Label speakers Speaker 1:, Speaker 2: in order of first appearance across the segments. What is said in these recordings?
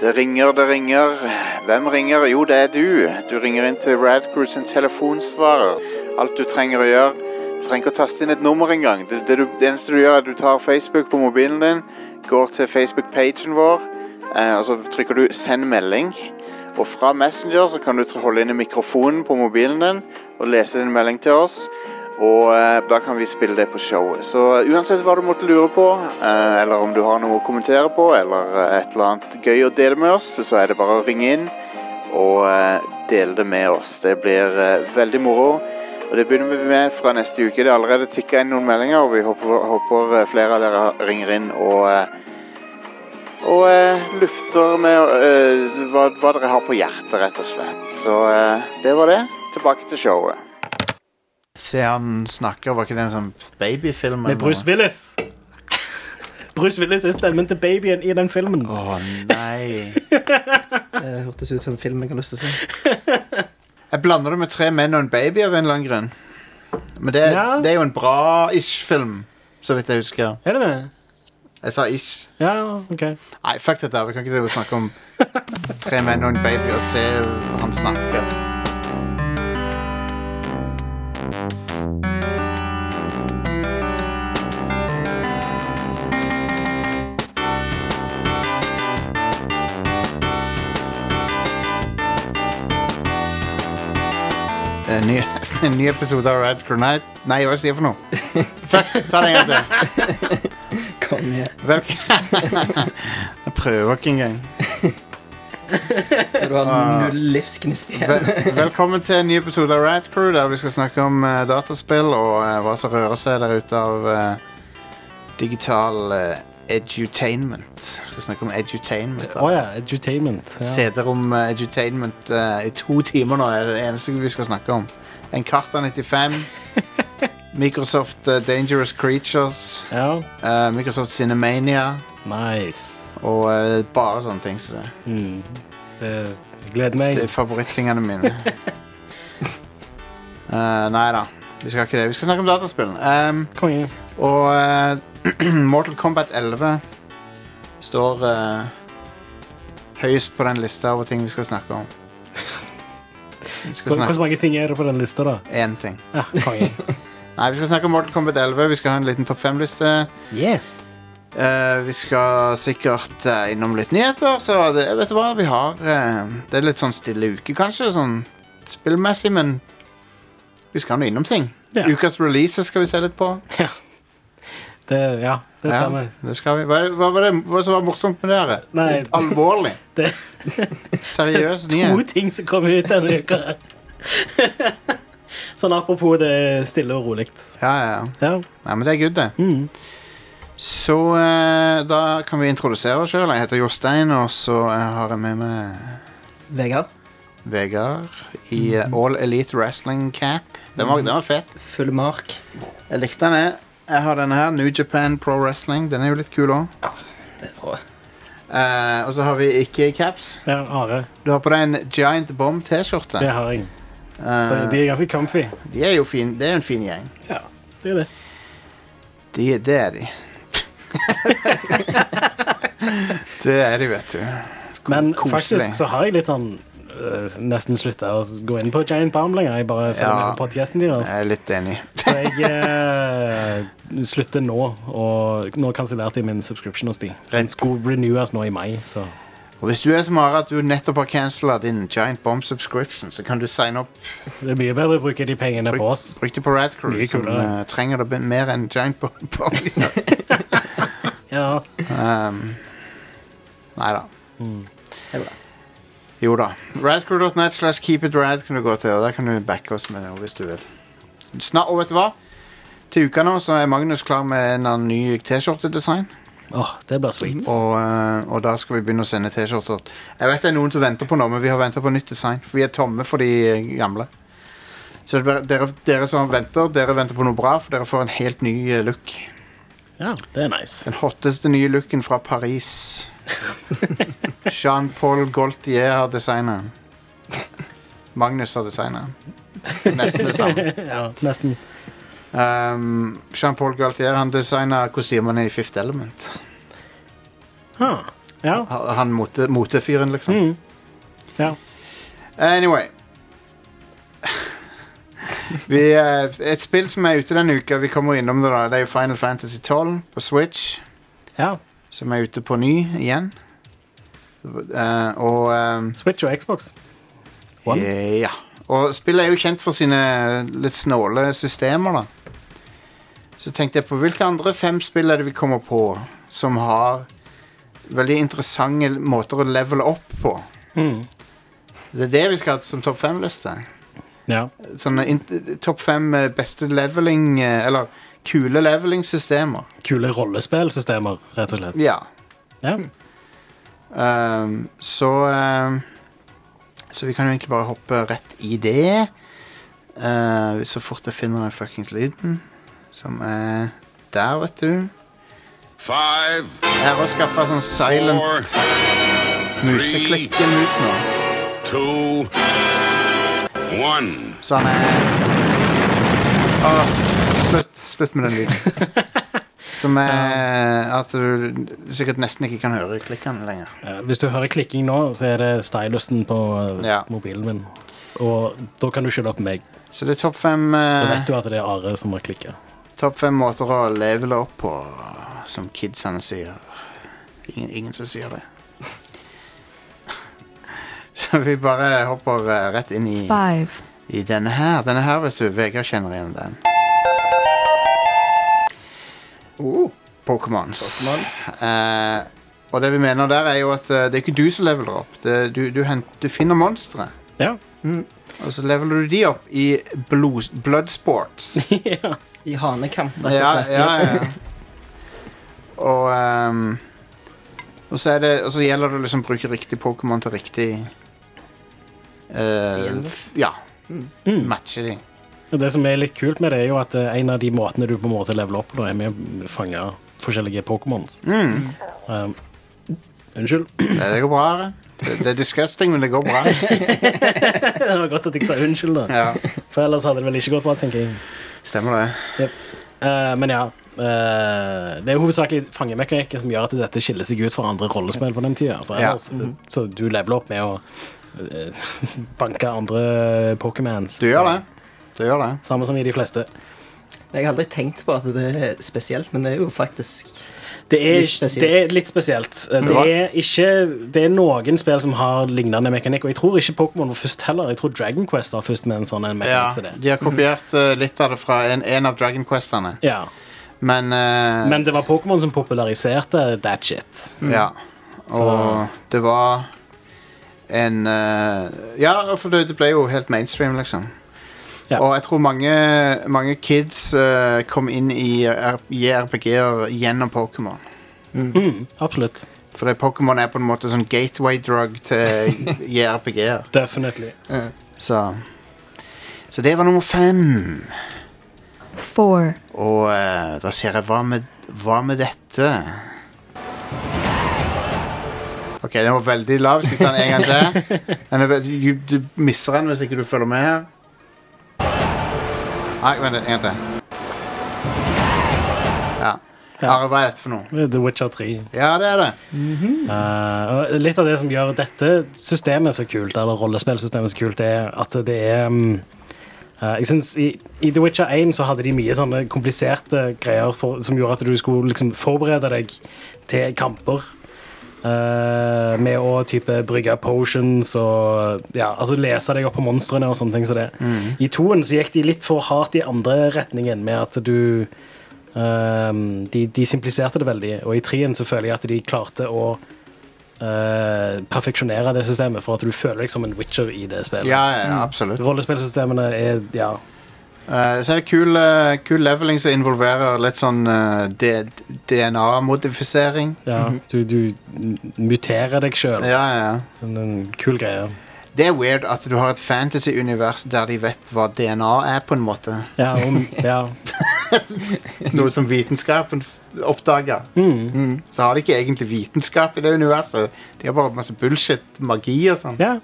Speaker 1: Det ringer, det ringer. Hvem ringer? Jo, det er du. Du ringer inn til Radcrew sin telefonsvarer. Alt du trenger å gjøre Du trenger ikke å taste inn et nummer engang. Det, det, du- det eneste du gjør, er at du tar Facebook på mobilen din, går til Facebook-pagen vår, eh, og så trykker du 'send melding'. Og fra Messenger så kan du tr- holde inne mikrofonen på mobilen din og lese din melding til oss. Og eh, da kan vi spille det på showet. Så eh, uansett hva du måtte lure på, eh, eller om du har noe å kommentere på, eller eh, et eller annet gøy å dele med oss, så er det bare å ringe inn og eh, dele det med oss. Det blir eh, veldig moro. Og det begynner vi med fra neste uke. Det er allerede tikka inn noen meldinger, og vi håper, håper eh, flere av dere ringer inn og eh, og eh, lufter med eh, hva, hva dere har på hjertet, rett og slett. Så eh, det var det. Tilbake til showet. Se han snakker, var ikke det en sånn babyfilm?
Speaker 2: Med Bruce Willis. Bruce Willis er stemmen til babyen i den filmen.
Speaker 1: Å nei.
Speaker 3: Det hørtes ut som en film jeg har lyst til å se.
Speaker 1: Jeg blander det med tre menn og en baby av en eller annen grunn. Men det,
Speaker 2: Ja.
Speaker 1: det er jo en bra ish-film, så vidt jeg husker.
Speaker 2: Er det det?
Speaker 1: Jeg sa ish.
Speaker 2: Ja, OK.
Speaker 1: Nei, fuck dette. her. Vi kan ikke drive og snakke om tre menn og en baby og se han snakke. En Eh, ny, en ny episode av Rad Crew Night Nei, hva er det jeg sier for noe? Fuck, ta det en gang til.
Speaker 3: Konge.
Speaker 1: Velk- jeg prøver ikke engang.
Speaker 3: Du har null livsgnist igjen.
Speaker 1: Vel velkommen til en ny episode av Rad Crew, der vi skal snakke om eh, dataspill og eh, hva som rører seg der ute av eh, digital eh, edutainment. Vi skal snakke om edutainment.
Speaker 2: Å
Speaker 1: da.
Speaker 2: ja. Edutainment. Ja.
Speaker 1: CD-rom eh, edutainment eh, i to timer nå er det eneste vi skal snakke om. En Encarta 95. Microsoft eh, Dangerous Creatures.
Speaker 2: ja.
Speaker 1: eh, Microsoft Cinemania.
Speaker 2: Nice.
Speaker 1: Og eh, bare sånne ting som det.
Speaker 2: Mm. Det jeg gleder meg.
Speaker 1: Det er favorittingene mine. Eh, nei da, vi skal ikke det. Vi skal snakke om dataspill. Ehm,
Speaker 2: Konge.
Speaker 1: og eh, Mortal Kombat 11 står eh, høyest på den lista over ting vi skal snakke om. Vi skal
Speaker 2: Hvor,
Speaker 1: snakke
Speaker 2: hvor mange ting er det på den lista, da?
Speaker 1: én ting.
Speaker 2: Ja, konge.
Speaker 1: Nei, vi skal snakke om Mortal Kombat 11. Vi skal ha en liten topp fem-liste.
Speaker 2: Yeah.
Speaker 1: Eh, vi skal sikkert eh, innom litt nyheter, så det, vet du hva vi har? eh, det er litt sånn stille uke, kanskje, sånn spillmessig, men vi skal nå innom ting.
Speaker 2: Ja.
Speaker 1: Ukas releases skal vi se litt på.
Speaker 2: Det, ja, det skal vi.
Speaker 1: det skal vi. Hva, er- hva var det hva som var morsomt med dere?
Speaker 2: Nei.
Speaker 1: Alvorlig.
Speaker 2: Det-
Speaker 1: Seriøs
Speaker 2: To
Speaker 1: nyhet.
Speaker 2: ting som kom ut denne uka. her. sånn apropos det stille og rolig.
Speaker 1: Ja, ja.
Speaker 2: Ja.
Speaker 1: Nei, men det er good, det.
Speaker 2: Mm.
Speaker 1: Så eh, da kan vi introdusere oss sjøl. Jeg heter Jostein, og så eh, har jeg med meg
Speaker 3: Vegard,
Speaker 1: Vegard i eh, All Elite Wrestling Cap. Den var, den var fet.
Speaker 3: full mark.
Speaker 1: Jeg likte den. Jeg, jeg har denne her, New Japan Pro Wrestling. Den er jo litt kul òg.
Speaker 3: Det er bra.
Speaker 1: og så har vi ikke caps.
Speaker 2: Ja, Are,
Speaker 1: Du har på deg en Giant Bomb T-skjorte.
Speaker 2: det har jeg. De
Speaker 1: Eh,
Speaker 2: de er ganske comfy.
Speaker 1: de er jo fin, det er jo en fin gjeng.
Speaker 2: Ja, det er det.
Speaker 1: De, det er de. det er de, vet du. Ko-
Speaker 2: Men
Speaker 1: koselig.
Speaker 2: faktisk så har jeg litt sånn øh, nesten slutta å gå inn på Giant Bomb lenger. Jeg bare følger
Speaker 1: Ja.
Speaker 2: med på podcasten deres.
Speaker 1: Jeg er litt enig.
Speaker 2: Så jeg øh, slutter nå, og nå kansellerte jeg min subscription hos de. Den
Speaker 1: Rent.
Speaker 2: skulle renewes nå i mai, så
Speaker 1: Og hvis du er som Are at du nettopp har cancela din Giant Bomb subscription, så kan du signe opp.
Speaker 2: det er mye bedre å bruke de pengene på oss.
Speaker 1: Bruk det på Radcrew,
Speaker 2: Mye
Speaker 1: som
Speaker 2: kulere.
Speaker 1: eh, trenger det mer enn Giant Bomb. Bomb.
Speaker 2: Ja.
Speaker 1: Um, nei da.
Speaker 3: Det er bra.
Speaker 1: Jo da. Radcrew.net slash keepitrad kan du gå til, og der kan du backe oss med noe hvis du vil. Snart, og vet du hva? Til uka nå så er Magnus klar med en annen ny T-skjortedesign.
Speaker 2: Åh, det blir sweet.
Speaker 1: Og, eh, og da skal vi begynne å sende T-skjorter. Jeg vet det er noen som venter på noe, men vi har venta på nytt design. For vi er tomme for de eh, gamle. Så det er bare- dere, dere som venter, dere venter på noe bra, for dere får en helt ny eh, look.
Speaker 2: Ja, det er nice.
Speaker 1: Den hotteste nye looken fra Paris. Jean-Paul Gaultier har designa den. Magnus har designa den. Nesten det samme.
Speaker 2: Ja, nesten.
Speaker 1: Um, Jean-Paul Gaultier han designa kostymene i Fifth Element.
Speaker 2: Huh. Ja.
Speaker 1: Han han mote- motefyren, liksom.
Speaker 2: Mm. ja.
Speaker 1: Anyway. vi, eh, et spill som er ute denne uka, vi kommer innom det da, det er jo Final Fantasy 12 på Switch.
Speaker 2: ja.
Speaker 1: Som er ute på ny igjen. Eh, og ehm,
Speaker 2: Switch og Xbox. One.
Speaker 1: Eh, Ja. Og spillet er jo kjent for sine litt snåle systemer, da. Så tenkte jeg på hvilke andre fem spill er det vi kommer på som har veldig interessante måter å levele opp på.
Speaker 2: Mm.
Speaker 1: Det er det vi skal ha som topp fem-liste.
Speaker 2: Ja.
Speaker 1: Sånne in- topp fem eh, beste leveling eh, Eller kule leveling-systemer.
Speaker 2: Kule rollespillsystemer, rett og slett.
Speaker 1: Ja.
Speaker 2: Ja.
Speaker 1: Ehm, så ehm, Så vi kan jo egentlig bare hoppe rett i det. Eh, så fort jeg finner den fuckings lyden, som er der, vet du.
Speaker 4: Five,
Speaker 1: Jeg har også skaffa sånn
Speaker 4: four,
Speaker 1: silent museklikkemus nå.
Speaker 4: two, one.
Speaker 1: Så han er Åh, slutt, slutt med den lyden. Som er at du sikkert nesten ikke kan høre klikkene lenger.
Speaker 2: Eh, Hvis du hører klikking nå, så er det stylusen på eh,
Speaker 1: Ja.
Speaker 2: mobilen min. Og da kan du skylde på meg.
Speaker 1: Så det er topp fem
Speaker 2: Da
Speaker 1: eh,
Speaker 2: vet du at det er Are som har klikka.
Speaker 1: Topp fem måter å levele opp på, som kidsene sier. Ingen, ingen som sier det. Så vi bare hopper eh, rett inn i,
Speaker 5: five,
Speaker 1: i denne her. Denne her, vet du. Vegard kjenner igjen den.
Speaker 3: Oh,
Speaker 1: Uh, Pokémons.
Speaker 3: Pokémons.
Speaker 1: Eh, og det vi mener der, er jo at eh, det er ikke du som leveler opp. Det, du, du, hent, du finner monstre,
Speaker 2: Ja.
Speaker 1: og så leveler du de opp i blod, bloodsports.
Speaker 2: ja.
Speaker 3: I hanekamp, rett og
Speaker 1: Ja,
Speaker 3: slett.
Speaker 1: ja, ja. Og, ehm, og, så er det, og så gjelder det å liksom bruke riktig Pokémon til riktig eh,
Speaker 3: Fiende.
Speaker 1: f- Ja.
Speaker 2: Mm.
Speaker 1: Matche de.
Speaker 2: Og Det som er litt kult med det, er jo at eh, en av de måtene du på en måte leveler opp på, da, er med å fange forskjellige Pokémons.
Speaker 1: Mm.
Speaker 2: Um, unnskyld.
Speaker 1: Det, det går bra. Are. Det, det er disgusting, men det går bra.
Speaker 2: det var godt at jeg sa unnskyld, da.
Speaker 1: Ja,
Speaker 2: For ellers hadde det vel ikke gått bra, tenker jeg.
Speaker 1: stemmer det.
Speaker 2: Eh, men ja. eh, det er hovedsakelig fangemekanikken som gjør at dette skiller seg ut fra andre rollespill på den tida. For
Speaker 1: Ja. Mhm.
Speaker 2: ellers, eh, Så du leveler opp med å eh, banke andre Pokémons.
Speaker 1: Du gjør det. Du gjør det.
Speaker 2: Samme som i de fleste.
Speaker 3: Jeg har aldri tenkt på at det er spesielt, men det er jo faktisk
Speaker 2: Det er,
Speaker 3: Litt spesielt.
Speaker 2: det er litt spesielt. Eh, Det er, ikke, det er noen spill som har lignende mekanikk, og jeg tror ikke Pokémon var først heller. Jeg tror Dragon Quest var først med en sånn en
Speaker 1: Ja,
Speaker 2: mekanikk som det.
Speaker 1: de har kopiert eh, litt av det fra en, en av Dragon Questene,
Speaker 2: Ja.
Speaker 1: men, eh,
Speaker 2: Men det var Pokémon som populariserte that shit.
Speaker 1: Ja.
Speaker 2: Mm. Så-
Speaker 1: Og det var en eh, Ja, for det, det ble jo helt mainstream, liksom.
Speaker 2: Ja.
Speaker 1: Og jeg tror mange, mange kids eh, kom inn i R- JRPG-er gjennom Pokémon.
Speaker 2: Mm, absolutt.
Speaker 1: Fordi Pokémon er på en måte sånn gateway drug til JRPG-er.
Speaker 2: Definitely.
Speaker 3: eh,
Speaker 1: Så. Så det var nummer fem.
Speaker 5: four,
Speaker 1: Og eh, da ser jeg hva med, hva med dette? Ok, den var veldig lav. Skal vi ta den en gang til? Den er, veld- du, du misser den hvis ikke du følger med her. Nei, vent en gang til. Ja.
Speaker 2: Ja.
Speaker 1: Are, hva er dette for noe?
Speaker 2: The Witcher 3.
Speaker 1: Ja, det er det.
Speaker 2: Eh, og litt av det som gjør dette systemet så kult, eller rollespillsystemet så kult, er at det er mm, eh, Jeg synes i, I The Witcher 1 så hadde de mye sånne kompliserte greier for, som gjorde at du skulle liksom forberede deg til kamper. eh, med å type brygge potions og ja, altså lese deg opp på monstrene og sånne ting. Så det. I toen så gikk de litt for hardt i andre retningen med at du Ehm, de, de simpliserte det veldig, og i trien så føler jeg at de klarte å eh, perfeksjonere det systemet, for at du føler deg som en witcher i det spillet.
Speaker 1: Ja, ja absolutt.
Speaker 2: Rollespillsystemene er ja,
Speaker 1: Eh, så er det kul, eh, kul leveling som involverer litt sånn DNA-modifisering.
Speaker 2: ja du, du muterer deg sjøl.
Speaker 1: Mhm. Ja, ja, ja.
Speaker 2: En kul greie.
Speaker 1: Det er weird at du har et fantasy-univers der de vet hva DNA er, på en måte.
Speaker 2: Ja, om, ja.
Speaker 1: Noe som vitenskapen f- oppdager.
Speaker 2: Mm.
Speaker 1: Så har de ikke egentlig vitenskap i det universet. De har bare masse bullshit, magi og sånn.
Speaker 2: ja.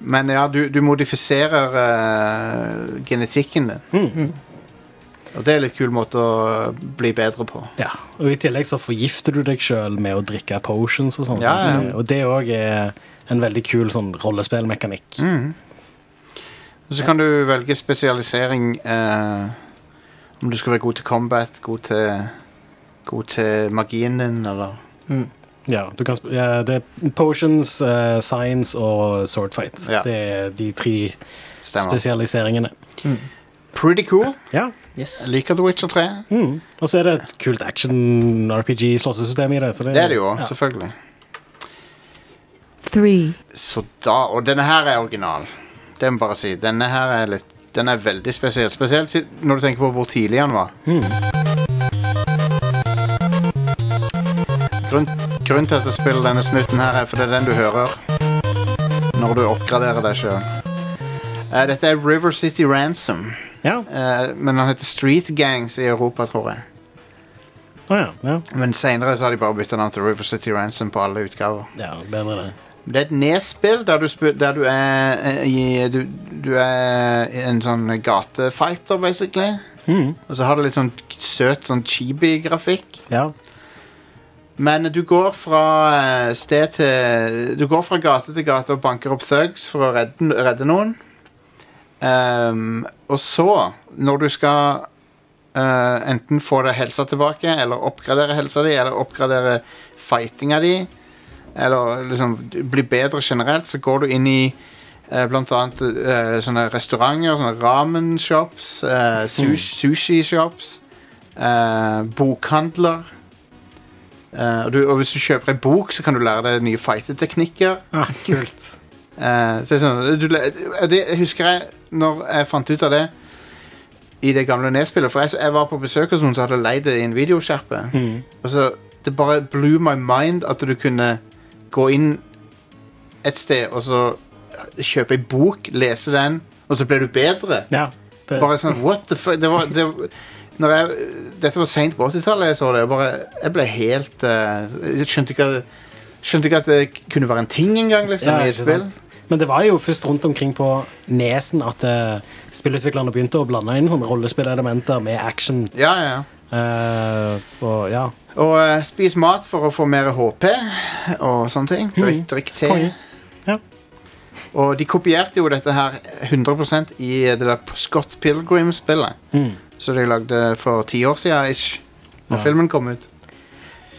Speaker 1: Men ja, du, du modifiserer eh, genetikken din.
Speaker 2: Mm.
Speaker 1: Og det er litt kul måte å bli bedre på.
Speaker 2: Ja, og I tillegg så forgifter du deg sjøl med å drikke potions og sånn.
Speaker 1: Ja, ja.
Speaker 2: Så- Og det òg er en veldig kul sånn rollespillmekanikk.
Speaker 1: Mm. Og Så kan du velge spesialisering eh, om du skal være god til combat, god til, god til magien din, eller
Speaker 3: Mm.
Speaker 2: Ja, du kan, sp- ja, det er potions, eh, science og swordfight.
Speaker 1: Ja.
Speaker 2: Det er de tre
Speaker 1: Stemmer.
Speaker 2: spesialiseringene.
Speaker 1: Pretty cool.
Speaker 2: Ja.
Speaker 3: Yes.
Speaker 1: Jeg liker The Witcher 3.
Speaker 2: Mm. Og så er det et kult action-RPG-slåssesystem i det. Så det,
Speaker 1: Det er det jo,
Speaker 2: Ja.
Speaker 1: selvfølgelig.
Speaker 5: three,
Speaker 1: Så da, Og denne her er original. Det må jeg bare si. Denne her er litt Den er veldig spesiell. Spesielt si- når du tenker på hvor tidlig han var.
Speaker 2: Mm.
Speaker 1: Grunn, grunnen til at jeg spiller denne snutten her, er for det er den du hører når du oppgraderer deg sjøl. dette er River City Ransom,
Speaker 2: Ja.
Speaker 1: Eh, men han heter Street Gangs i Europa, tror jeg.
Speaker 2: Å ja. ja.
Speaker 1: Men seinere har de bare bytta navn til River City Ransom på alle utgaver.
Speaker 2: Ja, bedre det.
Speaker 1: Det er et nedspill der du, sp- der du er eh, i, du, du er en sånn gatefighter, basically. Og så har det litt sånn søt sånn chibi-grafikk.
Speaker 2: Ja.
Speaker 1: Men du går fra eh, sted til Du går fra gate til gate og banker opp thugs for å redde, redde noen. Ehm, og så, når du skal eh, enten få deg helsa tilbake, eller oppgradere helsa di, eller oppgradere fightinga di, eller liksom bli bedre generelt, så går du inn i eh, blant annet eh, sånne restauranter, sånne ramen-shops, eh, sus- sushi-shops, eh, bokhandler. Eh, og, du, og hvis du kjøper ei bok, så kan du lære deg nye fighting-teknikker.
Speaker 2: Ah, kult.
Speaker 1: Eh, så det er sånn, du, le- det husker jeg når jeg fant ut av det i det gamle nedspillet. For jeg, jeg var på besøk hos noen som hadde leid det i en videoskjerpe. Og så Det bare blew my mind at du kunne gå inn et sted og så kjøpe ei bok, lese den, og så ble du bedre.
Speaker 2: Ja. Det,
Speaker 1: Bare sånn, what the fuck det var, det, når jeg, Dette var sent på 80-tallet jeg så det. Jeg, bare, jeg ble helt eh, Jeg skjønte ikke, skjønte ikke at det kunne være en ting engang, liksom,
Speaker 2: Ja,
Speaker 1: i et
Speaker 2: ikke
Speaker 1: spill.
Speaker 2: sant. Men det var jo først rundt omkring på Nesen at eh, spillutviklerne begynte å blande inn sånne rollespillelementer med action.
Speaker 1: Ja, ja, ja.
Speaker 2: eh, og ja.
Speaker 1: Og eh, spis mat for å få mer HP og sånne ting. Drikk, drikk te.
Speaker 2: Mm. Konge. Ja.
Speaker 1: Og de kopierte jo dette her 100 i det der Scott Pilgrim-spillet. Så de lagde eh, for ti år siden ish. Når
Speaker 2: Mm. Ja.
Speaker 1: filmen kom ut.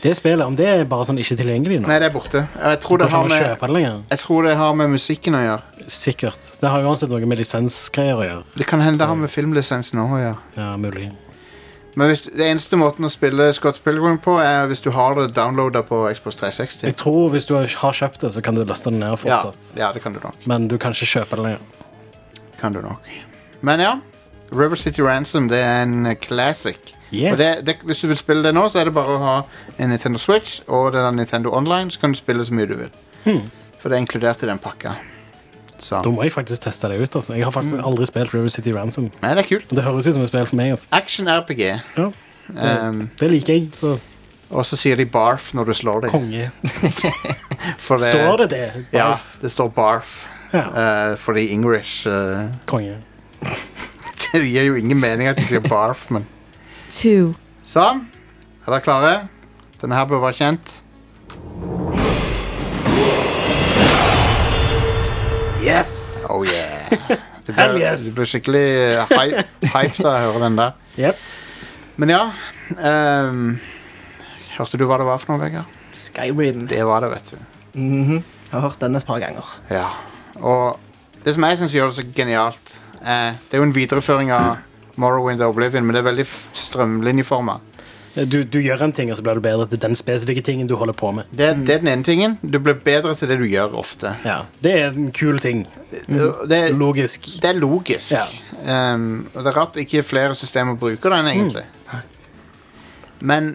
Speaker 2: Det spillet, om det er bare sånn ikke tilgjengelig nå
Speaker 1: Nei, det er borte. Jeg tror det,
Speaker 2: Går ikke
Speaker 1: har
Speaker 2: an å
Speaker 1: med,
Speaker 2: kjøpe det lenger.
Speaker 1: jeg tror det har med musikken å gjøre.
Speaker 2: Sikkert. Det har jo uansett noe med lisensgreier å gjøre.
Speaker 1: Det kan hende det har med filmlisensen også å gjøre.
Speaker 2: Ja, mulig.
Speaker 1: Men hvis, det eneste måten å spille Scott Pilgrim på, er hvis du har det downloada på Xbox 360.
Speaker 2: Jeg tror hvis du har kjøpt det, så kan du laste det
Speaker 1: Ja,
Speaker 2: ned fortsatt.
Speaker 1: ja, det kan du nok.
Speaker 2: Men du kan ikke kjøpe det lenger.
Speaker 1: kan du nok. Men ja, River City Ransom det er en eh, classic.
Speaker 2: Yeah.
Speaker 1: Og det, det, hvis du vil spille det nå, så er det bare å ha en Nintendo Switch og den der Nintendo Online, så kan du spille så mye du vil.
Speaker 2: Hmm.
Speaker 1: For det er inkludert i den pakka. Så.
Speaker 2: Da må jeg faktisk teste det ut. altså. Jeg har faktisk aldri spilt River City Ransom.
Speaker 1: Nei, det er kult.
Speaker 2: Det høres ut som et spill for meg. altså.
Speaker 1: Action-RPG.
Speaker 2: Ja.
Speaker 1: Um,
Speaker 2: Det liker jeg, så
Speaker 1: og så sier de barf når du slår deg.
Speaker 2: konge.
Speaker 1: For
Speaker 2: Står det det?
Speaker 1: Ja,
Speaker 2: Barf.
Speaker 1: det står barf.
Speaker 2: Ja,
Speaker 1: eh, fordi English eh,
Speaker 2: konge.
Speaker 1: Det gir jo ingen mening at de sier barf, men
Speaker 5: two,
Speaker 1: Sånn. Er dere klare? Denne her bør være kjent.
Speaker 2: Yes!
Speaker 1: Oh yeah. Du
Speaker 2: Hell
Speaker 1: blir,
Speaker 2: yes.
Speaker 1: du blir skikkelig eh, hype, hype da jeg hører den der.
Speaker 2: Yep.
Speaker 1: Men ja ehm, Hørte du hva det var for noe, Vegard?
Speaker 3: Skyrim.
Speaker 1: Det var det, vet du.
Speaker 3: Mhm. Jeg har hørt den et par ganger.
Speaker 1: Ja. Og det som jeg syns gjør det så genialt, eh, det er jo en videreføring av Morrowind og Oblivion, men det er veldig f- strømlinjeforma.
Speaker 2: Du, du gjør en ting, og så blir du bedre til den spesifikke tingen du holder på med.
Speaker 1: Det, det er den ene tingen. Du blir bedre til det du gjør ofte.
Speaker 2: Ja, Det er en kul ting.
Speaker 1: Det,
Speaker 2: Logisk.
Speaker 1: det er logisk.
Speaker 2: Ja.
Speaker 1: Ehm, og det er rart ikke flere systemer bruker den, egentlig.
Speaker 2: Mm.
Speaker 1: Men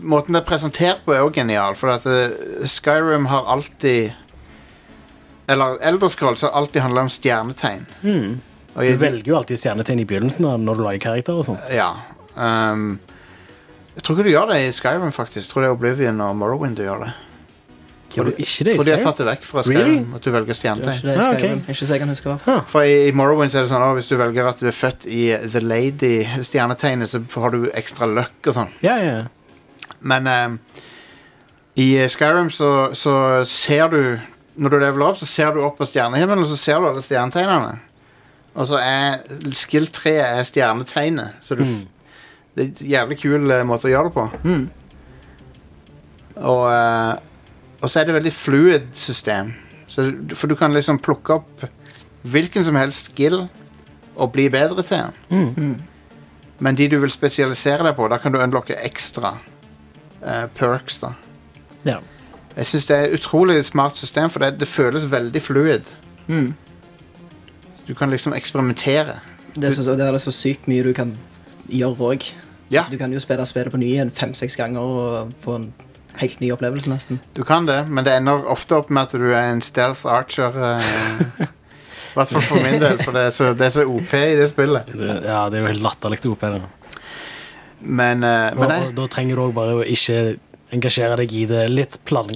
Speaker 1: måten det er presentert på, er òg genial, for at eh, Skyrim har alltid Eller Elderscrolls har alltid handla om stjernetegn. Og
Speaker 2: Du
Speaker 1: jeg,
Speaker 2: velger jo alltid stjernetegn i begynnelsen av når du lager karakter og sånt.
Speaker 1: ja. ehm, jeg tror ikke du gjør det i Skyrim, faktisk. Jeg tror det er Oblivion og Morrowind du gjør det.
Speaker 2: Gjør du ikke det i
Speaker 1: Tror de har
Speaker 2: Skyrim?
Speaker 1: tatt det vekk fra Skyrim,
Speaker 2: Really?
Speaker 1: at du velger stjernetegn.
Speaker 3: Det er
Speaker 2: Ah, ok.
Speaker 3: Skyrim. Ikke så jeg kan huske hva.
Speaker 1: For i, i Morrowind så er det sånn at hvis du velger at du er født i The Lady, stjernetegnet, så har du ekstra luck og sånn.
Speaker 2: Ja, ja.
Speaker 1: Men ehm, i eh, Skyrim så, så ser du Når du leveler opp, så ser du opp på stjernehimmelen, og så ser du alle stjernetegnene. Og så er skill 3 er stjernetegnet, så du f- Det er en jævlig kul eh, måte å gjøre det på.
Speaker 3: Mm.
Speaker 1: Og, eh, og så er det veldig fluid system. Så, du- for du kan liksom plukke opp hvilken som helst skill og bli bedre til den. Men de du vil spesialisere deg på, da kan du unlocke ekstra eh, perks. da.
Speaker 2: ja.
Speaker 1: Jeg syns det er et utrolig smart system, for det, det føles veldig fluid.
Speaker 3: Mm.
Speaker 1: Du kan liksom eksperimentere.
Speaker 3: Det, synes, jeg- det er så sykt mye du kan gjøre òg.
Speaker 1: Ja,
Speaker 3: Du kan jo spille spillet på ny igjen fem-seks ganger og få en helt ny opplevelse, nesten.
Speaker 1: du kan det, men det ender ofte opp med at du er en stealth archer. eh, I hvert fall for min del, for det er, så, det er så OP i det spillet.
Speaker 2: Det, ja, det er jo helt latterlig OP. det.
Speaker 1: Men, eh,
Speaker 2: Og,
Speaker 1: men jeg,
Speaker 2: og da trenger du òg bare å ikke engasjere deg i det litt plan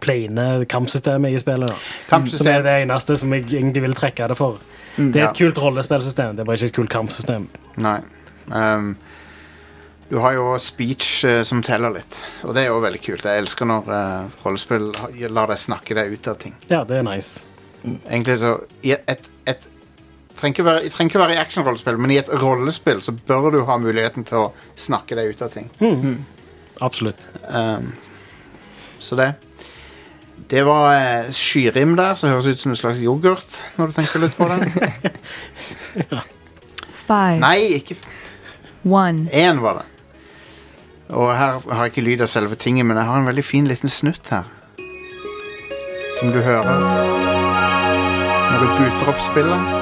Speaker 2: plaine kampsystemet i spillet. da.
Speaker 1: Kampsystem. Mm,
Speaker 2: Som er det eneste som jeg egentlig vil trekke det for. Det er
Speaker 1: ja.
Speaker 2: et kult rollespillsystem, det er bare ikke et kult kampsystem.
Speaker 1: Nei. Ehm, du har jo speech eh, som teller litt, og det er jo veldig kult. Jeg elsker når eh, rollespill ha- lar deg snakke deg ut av ting.
Speaker 2: Ja, det er nice.
Speaker 1: Egentlig så i et, et, et trenger ikke være, det trenger ikke være i actionrollespill, men i et rollespill så bør du ha muligheten til å snakke deg ut av ting.
Speaker 2: Absolutt.
Speaker 1: Ehm, så det Det var eh, skyrim der, som høres ut som en slags yoghurt, når du tenker litt på det.
Speaker 5: five,
Speaker 1: Nei, ikke
Speaker 5: one,
Speaker 1: Én var det. Og her har jeg ikke lyd av selve tinget, men jeg har en veldig fin liten snutt her. Som du hører når du buter opp spillet.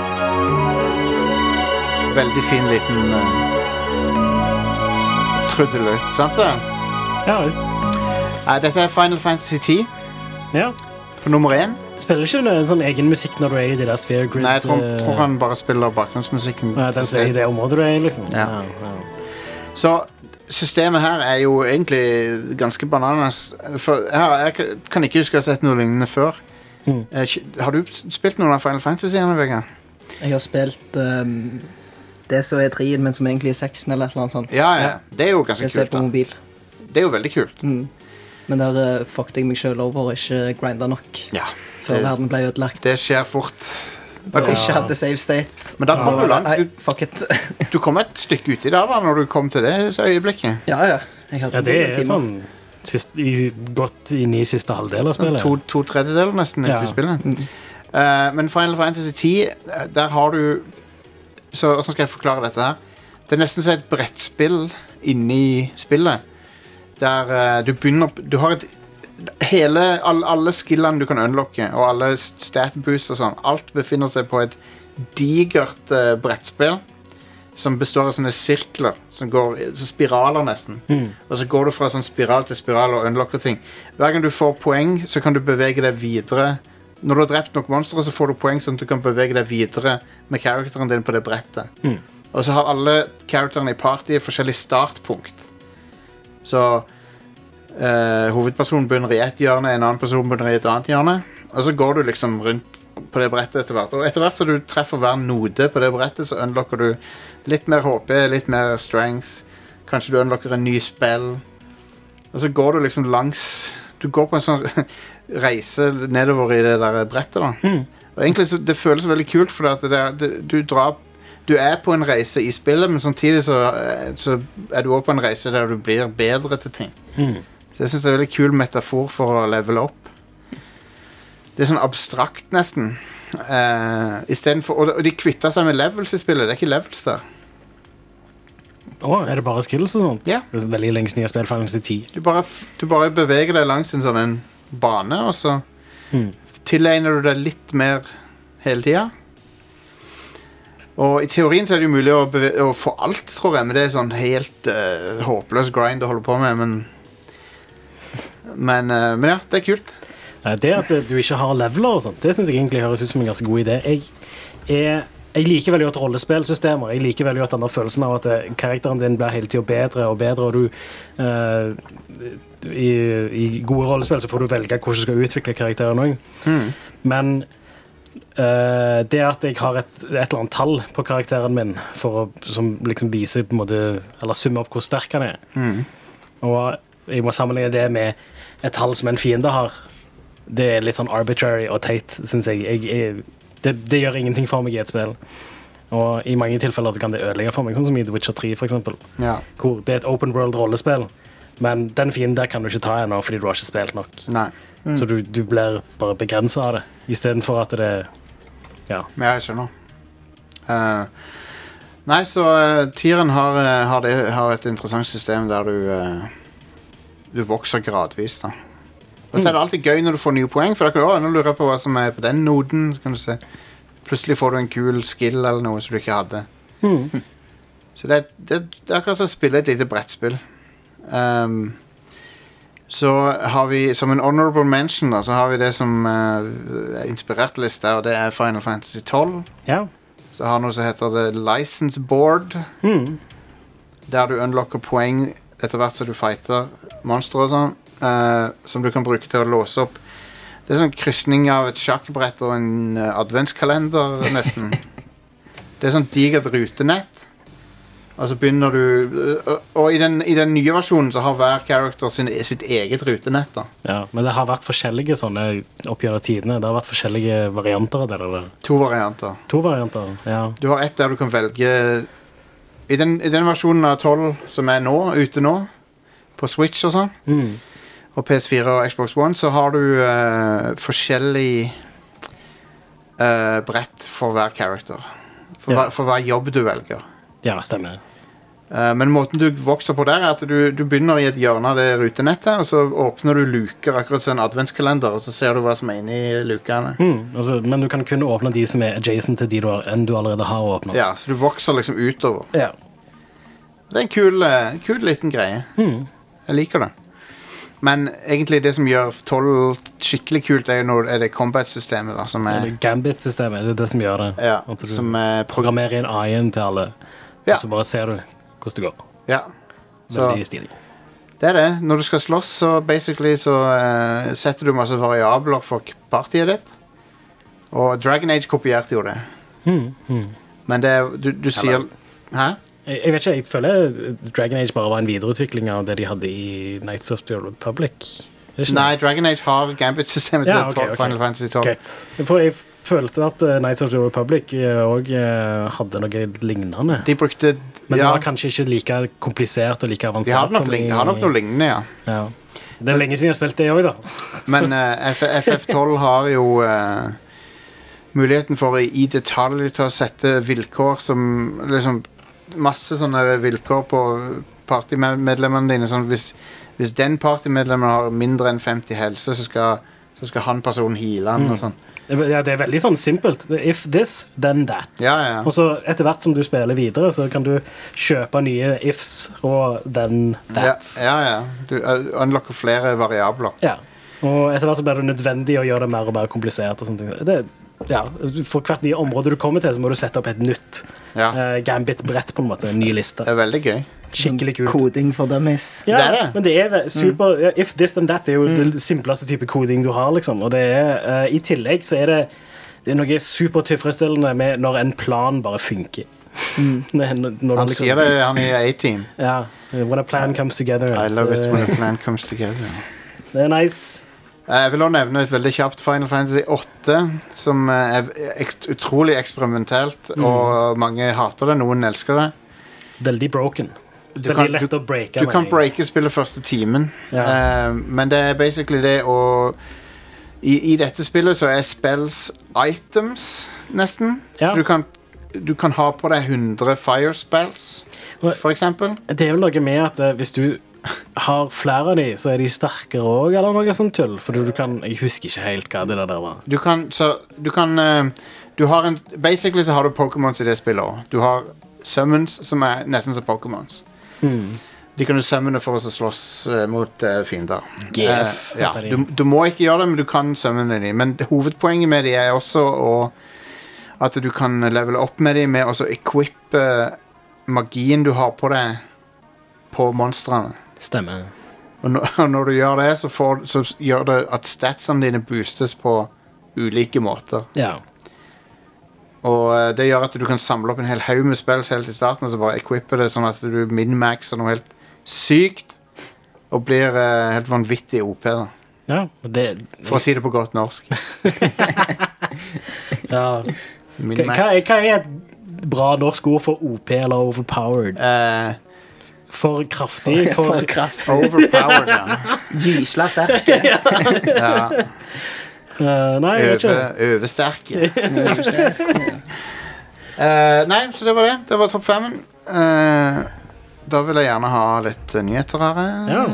Speaker 1: Veldig fin liten eh, trudelutt, sant det?
Speaker 2: Ja visst.
Speaker 1: Nei, dette er Final Fantasy 10
Speaker 2: Ja.
Speaker 1: på nummer én.
Speaker 2: Spiller ikke du en sånn egen musikk når du er i de der sphere grid?
Speaker 1: Nei, jeg tror,
Speaker 2: eh,
Speaker 1: tror han bare spiller bakgrunnsmusikken.
Speaker 2: eh, den som er i det området du er i, liksom?
Speaker 1: Ja.
Speaker 2: ja.
Speaker 1: Så systemet her er jo egentlig ganske bananas. For her, jeg kan- kan ikke huske å ha sett noe lignende før.
Speaker 2: Mhm.
Speaker 1: Eh, sk- Har du s- spilt noen av Final Fantasyene, Vegard?
Speaker 3: Jeg har spilt ehm, det som er trien, men som egentlig er seksen, eller et eller annet sånt.
Speaker 1: Ja, ja. Det er jo ganske
Speaker 3: Jeg ser
Speaker 1: kult.
Speaker 3: på
Speaker 1: Da.
Speaker 3: mobil.
Speaker 1: Det er jo veldig kult.
Speaker 3: Mm. Men der uh, fucket jeg meg sjøl over og ikke grinda nok
Speaker 1: Ja,
Speaker 3: før
Speaker 1: det-
Speaker 3: verden ble ødelagt.
Speaker 1: Det skjer fort. Da
Speaker 3: Og
Speaker 1: kom,
Speaker 3: ikke hadde save state.
Speaker 1: Men da kom du langt.
Speaker 3: Nei,
Speaker 1: Du,
Speaker 3: fuck it.
Speaker 1: du kom et stykke uti der da, når du kom til det øyeblikket.
Speaker 3: ja, ja. Jeg hadde
Speaker 2: ja, det
Speaker 3: noen
Speaker 2: er
Speaker 3: timer.
Speaker 2: sånn sist, i, godt inn i siste halvdel av
Speaker 1: Sånn
Speaker 2: spillet.
Speaker 1: To, to tredjedeler nesten
Speaker 2: Ja.
Speaker 1: ute i spillet. Eh, men Final Fantasy 10, eh, der har du Så Hvordan skal jeg forklare dette her? Det er nesten som et brettspill inni spillet. Der eh, du begynner Du har et Hele, all, alle skillene du kan unlocke, og alle stat boost og sånn, alt befinner seg på et digert eh, brettspill som består av sånne sirkler som går i- så spiraler nesten.
Speaker 2: Mm.
Speaker 1: Og så går du fra sånn spiral til spiral og unlocker ting. Hver gang du får poeng, så kan du bevege deg videre. Når du har drept nok monstre, så får du poeng sånn at du kan bevege deg videre med characteren din på det brettet. Og så har alle characterene i partyet forskjellig startpunkt. Så eh, hovedpersonen begynner i ett hjørne, en annen person begynner i et annet hjørne. Og så går du liksom rundt på det brettet etter hvert. Og etter hvert som du treffer hver node på det brettet, så unlocker du litt mer HP, litt mer strength. Kanskje du unlocker en ny spill. Og så går du liksom langs Du går på en sånn reise nedover i det der brettet, da. Og egentlig så det føles veldig kult, for at det er, det, du drar Du er på en reise i spillet, men samtidig så, eh, så er du også på en reise der du blir bedre til ting.
Speaker 2: Mm.
Speaker 1: Så jeg syns det er en veldig kul metafor for å levele opp. Det er sånn abstrakt, nesten. Eh, istedenfor Og og de kvitta seg med levels i spillet. Det er ikke levels der.
Speaker 2: Å, er det bare skills og sånt?
Speaker 1: Ja.
Speaker 2: Det er veldig lenge siden jeg har spilt Final Fantasy 10.
Speaker 1: Du bare, f- du bare beveger deg langs en sånn en bane, og så tilegner du deg litt mer hele tida. Og i teorien så er det jo mulig å, beve å få alt, tror jeg, men det er sånn helt eh, håpløs grind å holde på med, men men, eh, men ja, det er kult.
Speaker 2: Eh, Det at eh, du ikke har leveler og sånt, det synes jeg egentlig høres ut som en ganske god idé. Jeg er Jeg liker veldig godt rollespillsystemer. Jeg liker veldig godt denne følelsen av at eh, karakteren din blir hele tida bedre og bedre, og du eh, i, I gode rollespill så får du velge hvordan du skal utvikle karakteren òg. Men eh, det at jeg har et, et eller annet tall på karakteren min for å, som liksom viser på en måte, eller summer opp hvor sterk han er, og jeg må sammenligne det med et tall som en fiende har, det er litt sånn arbitrary og teit, syns jeg. jeg, jeg det, det gjør ingenting for meg i et spill. Og i mange tilfeller så kan det ødelegge for meg, sånn som i The Witcher 3, for eksempel.
Speaker 1: Ja.
Speaker 2: Hvor det er et open world-rollespill, men den fienden der kan du ikke ta ennå fordi du har ikke spilt nok.
Speaker 1: Nei.
Speaker 2: Så du, du blir bare begrensa av det, istedenfor at det Ja.
Speaker 1: Men jeg skjønner. Eh, nei, så uh, Tyren har, eh, har, det, har et interessant system der du eh, Du vokser gradvis, da. Og så er det alltid gøy når du får nye poeng, for da kan du, «Å, nå lurer jeg på hva som er på den noden. Så kan du se. Plutselig får du en kul skill eller noe som du ikke hadde. Så det, er- det, det er akkurat som å spille et lite brettspill. Ehm, så har vi som en honorable mention da, så har vi det som eh, er inspirert liste, og det er Final Fantasy 12.
Speaker 2: ja.
Speaker 1: Så har noe som heter The License Board,
Speaker 2: Mm.
Speaker 1: der du unlocker poeng etter hvert som du fighter monstre og sånn, eh, som du kan bruke til å låse opp. Det er sånn krysning av et sjakkbrett og en eh, adventskalender, nesten. det er sånn digert rutenett. Og så begynner du Og, og i, den, i den nye versjonen så har hver character sin, sitt eget rutenett. da
Speaker 2: ja. Men det har vært forskjellige sånne opp gjennom tidene. Det har vært forskjellige varianter av det. Eller?
Speaker 1: To varianter.
Speaker 2: To varianter. Ja.
Speaker 1: Du har ett der du kan velge I den, i den versjonen av 12 som er nå, ute nå, på Switch og sånn,
Speaker 2: Mm.
Speaker 1: og PS4 og Xbox One, så har du eh, forskjellig eh, brett for hver character. For,
Speaker 2: Ja.
Speaker 1: hver, for hver jobb du velger.
Speaker 2: ja, stemmer.
Speaker 1: Eh, men måten du vokser på der, er at du, du begynner i et hjørne av det rutenettet, og så åpner du luker, akkurat som en adventskalender, og så ser du hva som er inni lukene.
Speaker 2: Mm, altså, men du kan kun åpne de som er adjacent til de du, har- enn du allerede har åpnet.
Speaker 1: Ja, så du vokser liksom utover.
Speaker 2: Ja.
Speaker 1: Det er en kul, eh, kul liten greie.
Speaker 2: Hmm.
Speaker 1: Jeg liker det. Men egentlig det som gjør 12 skikkelig kult, er jo når er det combat-systemet. da, som er,
Speaker 2: Eller Gambit-systemet, det er det som gjør det.
Speaker 1: ja,
Speaker 2: At du
Speaker 1: som er program...
Speaker 2: programmerer inn AI-en til alle,
Speaker 1: Ja.
Speaker 2: og så bare ser du hvordan det går.
Speaker 1: Ja. Så
Speaker 2: Veldig stilig.
Speaker 1: det er det. Når du skal slåss, så basically så eh, setter du masse variabler for k- partiet ditt. Og Dragon Age kopierte jo det.
Speaker 2: Hmm,
Speaker 1: Men det er Du, du sier Hæ?
Speaker 2: Jeg, jeg vet ikke, jeg føler Dragon Age bare var en videreutvikling av det de hadde i Nights of the Old Republic. Er det ikke
Speaker 1: Nei,
Speaker 2: det?
Speaker 1: Dragon Age har Gambit-systemet
Speaker 2: Ja,
Speaker 1: til
Speaker 2: ok, ok.
Speaker 1: Final Fantasy 12.
Speaker 2: Greit. For jeg følte at eh, Knights of the Old Republic òg hadde noe lignende.
Speaker 1: De brukte
Speaker 2: Men det
Speaker 1: ja,
Speaker 2: var kanskje ikke like komplisert og like
Speaker 1: de har
Speaker 2: avansert
Speaker 1: nok, lign- de har nok noe lignende, ja.
Speaker 2: Ja. Det er lenge siden jeg har spilt det òg, da.
Speaker 1: Men eh, F- FF12 har jo eh, muligheten for å i detalj til å sette vilkår som liksom Masse sånne vilkår på partymedlemmene dine. Sånn hvis, hvis den partymedlemmen har mindre enn 50 helse, så skal, så skal han personen heale han.
Speaker 2: Mm.
Speaker 1: og sånn.
Speaker 2: Ja, det er veldig sånn simpelt. If this, then that.
Speaker 1: Ja, ja,
Speaker 2: Og
Speaker 1: ja.
Speaker 2: så etter hvert som du spiller videre, så kan du kjøpe nye ifs og then
Speaker 1: ja,
Speaker 2: that.
Speaker 1: ja, ja. Du eh, unlocker flere variabler.
Speaker 2: Ja. Og etter hvert så blir det nødvendig å gjøre det mer og mer komplisert. og sånne ting. Det, ja, For hvert nye område du kommer til, så må du sette opp et nytt
Speaker 1: Ja,
Speaker 2: eh, Gambit-brett. på en måte, En ny liste.
Speaker 1: Det er veldig gøy.
Speaker 2: Skikkelig kult.
Speaker 3: Koding for dummies.
Speaker 2: Ja,
Speaker 1: Det er det. Mm.
Speaker 2: men det er ve- super ja, If this then that er jo den simpleste type koding du har. liksom Og det er, eh, I tillegg så er det, det er noe supertilfredsstillende med når en plan bare funker. Når- når du
Speaker 1: Han
Speaker 2: liksom-
Speaker 1: sier det, han i A-Team.
Speaker 2: Ja. When a plan comes together.
Speaker 1: I love it
Speaker 2: det,
Speaker 1: when a plan comes together.
Speaker 2: det er nice.
Speaker 1: Eh, Jeg vil også nevne et veldig kjapt Final Fantasy 8, som eh, er ekst utrolig eksperimentelt,
Speaker 2: Mm.
Speaker 1: og mange hater det, noen elsker det.
Speaker 2: Veldig broken.
Speaker 1: Du
Speaker 2: Veldig
Speaker 1: kan,
Speaker 2: lett
Speaker 1: du,
Speaker 2: å breake.
Speaker 1: du kan
Speaker 2: mener jeg.
Speaker 1: breake spillet første timen,
Speaker 2: Ja.
Speaker 1: Eh, men det er basically det å i, I dette spillet så er spells items, nesten.
Speaker 2: Ja.
Speaker 1: Så Du, kan, du kan ha på deg 100 fire spells,
Speaker 2: Og-
Speaker 1: for eksempel.
Speaker 2: Det er vel noe med at eh, hvis du har flere av de, så er de sterkere òg, eller noe sånt tull. For du kan Jeg husker ikke helt hva det der var.
Speaker 1: Du kan, så, du kan eh, du har en, Basically så har du Pokémons i det spillet òg. Du har summons som er nesten som Pokémons. De kan du summone for å slåss eh, mot eh, fiender.
Speaker 2: GF,
Speaker 1: Eh, ja.
Speaker 2: heter de.
Speaker 1: du, du må ikke gjøre det, men du kan summone dem. Men hovedpoenget med de er også å At du kan levele opp med dem med å så equippe eh, magien du har på deg, på monstrene.
Speaker 2: Stemmer.
Speaker 1: Og, nå- og når du gjør det, så, får, så s- gjør det at statsene dine boostes på ulike måter.
Speaker 2: Ja.
Speaker 1: Og eh, det gjør at du kan samle opp en hel haug med spills helt i starten, og så bare equippe det sånn at du min-maxer noe helt sykt, og blir eh, helt vanvittig OP, da.
Speaker 2: Ja, og det
Speaker 1: For å si det på godt norsk.
Speaker 2: ja. Hva,
Speaker 1: Min-max.
Speaker 2: hva er- hva er et bra norsk ord for OP eller overpowered?
Speaker 1: Eh,
Speaker 2: For kraftig? For,
Speaker 3: For kraft.
Speaker 1: overpowered, ja.
Speaker 3: Gysla sterke.
Speaker 1: ja.
Speaker 2: Eh, nei, jeg vet ikke.
Speaker 1: Over- Oversterke. Eh, nei, så det var det. Det var topp femmen. Eh, da vil jeg gjerne ha litt eh, nyheter her. eh.
Speaker 2: Ja.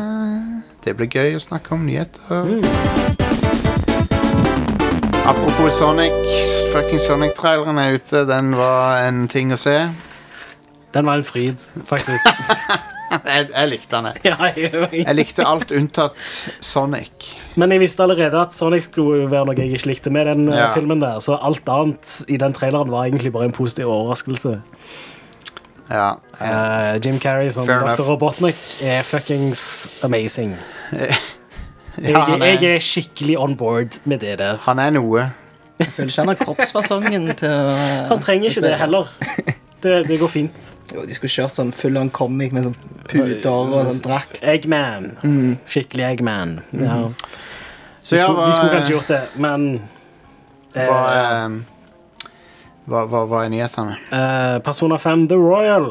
Speaker 1: Det blir gøy å snakke om nyheter. Apropos Sonic. Fucking Sonic-traileren er ute. Den var en ting å se.
Speaker 2: Den var en fryd, faktisk.
Speaker 1: Jeg, jeg likte den. jeg.
Speaker 2: ja, jeg,
Speaker 1: Jeg likte alt unntatt Sonic.
Speaker 2: Men jeg visste allerede at Sonic skulle være noe jeg ikke likte med den eh,
Speaker 1: Ja.
Speaker 2: filmen der, så alt annet i den traileren var egentlig bare en positiv overraskelse.
Speaker 1: Ja. eh,
Speaker 2: Eh, Jim Carrey som
Speaker 1: Fair
Speaker 2: Dr.
Speaker 1: enough.
Speaker 2: Robotnik er fuckings amazing. Jeg,
Speaker 1: ja han,
Speaker 2: jeg
Speaker 1: er,
Speaker 2: er skikkelig on board med det der.
Speaker 1: han er noe.
Speaker 3: Jeg føler ikke han har kroppsfasongen til å
Speaker 2: Han trenger ikke det heller. Det, det går fint.
Speaker 3: Jo, de skulle kjørt sånn full on comic med sånn puter og sånn drakt.
Speaker 2: Eggman. Skikkelig Eggman. Ja.
Speaker 1: Så
Speaker 2: De,
Speaker 1: ja,
Speaker 2: skulle,
Speaker 1: hva,
Speaker 2: de skulle kanskje gjort det, men eh,
Speaker 1: hva, eh, hva, hva, hva er nyhetene?
Speaker 2: eh, Persona 5 The Royal.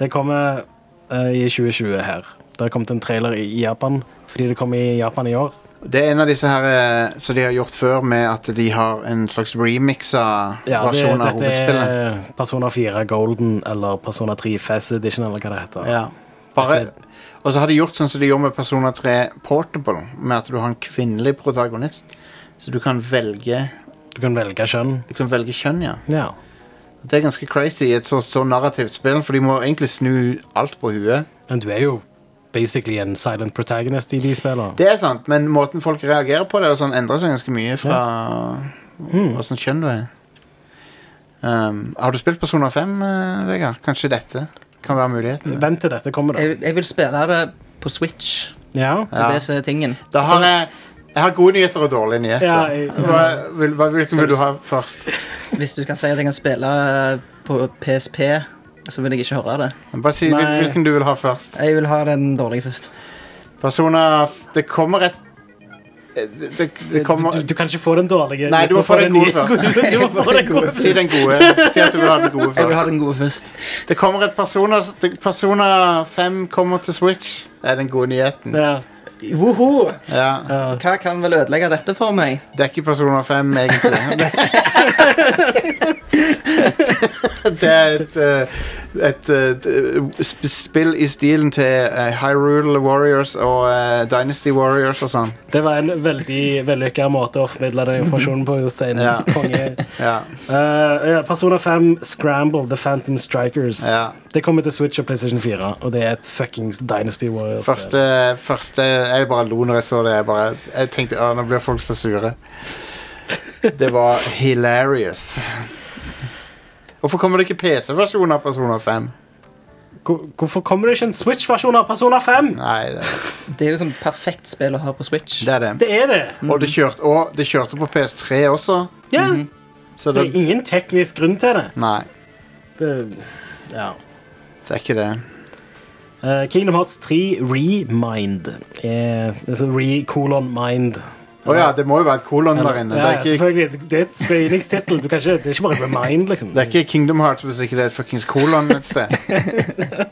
Speaker 2: Det kommer eh, i 2020 her. Det har kommet en trailer i i Japan fordi det kom i Japan i år.
Speaker 1: Det er en av disse her eh, som de har gjort før, med at de har en slags remixa
Speaker 2: Ja, det,
Speaker 1: versjon av
Speaker 2: dette
Speaker 1: hovedspillet.
Speaker 2: er Persona 4 Golden eller Persona 3 Fast Edition eller hva det heter.
Speaker 1: Ja. Bare, og så har de gjort sånn som de gjorde med Persona 3 Portable, med at du har en kvinnelig protagonist. Så du kan velge
Speaker 2: Du kan velge kjønn.
Speaker 1: Du kan velge kjønn, ja.
Speaker 2: Ja.
Speaker 1: Det er ganske crazy i et så, så narrativt spill, for de må egentlig snu alt på huet.
Speaker 2: Men du er jo basically en silent protagonist i de spillene.
Speaker 1: Det er sant, men måten folk reagerer på det, og sånn, endrer seg ganske mye fra åssen kjønn du er. Um, har du spilt Persona 5, eh, Vegard? Kanskje dette kan være muligheten?
Speaker 2: Vent til dette kommer, da.
Speaker 3: Jeg, jeg vil spille det på Switch.
Speaker 2: Ja.
Speaker 3: Det er det som er tingen. Sånn
Speaker 1: Da har jeg, jeg har gode nyheter og dårlige nyheter.
Speaker 2: Ja, jeg-
Speaker 1: hva, vil, hva, hvilken vil du ha først?
Speaker 3: Hvis du kan si at jeg kan spille eh, på PSP, så vil jeg ikke høre det.
Speaker 1: Bare si hvil,
Speaker 2: Nei.
Speaker 1: hvilken du vil ha først.
Speaker 3: Jeg vil ha den dårlige først.
Speaker 1: Persona f- Det kommer et Det, det, det kommer
Speaker 2: Du, du kan ikke få den dårlige.
Speaker 1: Nei, du må få den gode først.
Speaker 2: Du må få den gode
Speaker 1: Si
Speaker 2: først.
Speaker 1: den gode. Si at du vil ha den gode
Speaker 3: Jeg vil ha
Speaker 1: først.
Speaker 3: den gode først.
Speaker 1: Det kommer et Persona, det- Persona 5 kommer til Switch. Det er den gode nyheten.
Speaker 2: Ja,
Speaker 3: Woho!
Speaker 1: Ja.
Speaker 2: ja.
Speaker 3: Hva kan vel ødelegge dette for meg?
Speaker 1: Det er ikke Persona 5, egentlig. det er et, eh, et, eh, sp- spill i stilen til eh, Hyrule Warriors og eh, Dynasty Warriors og sånn.
Speaker 2: Det var en veldig vellykka måte å formidle den informasjonen på. Jostein.
Speaker 1: Ja.
Speaker 2: Konge.
Speaker 1: Ja.
Speaker 2: Eh, ja, Persona 5 Scramble The Phantom Strikers.
Speaker 1: Ja.
Speaker 2: Det kommer til Switch og PlayStation 4, og det er et fuckings Dynasty Warriors.
Speaker 1: Første, første Jeg bare lo når jeg så det. Jeg, bare, jeg tenkte å, nå blir folk så sure. Det var hilarious. Hvorfor kommer det ikke PC-versjon av Persona 5?
Speaker 2: Hvor- Hvorfor kommer det ikke en Switch-versjon av Persona 5?
Speaker 1: Nei, det,
Speaker 3: Det er jo sånn perfekt spill å ha på Switch.
Speaker 1: det er det.
Speaker 2: Det er det!
Speaker 1: Og det kjørte, og det kjørte på PS3 også.
Speaker 2: Ja.
Speaker 1: Mhm. Så
Speaker 2: Det
Speaker 1: det,
Speaker 2: er ingen teknisk grunn til det.
Speaker 1: Nei,
Speaker 2: det ja.
Speaker 1: det er ikke det.
Speaker 2: Eh, Kingdom Hearts 3 Remind. Eh, altså re-colon-mind.
Speaker 1: Å ja, det må jo være et kolon der inne.
Speaker 2: Ja,
Speaker 1: Det er ikke,
Speaker 2: selvfølgelig. Det er et spillingstittel. Du kan ikke- Det er ikke bare remind, liksom.
Speaker 1: det er ikke Kingdom Hearts hvis ikke det er et fuckings kolon et sted.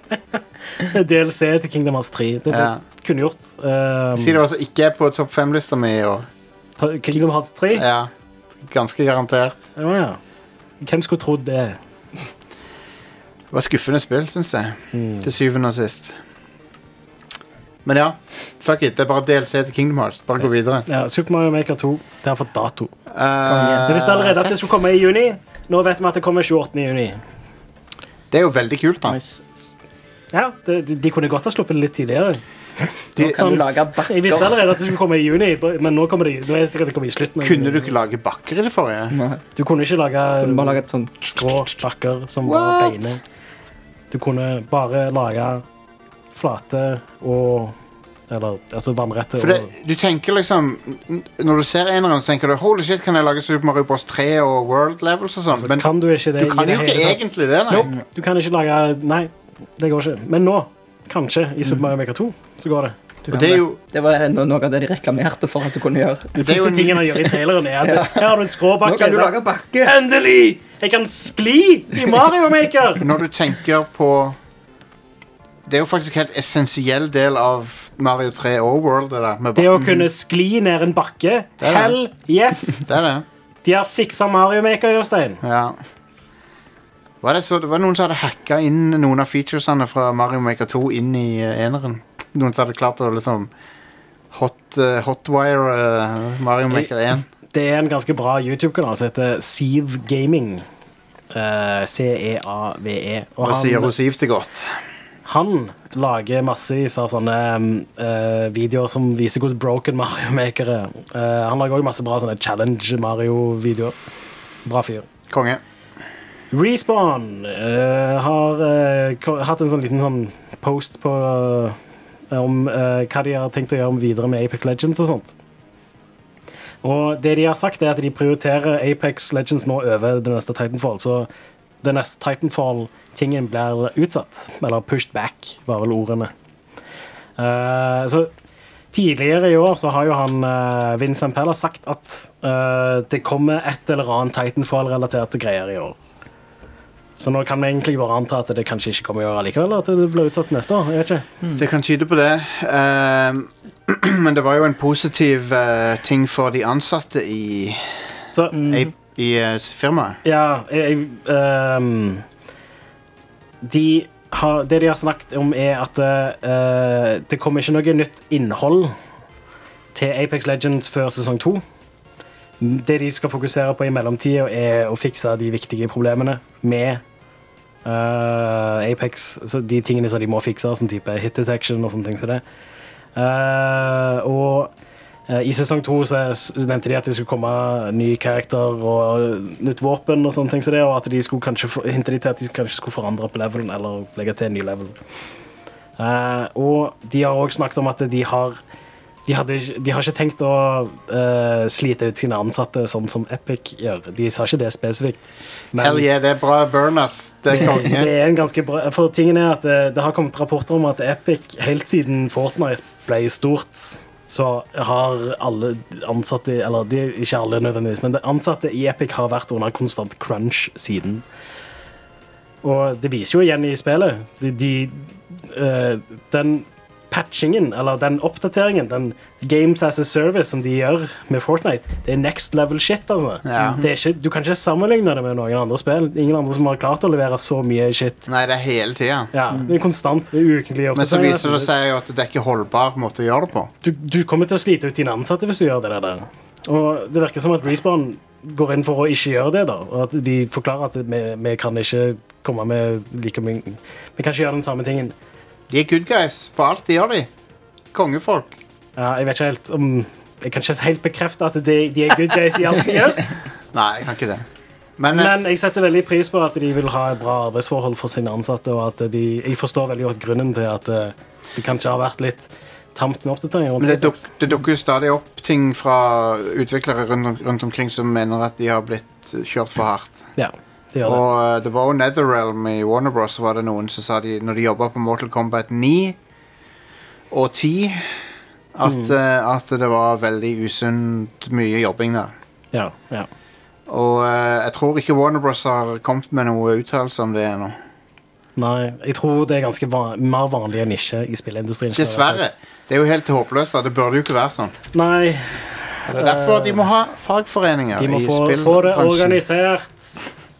Speaker 2: DLC til Kingdom Hearts 3. Det
Speaker 1: Ja.
Speaker 2: ble kunne gjort. Um,
Speaker 1: Si det også ikke er på topp fem-lista mi i år.
Speaker 2: P- Kingdom Hearts 3? Ja.
Speaker 1: Ja, ganske garantert.
Speaker 2: ja. Hvem skulle trodd det?
Speaker 1: Det var skuffende spill, syns jeg.
Speaker 2: Mm.
Speaker 1: Til syvende og sist. Men ja, fuck it. Det er bare DLC til Kingdom Hearts. Bare gå videre.
Speaker 2: Ja, Super Mario Maker 2. Det har fått dato.
Speaker 1: Eh,
Speaker 2: Vi visste allerede at det skulle komme i juni. Nå vet vi at det kommer 28. juni.
Speaker 1: det er jo veldig kult, da.
Speaker 3: Nice.
Speaker 2: Ja, det, de, de kunne godt ha sluppet det litt tidligere.
Speaker 3: Nå kan du lage
Speaker 2: Jeg visste
Speaker 3: bakker.
Speaker 2: allerede at det skulle komme i juni, men nå kommer det, nå er det sikkert det kommer i slutten. av
Speaker 1: Kunne
Speaker 2: juni.
Speaker 1: du ikke lage bakker i det
Speaker 2: Mm.
Speaker 1: forrige?
Speaker 3: Nei,
Speaker 2: Du kunne ikke
Speaker 3: Du må
Speaker 2: lage
Speaker 3: bare lage et sånn
Speaker 2: grå bakker som var beine. Du kunne bare lage flate og Eller altså vannrette
Speaker 1: For det,
Speaker 2: og
Speaker 1: du tenker liksom n- Når du ser eneren, så tenker du Holy shit, kan jeg lage Super Mario Bros. 3 og World Levels og sånn?
Speaker 2: Så
Speaker 1: Men
Speaker 2: Altså, kan du ikke det.
Speaker 1: du
Speaker 2: i
Speaker 1: kan
Speaker 2: det
Speaker 1: jo ikke
Speaker 2: hele tatt.
Speaker 1: egentlig det, nei.
Speaker 2: Nope, du kan ikke lage Nei, det går ikke. Men nå, kanskje, i Super Mario Maker 2, så går det. Du
Speaker 1: Og
Speaker 2: kan
Speaker 1: det er jo
Speaker 3: Det var no- noe av det de reklamerte for at du kunne gjøre.
Speaker 2: Den
Speaker 1: det er jo
Speaker 2: første
Speaker 1: en-
Speaker 2: tingen han gjør i traileren, er at her har du en skråbakke.
Speaker 3: Nå kan du
Speaker 2: der-
Speaker 3: lage bakke!
Speaker 2: Endelig! Jeg kan skli i Mario Maker!
Speaker 1: Når du tenker på Det er jo faktisk en helt essensiell del av Mario 3 og World, det der. Med
Speaker 2: Det å
Speaker 1: bakken.
Speaker 2: kunne skli ned en bakke.
Speaker 1: er det.
Speaker 2: Hell yes!
Speaker 1: Det er det.
Speaker 2: De har fiksa Mario Maker, Jostein.
Speaker 1: Ja. Var det, så, det var noen som hadde hacka inn noen av featuresene fra Mario Maker 2 inn i eh, eneren. Noen som hadde klart å liksom hot, eh, hotwire eh, Mario Maker 1.
Speaker 2: Det er en ganske bra YouTube-kanal som heter Siv Gaming. Eh, C-E-A-V-E. E. Og
Speaker 1: Hva sier
Speaker 2: han,
Speaker 1: hun Siv til godt?
Speaker 2: han lager massevis av sånne mm, eh, videoer som viser hvor broken Mario Maker er. Eh, han lager òg masse bra sånne Challenge Mario-videoer. Bra fyr.
Speaker 1: Konge.
Speaker 2: Respawn eh, har eh, ko- hatt en sånn liten sånn post på eh, om eh, hva de har tenkt å gjøre videre med Apex Legends og sånt. Og det de har sagt, er at de prioriterer Apex Legends nå over det neste Titanfall. Så det neste Titanfall-tingen blir utsatt. Eller pushed back, var vel ordene. Eh, så tidligere i år så har jo han eh, Vincent Pella sagt at eh, det kommer et eller annet Titanfall-relaterte greier i år. Så nå kan vi egentlig bare anta at det kanskje ikke kommer i år allikevel, at det blir utsatt neste år. Jeg vet ikke.
Speaker 1: Det kan tyde på det. Ehm, men det var jo en positiv eh, ting for de ansatte i,
Speaker 2: Så
Speaker 1: i, i eh, firmaet.
Speaker 2: ja, jeg, jeg ehm, de har, Det de har snakket om, er at eh, det kommer ikke noe nytt innhold til Apex Legends før sesong to. Det de skal fokusere på i mellomtida, er å fikse de viktige problemene med eh, Apex. Så de tingene som de må fikse, som type hit detection og sånne ting. som det. Eh, og eh, i sesong to så er- s- nevnte de at det skulle komme ny karakter og nytt våpen, og sånne ting som det, og at de skulle kanskje for- hintet de til at de kanskje skulle forandre på levelen eller legge til en ny level. Eh, og de har òg snakket om at de har de, hadde, ikke- de har ikke tenkt å eh, slite ut sine ansatte sånn som Epic gjør. De sa ikke det spesifikt. Men-
Speaker 1: Hell yeah, det er bra burn, ass. Det er
Speaker 2: det
Speaker 1: konge.
Speaker 2: er en ganske bra For tingen er at eh, det har kommet rapporter om at Epic helt siden Fortnite ble stort, så har alle ansatte Eller de, ikke alle nødvendigvis, men de ansatte i Epic har vært under konstant crunch siden. Og det viser jo igjen i spillet. De, de eh, Den patchingen, eller den oppdateringen, den Games as a Service som de gjør med Fortnite, det er next level shit, altså.
Speaker 1: Ja.
Speaker 2: Det er ikke, du kan ikke sammenligne det med noen andre spill. Ingen andre som har klart å levere så mye shit.
Speaker 1: Nei, det er hele tida.
Speaker 2: Ja, det er konstant. Det er ukentlig
Speaker 1: Men så
Speaker 2: oppdatering.
Speaker 1: viser det seg jo at det er ikke holdbar måte å gjøre det på.
Speaker 2: Du, du kommer til å slite ut dine ansatte hvis du gjør det der. Og det virker som at Respawn går inn for å ikke gjøre det, da. Og at de forklarer at vi, vi kan ikke komme med like mye Vi kan ikke gjøre den samme tingen.
Speaker 1: De er good guys på alt de gjør, de. Kongefolk.
Speaker 2: Ja, jeg vet ikke helt om Jeg kan ikke helt bekrefte at de, de er good guys i alt de gjør,
Speaker 1: Nei, jeg kan ikke det. Men, eh,
Speaker 2: men jeg setter veldig pris på at de vil ha et bra arbeidsforhold for sine ansatte, og at de Jeg forstår veldig godt grunnen til at eh, det kanskje har vært litt tamt med oppdateringer.
Speaker 1: men det, duk, det dukker jo stadig opp ting fra utviklere rundt, rundt omkring som mener at de har blitt eh, kjørt for hardt.
Speaker 2: Ja, det gjør det.
Speaker 1: Og eh, det var jo Netherrealm i Warner Bros. var det noen som sa de, når de jobba på Mortal Kombat 9 og 10, at,
Speaker 2: Mm.
Speaker 1: eh, at det var veldig usunt mye jobbing der.
Speaker 2: Ja, ja.
Speaker 1: Og eh, jeg tror ikke Warner Bros. har kommet med noe uttalelse om det ennå.
Speaker 2: Nei, jeg tror det er ganske van mer vanlige nisje i spillindustrien. generelt
Speaker 1: Dessverre.
Speaker 2: sett.
Speaker 1: Det er jo helt håpløst. da. Det burde jo ikke være sånn.
Speaker 2: Nei, Eh,
Speaker 1: Det er derfor de må ha fagforeninger
Speaker 2: de må
Speaker 1: i
Speaker 2: få, få det Sånn
Speaker 1: spillbransjen.
Speaker 2: organisert.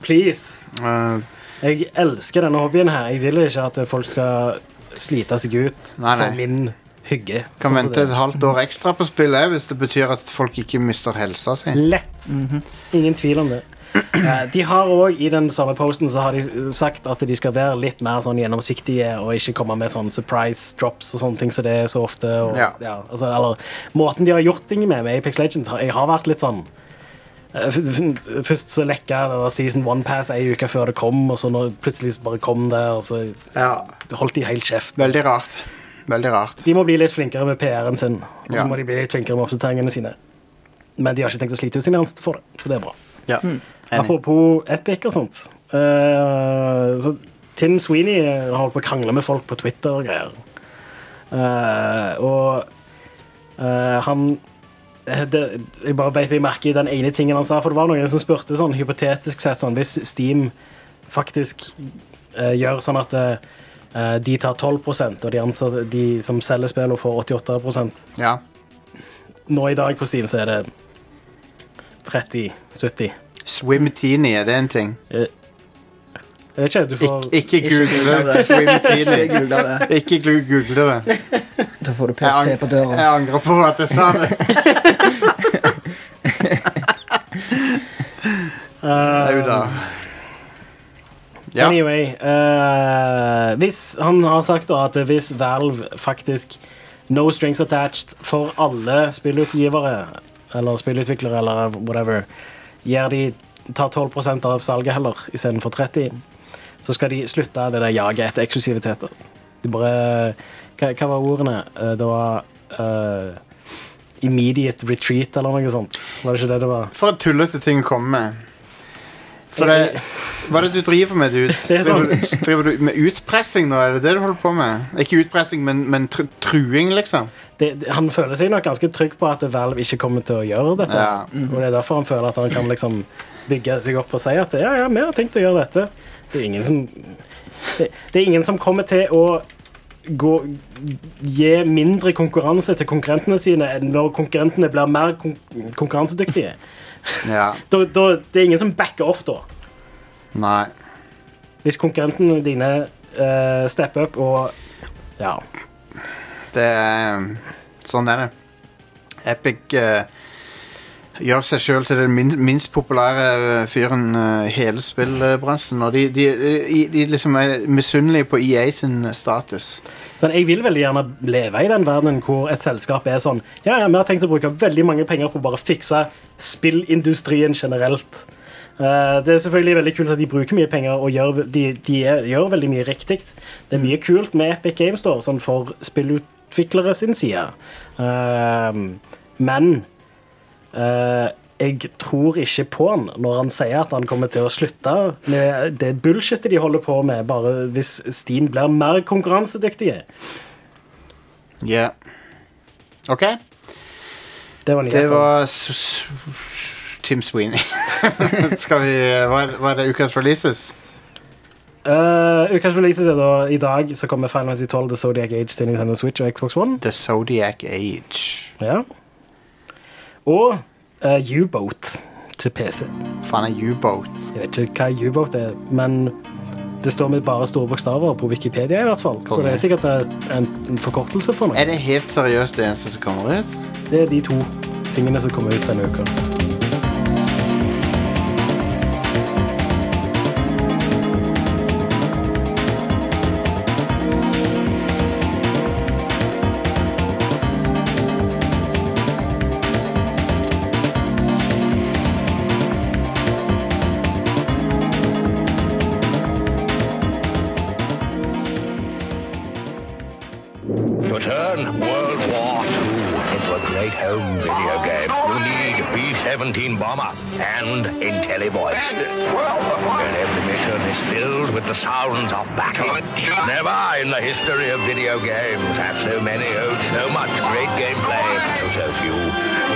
Speaker 2: Please.
Speaker 1: Eh,
Speaker 2: Jeg elsker denne hobbyen her. Jeg vil ikke at folk skal slite seg ut
Speaker 1: Nei, nei.
Speaker 2: for min hygge.
Speaker 1: kan
Speaker 2: Sånn som
Speaker 1: vente
Speaker 2: det
Speaker 1: et halvt år eh, ekstra på spillet hvis det betyr at folk ikke mister helsa si.
Speaker 2: er. Lett. Mhm. Ingen tvil om det. Eh, De har òg i den samme posten så har de eh, sagt at de skal være litt mer sånn gjennomsiktige og ikke komme med sånn surprise drops og sånne ting som det er så ofte. Og,
Speaker 1: Ja.
Speaker 2: altså, eller måten de har gjort ting med med Apex Legends har- Jeg har vært litt sånn eh, f- f- Først så lekka det var Season 1 Pass ei uke før det kom, og så når plutselig så bare kom det, og så
Speaker 1: Ja,
Speaker 2: holdt de helt kjeft.
Speaker 1: veldig rart. Veldig rart.
Speaker 2: De må bli litt flinkere med PR-en sin, og så
Speaker 1: Ja.
Speaker 2: må de bli litt flinkere med oppdateringene sine. Men de har ikke tenkt å slite ut sine ansatte for det, så det er bra.
Speaker 1: Ja. Enig.
Speaker 2: Apropos Epic og sånt. eh, så Tim Sweeney eh, har holdt på å krangle med folk på Twitter og greier. Eh, og eh, han eh, det, Jeg bare beit meg merke i den ene tingen han sa, for det var noen som spurte sånn hypotetisk sett sånn Hvis Steam faktisk eh, gjør sånn at eh, de tar 12 og de, ansatte, de som selger spillene, får 88
Speaker 1: Ja.
Speaker 2: Nå i dag på Steam så er det 30-70.
Speaker 1: Swimtini, er det en ting?
Speaker 2: Jeg vet ikke, du får
Speaker 1: Ik ikke
Speaker 3: Ikke google
Speaker 1: google
Speaker 3: det. Jeg
Speaker 1: Swimtini.
Speaker 3: googlet det.
Speaker 1: Ikke glu- google det.
Speaker 3: Da får du
Speaker 1: Jeg,
Speaker 3: PST
Speaker 1: ang-
Speaker 3: på døra.
Speaker 1: jeg angrer på at jeg sa det. Au da. Ja.
Speaker 2: Eh, Anyway, eh, hvis han har sagt da at hvis Valve faktisk No strings attached for alle spillutgivere eller spillutviklere eller whatever gir de tar 12 av salget heller istedenfor 30 så skal de slutte det der jaget etter eksklusiviteter. De bare Hva, hva var ordene? Eh, Det var eh, Immediate retreat eller noe sånt. Var det ikke det det var?
Speaker 1: For en tullete ting å komme med. For
Speaker 2: Jeg-
Speaker 1: det, hva er det du driver med, dude?
Speaker 2: Det er sånn.
Speaker 1: Driver, du- driver du med utpressing nå? Er det det du holder på med? Ikke utpressing, men, men tr truing, liksom?
Speaker 2: det, det- han føler seg nok ganske trygg på at Valve ikke kommer til å gjøre dette.
Speaker 1: Ja.
Speaker 2: Og det er derfor han føler at han kan liksom bygge seg opp og si at ja, ja, vi har tenkt å gjøre dette. Det er ingen som det, det er ingen som kommer til å gå, gi mindre konkurranse til konkurrentene sine enn når konkurrentene blir mer kon konkurransedyktige.
Speaker 1: Ja.
Speaker 2: Da, da, det er ingen som backer off da.
Speaker 1: Nei.
Speaker 2: Hvis konkurrentene dine eh, stepper opp og Ja.
Speaker 1: Det er Sånn er det. Epic eh, gjør seg sjøl til den min, minst populære eh, fyren eh, i hele spillbransjen. Og de, de, de, de liksom er misunnelige på EA sin status.
Speaker 2: Sånn, jeg vil veldig gjerne leve i den verdenen hvor et selskap er sånn Ja, ja, vi har tenkt å bruke veldig mange penger på å bare fikse spillindustrien generelt. Eh, det er selvfølgelig veldig kult at de bruker mye penger og gjør, de, de er, gjør veldig mye riktig. Det er mye kult med Epic Games Store sånn for spillutviklere sin side. Ehm, men eh, jeg tror ikke på han når han sier at han kommer til å slutte med det bullshitet de holder på med, bare hvis Steam blir mer konkurransedyktige.
Speaker 1: Ja. OK?
Speaker 2: Det var
Speaker 1: Det
Speaker 2: nyheten.
Speaker 1: var s- s- Tim Sweeney. Skal vi Hva er- hva er det? Ukas releases?
Speaker 2: Eh, ukas releases er da i dag så kommer Final Fantasy 12, The Zodiac Age til Nintendo Switch og Xbox One.
Speaker 1: The Zodiac Age.
Speaker 2: Ja. Og eh, U-Boat til PC.
Speaker 1: Faen, er U-boat.
Speaker 2: Jeg vet ikke hva U-Boat er, men det står med bare store bokstaver på Wikipedia. i hvert fall Så
Speaker 1: Konge.
Speaker 2: det er sikkert eh, en, en forkortelse for
Speaker 1: Er
Speaker 2: noe.
Speaker 1: det helt seriøst det eneste som kommer ut?
Speaker 2: Det er de to tingene som kommer ut denne uka.
Speaker 6: To turn World War II into a great home video game, you need B-17 bomber and IntelliVoice. And every mission is filled with the sounds of battle. Never in the history of video games have so many owed so much great gameplay to so few.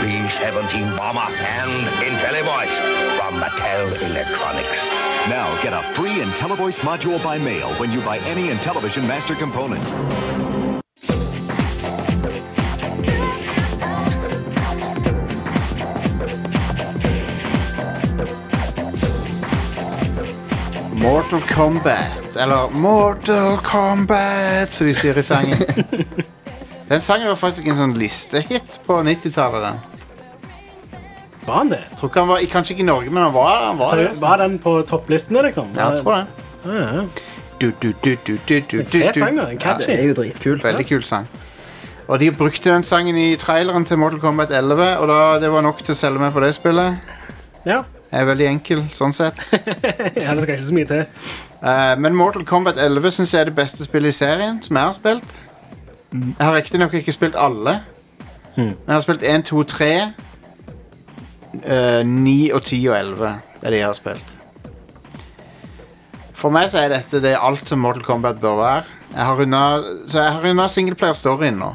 Speaker 6: B-17 bomber and IntelliVoice from Mattel Electronics.
Speaker 7: Now get a free IntelliVoice module by mail when you buy any Intellivision Master component.
Speaker 1: Mortal Kombat. Eller Mortal Kombat, som de sier i sangen. Den sangen var faktisk en sånn listehit på 90-tallet. den.
Speaker 2: Var han det?
Speaker 1: Tror ikke han var, kanskje ikke i Norge, men han var, han var
Speaker 2: Seriøst, var den på topplistene, liksom?
Speaker 1: Ja, jeg tror det.
Speaker 2: Ja, ja.
Speaker 1: Du, du, du, du, du, du, du,
Speaker 2: Fet sang, da.
Speaker 1: du.
Speaker 2: Catchy.
Speaker 3: Det er jo dritkult.
Speaker 1: Veldig kul sang. Og de brukte den sangen i traileren til Mortal Kombat 11, og da, det var nok til å selge meg på det spillet.
Speaker 2: Ja.
Speaker 1: Jeg er veldig enkel, sånn sett.
Speaker 2: ja, det skal ikke så mye til.
Speaker 1: Eh, men Mortal Kombat 11 syns jeg er det beste spillet i serien som jeg har spilt. Jeg har riktignok ikke spilt alle. Jeg har spilt 1, 2, 3, eh, 9 og 10 og 11 er det jeg har spilt. For meg så er dette det er alt som Mortal Kombat bør være. Jeg har runda, så jeg har runda singleplayer-storyen nå.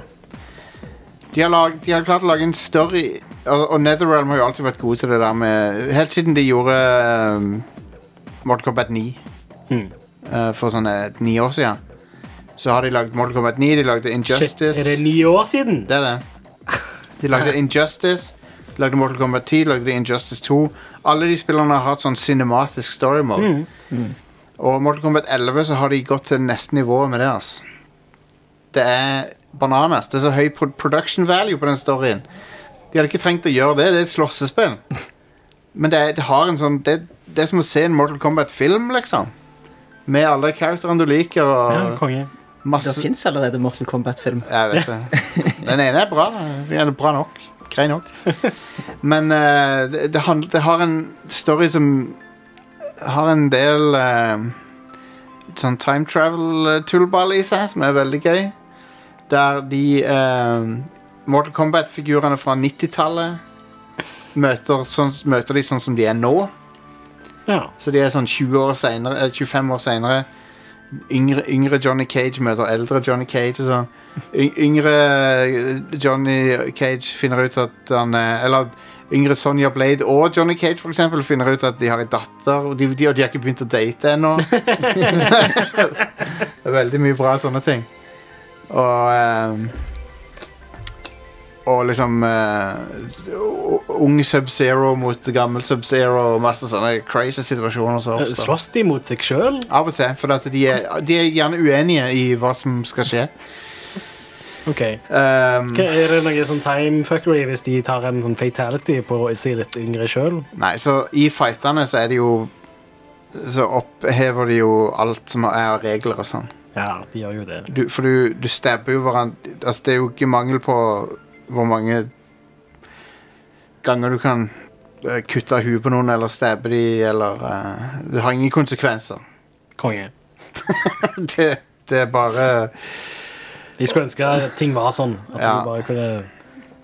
Speaker 1: De har, lag, de har klart å lage en story Og, og Netherrealm har jo alltid vært gode til det der med Helt siden de gjorde eh, Mortal Kombat 9
Speaker 2: Hmm.
Speaker 1: eh, for sånn eh, ni år siden. Så har de lagd Mortal Kombat 9, de lagde
Speaker 2: Shit,
Speaker 1: Injustice.
Speaker 2: er det ni år siden?
Speaker 1: Det er det. De lagde Injustice, de lagde Mortal Kombat 10, de lagde Injustice 2. Alle de spillerne har hatt sånn cinematisk story mode. Og Mortal Kombat 11 så har de gått til neste nivå med det, ass. Det er bananas. Det er så høy pro production value på den storyen. De hadde ikke trengt å gjøre det. Det er et slåssespill. Men det, er, det har en sånn det, det er som å se en Mortal Kombat-film, liksom. Med alle karakterene du liker,
Speaker 2: Ja,
Speaker 1: og
Speaker 2: konge.
Speaker 3: Det
Speaker 1: masse
Speaker 3: fins allerede Mortal Kombat-film.
Speaker 1: jeg vet det. Den ene er bra. da. Eller bra nok. Grei nok. Men eh, det, det, handler, det har en story som har en del eh, sånn time travel-tullball i seg, som er veldig gøy. Der de eh, Mortal Kombat-figurene fra 90-tallet møter, sånn, møter de sånn som de er nå.
Speaker 2: Ja.
Speaker 1: Så de er sånn 20 år senere, eh, 25 år senere yngre, yngre Johnny Cage møter eldre Johnny Cage og sånn. Y- Yngre eh, Johnny Cage finner ut at han eh, Eller yngre Sonja Blade og Johnny Cage for eksempel, finner ut at de har en datter, og de, de, og de har ikke begynt å date ennå. det er veldig mye bra sånne ting. Og eh, og liksom eh, Ung Sub-Zero mot gammel Sub-Zero og masse sånne crazy situasjoner. som
Speaker 2: Eh,
Speaker 1: oppstår.
Speaker 2: Slåss de mot seg sjøl?
Speaker 1: Av og til, for at de, er, de er gjerne uenige i hva som skal skje.
Speaker 2: OK.
Speaker 1: Um,
Speaker 2: Hva- Er det noe sånn time fuckery hvis de tar en sånn fatality på sin litt yngre sjøl?
Speaker 1: Nei, så i fightene så er det jo Så opphever de jo alt som er av regler og sånn.
Speaker 2: Ja, de gjør jo det.
Speaker 1: Du, for du, du stabber jo hverandre Altså, det er jo ikke mangel på hvor mange ganger du kan eh, kutte huet på noen eller stabbe de, eller eh, Det har ingen konsekvenser.
Speaker 2: Konge.
Speaker 1: det, det er bare
Speaker 2: Jeg skulle ønske at ting var sånn. At,
Speaker 1: Ja.
Speaker 2: du bare kunne,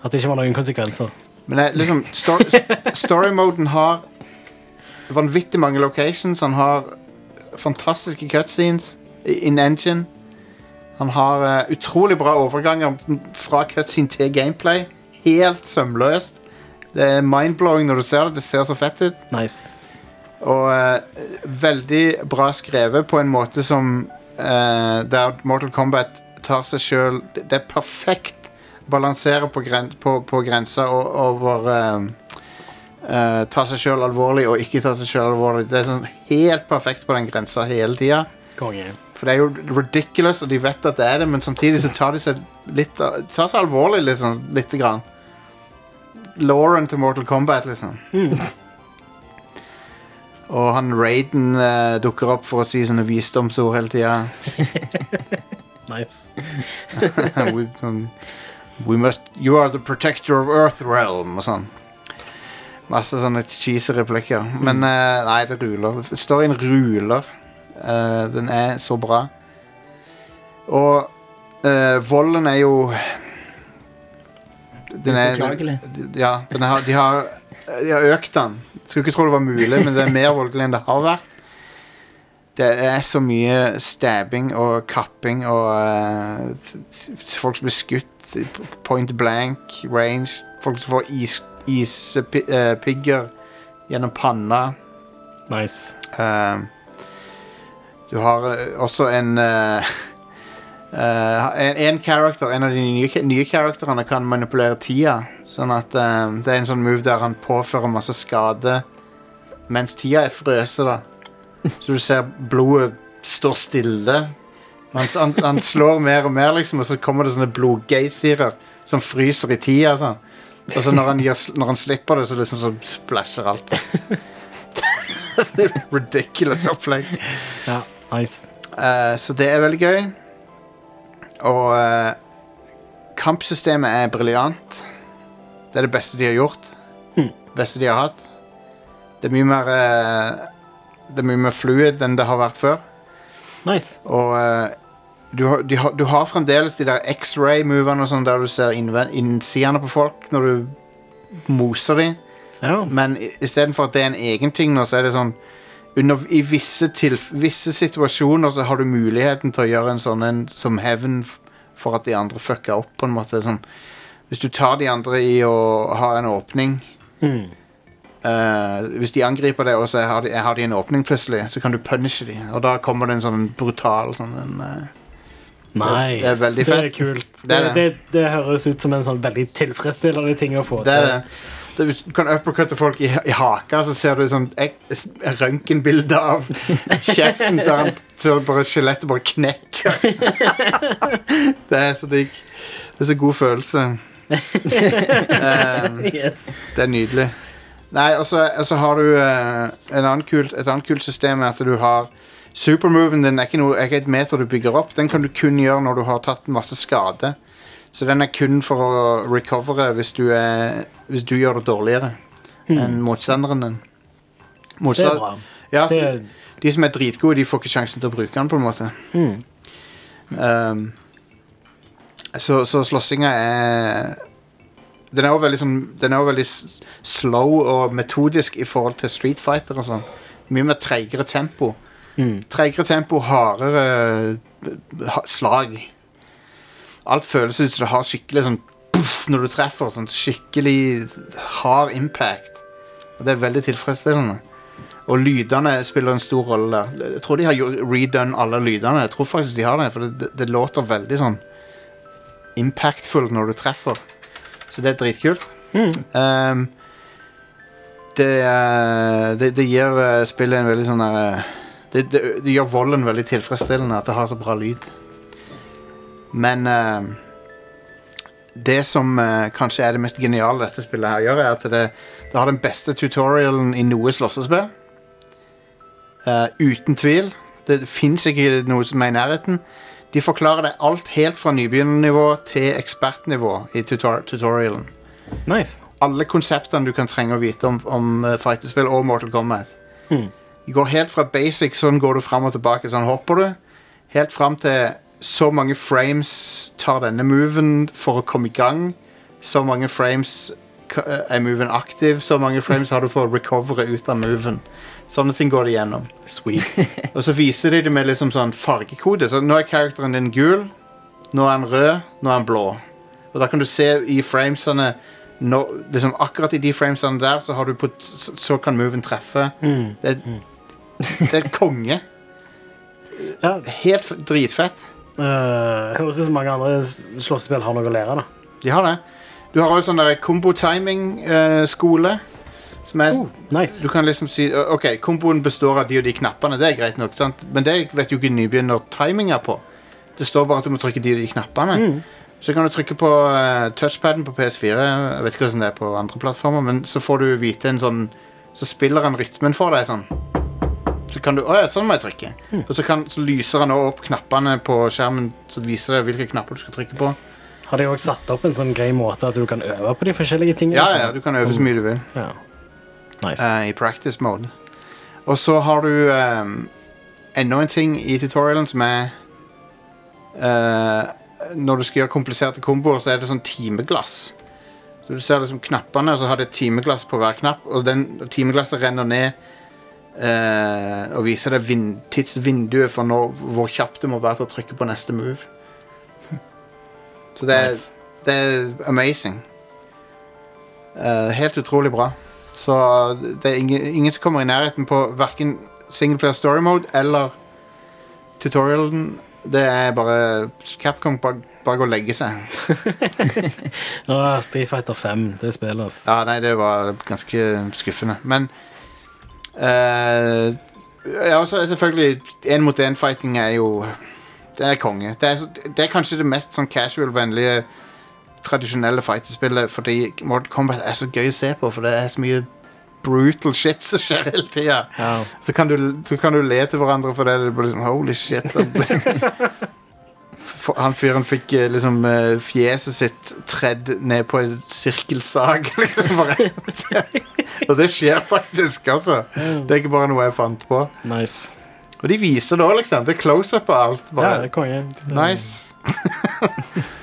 Speaker 2: at det ikke var noen konsekvenser.
Speaker 1: Men det, er liksom, story, story-moden har vanvittig mange locations. Han har fantastiske cutscenes i- in engine. Han har eh, utrolig bra overganger fra cutscene til gameplay. Helt sømløst. Det er mindblowing når du ser det. Det ser så fett ut.
Speaker 2: Nice.
Speaker 1: Og eh, veldig bra skrevet på en måte som eh, Der Mortal Kombat tar seg sjøl Det det er perfekt balanserer på, gren, på, på grensa og, over eh, eh, Ta seg sjøl alvorlig og ikke ta seg sjøl alvorlig. Det er sånn helt perfekt på den grensa hele tida.
Speaker 2: Konge.
Speaker 1: For det er jo ridiculous, og de vet at det er det, men samtidig så tar de seg litt av- tar seg alvorlig, liksom. Lite grann. Lauren til Mortal Kombat, liksom. Og han Raiden eh, dukker opp for å si sånne visdomsord hele tida.
Speaker 2: Nice.
Speaker 1: we, sånn, we must You are the protector of earth realm og sånn. Masse sånne cheesy replikker. Men eh, nei, det ruler. Storyen ruler. Eh, den er så bra. Og eh, volden er jo Den er
Speaker 3: Upåklagelig.
Speaker 1: Ja, den har, de, har, eh, de har økt den. Skulle ikke tro det var mulig, men det er mer voldelig enn det har vært. Det er så mye stabbing og kapping og eh, t- t- Folk som blir skutt i p- point blank range. Folk som får ispigger is, eh, pi- eh, pigger gjennom panna.
Speaker 2: Nice.
Speaker 1: Eh, du har eh, også en eh, eh, en, en character, en av de nye, nye karakterene kan manipulere tida. Sånn at eh, det er en sånn move der han påfører masse skade mens tida er frøse, da. Så du ser blodet står stille. Han, s- han, han slår mer og mer, liksom, og så kommer det sånne blodgeysirer som fryser i tida. Sånn. Altså når han, gir, sl- når han slipper det, så liksom så splasher alt. Ridiculous opplegg.
Speaker 2: Nice.
Speaker 1: Eh, så det er veldig gøy. Og eh, kampsystemet er briljant. Det er det beste de har gjort. Beste de har hatt. Det er mye mer eh, Det er mye mer fluid enn det har vært før.
Speaker 2: Nice.
Speaker 1: Og eh, du, har- de har- du har fremdeles de der X-ray-movene og sånn der du ser innven- innsidene på folk når du moser dem.
Speaker 2: Ja.
Speaker 1: Men i- istedenfor at det er en egen ting nå, så er det sånn under, I visse, tilf visse situasjoner så har du muligheten til å gjøre en sånn en som hevn f- for at de andre fucka opp, på en måte. Sånn, hvis du tar de andre i å ha en åpning eh, Hvis de angriper deg, og så har de, har de en åpning plutselig, så kan du punishe de Og da kommer det en sånn brutal sånn en, eh,
Speaker 2: Nice.
Speaker 1: Det er veldig
Speaker 2: Det er
Speaker 1: fett.
Speaker 2: kult.
Speaker 1: Det er det.
Speaker 2: det, det høres ut som en sånn veldig tilfredsstillende ting å få
Speaker 1: Det er det. det. Hvis du kan uppercutte folk i, i haka, så ser du sånn ek- røntgenbilde av kjeften der han- så bare skjelettet bare knekker. det er så digg. Det er så god følelse. um,
Speaker 2: til. Yes.
Speaker 1: det er nydelig. Nei, og så og så har du eh, en annen kult, et annet kult system er at du har Supermoven din er ikke, noe, er ikke et meter du bygger opp. Den kan du kun gjøre når du har tatt masse skade. Så den er kun for å recovere hvis du, er, hvis du gjør det dårligere enn motstanderen din.
Speaker 2: Hmm. Det
Speaker 1: Motsta-
Speaker 2: er bra.
Speaker 1: Ja,
Speaker 2: Det
Speaker 1: så,
Speaker 2: er
Speaker 1: de som er dritgode, de får ikke sjansen til å bruke den, på en måte. Um, så, så slåssinga er Den er jo veldig, sånn, den er jo veldig s- slow og metodisk i forhold til Street Fighter og sånn. Mye mer treigere tempo. Treigere tempo, hardere eh, ha- slag. Alt føles ut som det har skikkelig sånn puff når du treffer. Sånn skikkelig hard impact. Og det er veldig tilfredsstillende. Og lydene spiller en stor rolle der. Jeg tror de har gjort- redone alle lydene. Jeg tror faktisk de har det, for det, det, det låter veldig sånn impactful når du treffer. Så det er dritkult. Um, det, eh, det, det gir eh, spillet en veldig sånn der, eh, det, det, det gjør volden veldig tilfredsstillende at det har så bra lyd. Men eh, det som eh, kanskje er det mest geniale dette spillet her gjør, er at det, det har den beste tutorialen i noe slåssespill. Eh, uten tvil. Det fins ikke noe som er i nærheten. De forklarer deg alt helt fra nybegynnernivå til ekspertnivå i tutor tutorialen.
Speaker 2: nice.
Speaker 1: Alle konseptene du kan trenge å vite om, om eh, fightespill og Mortal Kombat. Det går helt fra basic, sånn går du fram og tilbake, sånn hopper du. Helt fram til så mange frames tar denne moven for å komme i gang. Så mange frames k- eh, er moven aktiv, så mange frames har du for å recovere ut av moven. Sånne ting går det gjennom.
Speaker 2: Sweet.
Speaker 1: Og så viser de det med liksom sånn fargekode. Så nå er karakteren din gul, nå er han rød, nå er han blå. Og da kan du se i framesene nå, liksom Akkurat i de framesene der, så, har du på, så, så kan moven treffe. Det, det er konge.
Speaker 2: Ja,
Speaker 1: Helt f- dritfett.
Speaker 2: øh, høres ut som mange andre s- slåssespill har noe å lære av. da.
Speaker 1: De har det. Du har òg sånn kombo-timing-skole. eh, som er
Speaker 2: Oh, Nice.
Speaker 1: Du kan liksom si «Ø, Ok, komboen består av de og de knappene, det er greit nok, sant? men det vet jo ikke nybegynner timinga på. Det står bare at du må trykke de og de knappene. Så kan du trykke på eh, touchpaden på PS4, jeg vet ikke hvordan det er på andre plattformer, men så får du vite en sånn Så spiller han rytmen for deg sånn. Så kan du Å ja, sånn må jeg trykke. Og så, kan, så lyser han også opp knappene på skjermen, så viser det hvilke knapper du skal trykke på.
Speaker 2: Har de også satt opp en sånn grei måte at du kan øve på de forskjellige tingene?
Speaker 1: Ja, ja, du kan øve så mye du vil.
Speaker 2: Ja. Nice.
Speaker 1: eh, i practice mode. Og så har du eh, enda en ting i tutorialen som er eh, Når du skal gjøre kompliserte komboer, så er det sånn timeglass. Så Du ser liksom knappene, og så har det et timeglass på hver knapp, og den timeglasset renner ned eh, og viser deg vin tidsvinduet for når, hvor kjapt du må være til å trykke på neste move. Så det er,
Speaker 2: Nice.
Speaker 1: det er amazing. Eh, helt utrolig bra. Så det er ingen, ingen som kommer i nærheten på verken singleplayer story mode eller tutorialen. Det er bare Capcom bare, bare går og legger seg.
Speaker 2: Åh, Street Fighter 5, det spillet, altså.
Speaker 1: Ja, nei, det var ganske skuffende. Men eh, Ja, og så er selvfølgelig én-mot-én-fighting er jo Det er konge. Det er, så- det er kanskje det mest sånn casual-vennlige tradisjonelle fightespillet fordi Mortal Kombat er så gøy å se på, for det er så mye brutal shit som skjer hele tida.
Speaker 2: Ja.
Speaker 1: Så, kan du- så kan du le til hverandre for det. Det er bare liksom, Holy shit. For- Han fyren fikk eh, liksom eh, fjeset sitt tredd ned på en sirkelsag. Liksom, bare. Og det skjer faktisk, altså.
Speaker 2: Mm.
Speaker 1: Det er ikke bare noe jeg fant på.
Speaker 2: Nice.
Speaker 1: Og de viser det òg, liksom. Det er close-up på alt.
Speaker 2: Ja, det
Speaker 1: Bare.
Speaker 2: er konge.
Speaker 1: nice.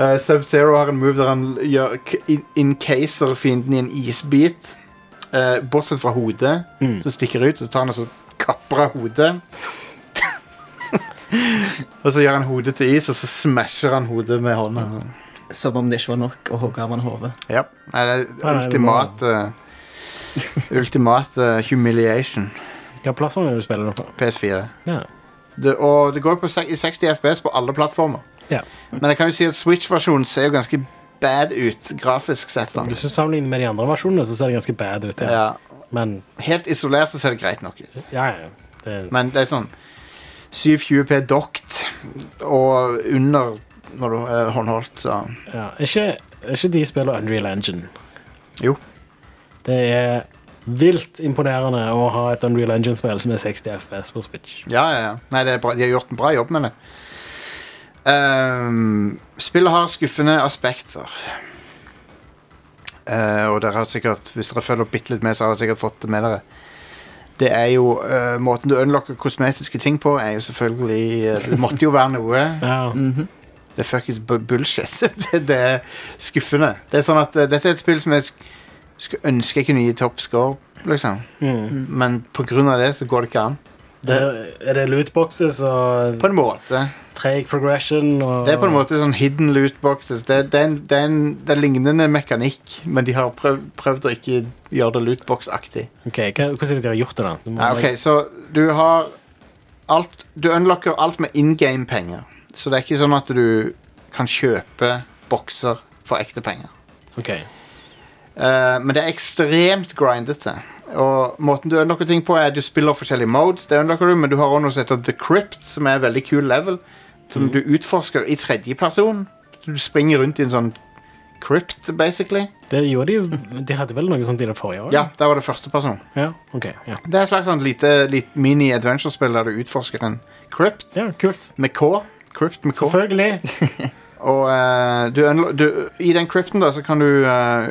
Speaker 1: Eh, Sub-Zero har en move der han gjør k- in- incaser fienden i en isbit. eh, bortsett fra hodet,
Speaker 2: Mm.
Speaker 1: som stikker ut. Og så tar han og så kapper av hodet. og så gjør han hodet til is, og så smasher han hodet med hånda.
Speaker 3: Som om det ikke var nok å hogge av en hode.
Speaker 1: Ja. Nei, det
Speaker 2: Nei,
Speaker 1: er
Speaker 2: nei, det
Speaker 1: ultimat eh, Ultimat eh, humiliation.
Speaker 2: Hvilken plattform er det du spiller nå på?
Speaker 1: PS4.
Speaker 2: Ja.
Speaker 1: Det, og det går på se- i 60 FPS på alle plattformer.
Speaker 2: Ja.
Speaker 1: Men jeg kan jo si at Switch-versjonen ser jo ganske bad ut grafisk sett. da.
Speaker 2: Hvis du sammenligner med de andre versjonene, så ser det ganske bad ut. Ja.
Speaker 1: Ja.
Speaker 2: Men
Speaker 1: Helt isolert så ser det greit nok ut.
Speaker 2: ja, ja. Det,
Speaker 1: Men det er sånn 720P dokt og under når du er håndholdt, så
Speaker 2: ja. Er Ikke, er ikke de spiller Unreal Engine.
Speaker 1: Jo.
Speaker 2: Det er vilt imponerende å ha et Unreal Engine-spill som er 60 FPS på Switch.
Speaker 1: Ja, ja, ja. Nei, det er bra. de har gjort en bra jobb med det. Ehm, spillet har skuffende aspekter. Eh, og dere har sikkert, hvis dere følger bitte litt med, så har dere sikkert fått det med dere. Det er jo eh, Måten du unlocker kosmetiske ting på, er jo selvfølgelig eh, Det måtte jo være noe.
Speaker 2: Ja.
Speaker 1: Det er fuckings bu- bullshit. det, det er skuffende. Det er sånn at eh, Dette er et spill som jeg sk skulle ønske jeg kunne gi topp score, liksom.
Speaker 2: Mm.
Speaker 1: Men pga. det så går det ikke an.
Speaker 2: Det, er det lootboxes og
Speaker 1: På en måte.
Speaker 2: treig progression og
Speaker 1: Det er på en måte sånn hidden loot boxes. Det, det, er, en, det, er, en, det er lignende mekanikk, men de har prøvd, prøvd å ikke gjøre det lootbox-aktig.
Speaker 2: Ok, hva, Hvordan er det de har gjort det, da? Du må-
Speaker 1: Ja, ok, så du har alt Du unlocker alt med in game-penger. Så det er ikke sånn at du kan kjøpe bokser for ekte penger.
Speaker 2: Ok.
Speaker 1: Eh, men det er ekstremt grindete. Og måten du unlocker ting på, er at du spiller forskjellige modes. Det unlocker du, men du har også noe som heter The Crypt, som er en veldig kul level. Som du utforsker i tredje person. Du springer rundt i en sånn crypt, basically.
Speaker 2: Det gjorde de jo De hadde vel noe sånt i det forrige året?
Speaker 1: Ja, der var det første person.
Speaker 2: ja. ok, ja.
Speaker 1: Det er et slags sånn lite, lite mini-adventure-spill der du utforsker en crypt
Speaker 2: ja, kult.
Speaker 1: med K. Crypt med K.
Speaker 2: Selvfølgelig.
Speaker 1: Og eh, du, unlo- du, i den crypten da, så kan du eh,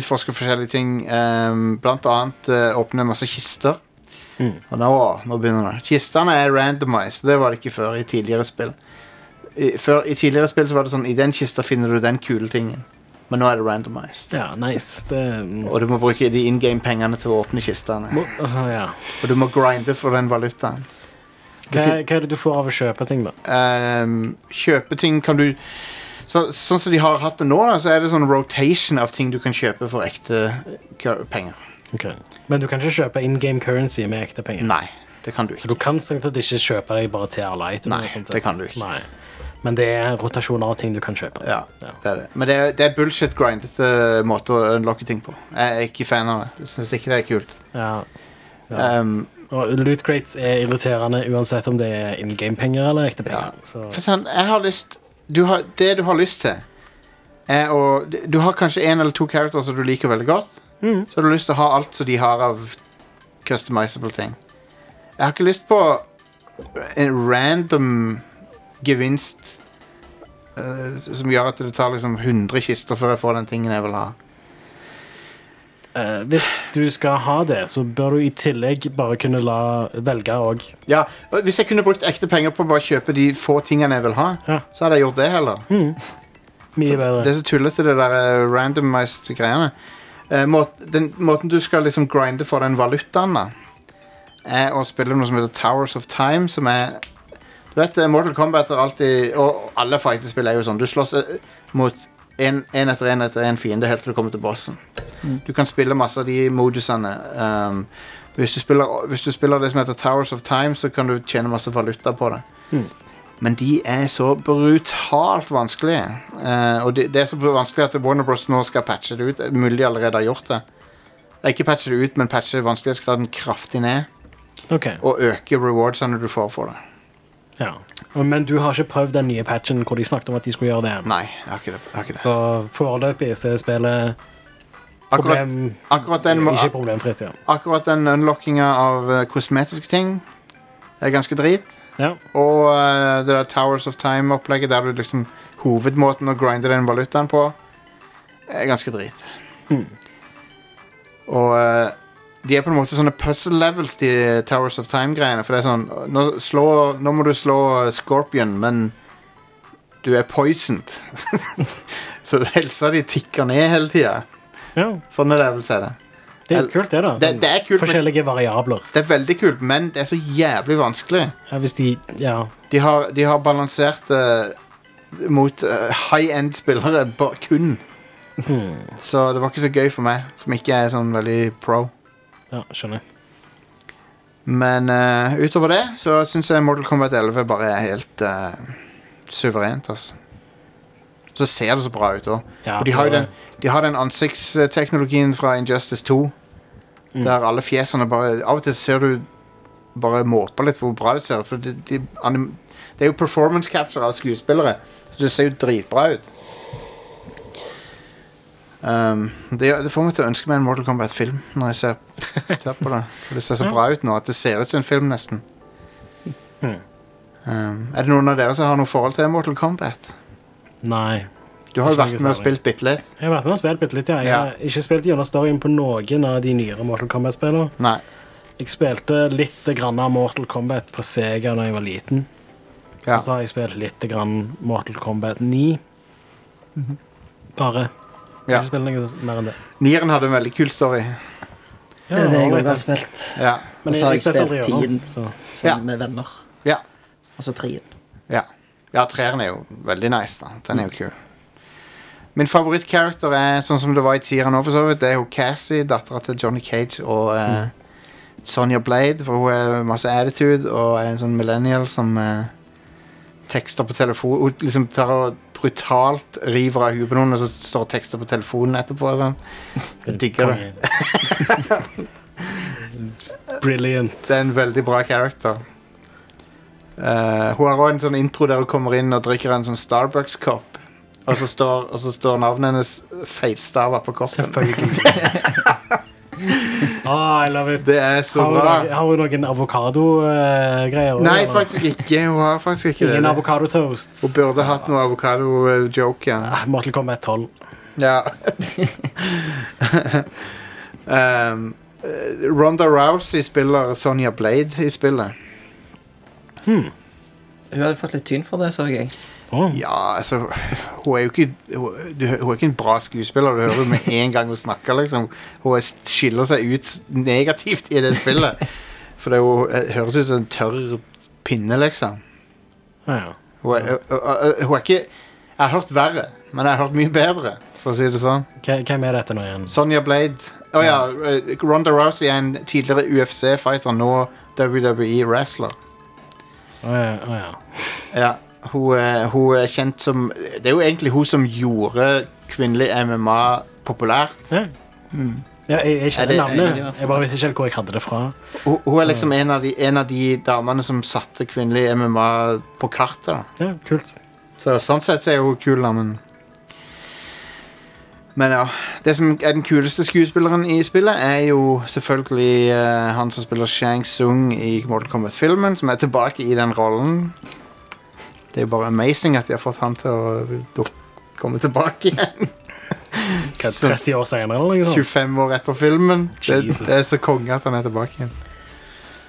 Speaker 1: utforske forskjellige ting. eh, blant annet eh, åpne masse kister. Og nå, nå begynner det. Kistene er randomized. Det var det ikke før i tidligere spill. I, før, I tidligere spill så var det sånn i den kista finner du den kule tingen. Men nå er det randomized.
Speaker 2: Ja, nice. Det
Speaker 1: Og du må bruke de in game-pengene til å åpne kistene.
Speaker 2: må, aha, ja.
Speaker 1: Og du må grinde for den valutaen.
Speaker 2: hva, hva er det du får av å kjøpe ting, da?
Speaker 1: um, kjøpe ting kan du så, Sånn som de har hatt det nå, da, så er det sånn rotation av ting du kan kjøpe for ekte k- penger.
Speaker 2: Ok. Men du kan ikke kjøpe in game currency med ekte penger?
Speaker 1: Nei, det kan du
Speaker 2: Så du
Speaker 1: ikke.
Speaker 2: kan strengt tatt ikke kjøpe deg bare til alle item?
Speaker 1: Nei, det kan du ikke.
Speaker 2: Nei. Men det er rotasjoner av ting du kan kjøpe.
Speaker 1: Ja, det er det. Men det er, det er bullshit grindete måte å unlocke ting på. Jeg er ikke fan av det. Jeg syns ikke det er kult.
Speaker 2: Ja.
Speaker 1: Um,
Speaker 2: Og loot crates er irriterende uansett om det er in game-penger eller ekte
Speaker 1: Ja.
Speaker 2: penger. Så,
Speaker 1: For sånn, jeg har lyst du har, Det du har lyst til er å, Du har kanskje en eller to characters som du liker veldig godt. Så har du lyst til å ha alt som de har av customizable ting. Jeg har ikke lyst på en random gevinst eh, som gjør at det tar liksom 100 kister før jeg får den tingen jeg vil ha.
Speaker 2: eh, hvis du skal ha det, så bør du i tillegg bare kunne la velge òg.
Speaker 1: Ja, og Hvis jeg kunne brukt ekte penger på å bare kjøpe de få tingene jeg vil ha,
Speaker 2: Ja.
Speaker 1: så hadde jeg gjort det heller.
Speaker 2: Mye bedre.
Speaker 1: Det er så tullete, det der eh, randomized greiene. Eh, må, den, måten du skal liksom grinde for den valutaen, da, er å spille noe som heter Towers of Time, som er Du vet, eh, Mortal Kombat er alltid Og alle fightespill er jo sånn. Du slåss eh, mot én etter én etter én fiende helt til du kommer til bossen. Du kan spille masse av de modusene. Um, hvis, du spiller, hvis du spiller det som heter Towers of Time, så kan du tjene masse valuta på det. Men de er så brutalt vanskelige. Eh, og det, det er så vanskelig at Warner Bros. nå skal patche det ut. Mulig de allerede har gjort det. Eh, Ikke patche det ut, men patche vanskelighetsgraden kraftig ned.
Speaker 2: Ok,
Speaker 1: Og øke rewardsene du får for det.
Speaker 2: Ja. Men du har ikke prøvd den nye patchen hvor de snakket om at de skulle gjøre det.
Speaker 1: Nei, jeg har ikke det. Jeg har ikke det.
Speaker 2: Så foreløpig så er spillet
Speaker 1: Akkurat,
Speaker 2: problem,
Speaker 1: akkurat den, må-
Speaker 2: ikke problemfritt. Ja.
Speaker 1: akkurat den unlockinga av eh, kosmetiske ting er ganske drit.
Speaker 2: Ja.
Speaker 1: Og eh, det der Towers of Time-opplegget, der du liksom hovedmåten å grinde den valutaen på, er ganske drit. Og eh, de er på en måte sånne puzzle levels, de Towers of Time-greiene. For det er sånn nå, slå, nå må du slå eh, Scorpion, men du er poisoned. Så helsa di tikker ned hele tida.
Speaker 2: ja.
Speaker 1: Sånne levels er det.
Speaker 2: Det er jo kult, det, da.
Speaker 1: Det, det er kult, men
Speaker 2: Forskjellige variabler.
Speaker 1: det er veldig kult, men det er så jævlig vanskelig.
Speaker 2: Ja, hvis de Ja.
Speaker 1: De har, de har balansert det mot eh, high-end-spillere ba- kun. Så det var ikke så gøy for meg, som ikke er sånn veldig pro.
Speaker 2: ja skjønner.
Speaker 1: Men eh, utover det så syns jeg Mortal Kombat 11 bare er helt eh, suverent, altså. Så ser det så bra ut òg.
Speaker 2: Ja,
Speaker 1: Og de har jo
Speaker 2: det-
Speaker 1: den, de har den ansiktsteknologien fra Injustice 2.
Speaker 2: Mm.
Speaker 1: Der alle fjesene bare Av og til ser du bare måper litt på hvor bra det ser ut. For de, de, anim, det er jo performance capture av skuespillere, så det ser jo dritbra ut. Um, det, det får meg til å ønske meg en Mortal Kombat-film når jeg ser, ser på det. For det ser så bra ut nå at det ser ut som en film, nesten.
Speaker 2: Mm.
Speaker 1: Um, er det noen av dere som har noe forhold til Mortal Kombat?
Speaker 2: Nei.
Speaker 1: Du har jo
Speaker 2: Ikke
Speaker 1: vært
Speaker 2: noe
Speaker 1: med og
Speaker 2: særlig.
Speaker 1: spilt bitte litt.
Speaker 2: Jeg har vært med og spilt bitte litt, ja. Jeg
Speaker 1: Ja.
Speaker 2: har ikke spilt gjennom storyen på noen av de nyere Mortal Kombat-spillene.
Speaker 1: Nei.
Speaker 2: Jeg spilte litt grann av Mortal Kombat på Sega da jeg var liten.
Speaker 1: Ja.
Speaker 2: Og så har jeg spilt litt grann Mortal Kombat 9.
Speaker 3: Mhm.
Speaker 2: Bare. Jeg
Speaker 1: Ja.
Speaker 2: har ikke spilt noe mer enn det.
Speaker 1: Nieren hadde en veldig kul story.
Speaker 3: Det er det jeg
Speaker 2: vet
Speaker 3: også har spilt.
Speaker 1: Ja.
Speaker 2: Men
Speaker 3: Og så har jeg
Speaker 2: spilte aldri
Speaker 3: spilt
Speaker 2: gjennom,
Speaker 3: tiden.
Speaker 2: så-
Speaker 3: Sånn
Speaker 1: Ja.
Speaker 3: med venner.
Speaker 1: Ja,
Speaker 3: Og så trien.
Speaker 1: ja. ja treeren er jo veldig nice, da. Den er jo kul. Min favorittkarakter er sånn som det var i tieren nå, for så vidt. Det er hun Cassie, dattera til Johnny Cage og eh, Sonja Blade. For hun er masse attitude og er en sånn millennial som eh, tekster på telefon Hun liksom tar og brutalt river av huet på noen, og så står og tekster på telefonen etterpå. og Sånn. Jeg digger det.
Speaker 2: Brilliant.
Speaker 1: Det er en veldig bra character. Eh, hun har òg en sånn intro der hun kommer inn og drikker en sånn Starbucks-kopp. Og så står, og så står navnet hennes feilstava på koppen.
Speaker 2: Selvfølgelig. Ah, I love it.
Speaker 1: Det er så
Speaker 2: har, hun
Speaker 1: bra.
Speaker 2: noen- har hun noen avokado-greier?
Speaker 1: Nei, faktisk ikke. Hun har faktisk ikke
Speaker 2: Ingen
Speaker 1: det.
Speaker 2: avokadotoast.
Speaker 1: Hun burde hatt noe avokado-joke. Ja.
Speaker 2: Ah, Mortal Kombat 12.
Speaker 1: Ja. um, eh, Ronda Rousey spiller Sonja Blade i spillet.
Speaker 3: Hun hadde fått litt tyn for det, så jeg.
Speaker 2: Åh,
Speaker 1: Ja, altså Hun er jo ikke Hun, du, hun er ikke en bra skuespiller. Du hører jo med en gang hun snakker, liksom. Hun er- skiller seg ut negativt i det spillet. For det er jo, eh, høres ut som en tørr pinne, liksom.
Speaker 2: ja, ja.
Speaker 1: Hun er, hun, hun- hun er ikke Jeg har hørt verre, men jeg har hørt mye bedre, for å si det sånn.
Speaker 2: Hva- Hvem er dette nå igjen?
Speaker 1: Sonja Blade Å ja, eh, Ronda Rousey er en tidligere UFC-fighter, nå E WWE-wrestler.
Speaker 2: Å ja, å ja.
Speaker 1: Ja, hun, er- hun er kjent som Det er jo egentlig hun som gjorde kvinnelig MMA populært.
Speaker 2: Ja. Ja, jeg, jeg
Speaker 1: Er det-
Speaker 2: kjenner navnet.
Speaker 3: er det-
Speaker 2: Jeg bare visste ikke helt hvor jeg hadde det fra.
Speaker 1: Hun, hun er liksom en av, de, en av de damene som satte kvinnelig MMA på kartet. da.
Speaker 2: Ja, kult.
Speaker 1: Så Sånn sett så er hun kul, da, men Men ja. Det som er den kuleste skuespilleren i spillet, er jo selvfølgelig eh, han som spiller Shang Tsung i Mortal Kombat-filmen, som er tilbake i den rollen. Det er jo bare amazing at de har fått han til å duk- komme tilbake igjen.
Speaker 2: Hva, 30 år senere, eller noe sånt?
Speaker 1: 25 år etter filmen. Det,
Speaker 2: Jesus.
Speaker 1: det er så konge at han er tilbake igjen.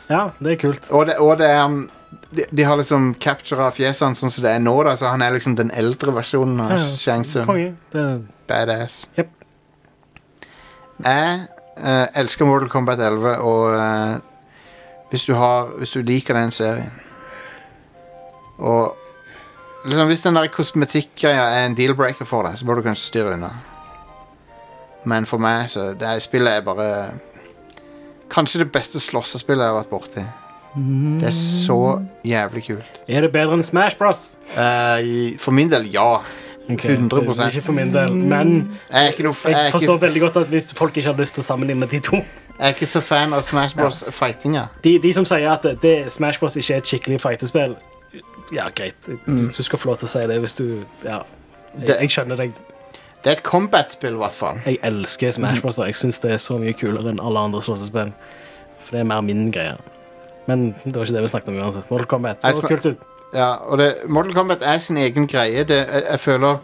Speaker 2: Ja, det er kult.
Speaker 1: Og det, og det er han- de, de har liksom captura fjesene sånn som det er nå, da, så han er liksom den eldre versjonen av
Speaker 2: Ja, ja.
Speaker 1: Shang Tsung.
Speaker 2: Konge. Det er
Speaker 1: Badass.
Speaker 2: Jep.
Speaker 1: Jeg eh, elsker Mortal Kombat 11, og eh, hvis, du har, hvis du liker den serien Og liksom, hvis den der kosmetikkgreia er en deal-breaker for deg, så bør du kanskje styre unna. Men for meg, så det her spillet er bare Kanskje det beste slåssespillet jeg har vært borti. Det er så jævlig kult.
Speaker 2: Er det bedre enn Smash Bros?
Speaker 1: Eh, i- for min del, ja.
Speaker 2: Ok,
Speaker 1: 100%.
Speaker 2: Ikke for min del, men
Speaker 1: Jeg er ikke noe f- jeg
Speaker 2: jeg
Speaker 1: er
Speaker 2: forstår
Speaker 1: ikke,
Speaker 2: veldig godt at hvis folk ikke har lyst til å sammenligne de to
Speaker 1: jeg er ikke så fan av Smash Bros. fightinga.
Speaker 2: De, de som sier at det, Smash Bros ikke er et skikkelig fightespill, Ja, greit. Du, du skal få lov til å si det hvis du Ja. Jeg,
Speaker 1: Det-
Speaker 2: jeg skjønner deg.
Speaker 1: Det er et combat-spill, i hvert fall.
Speaker 2: Jeg elsker
Speaker 1: Mm.
Speaker 2: Smash Bros. Jeg syns det er så mye kulere enn alle andre slåssespill. For det er mer min greie. Men det var ikke det vi snakket om uansett. Mortal Kombat. Det
Speaker 1: Jeg
Speaker 2: høres
Speaker 1: snak-
Speaker 2: kult ut.
Speaker 1: Ja, og det, Mortal Kombat er sin egen greie. Det, jeg, jeg føler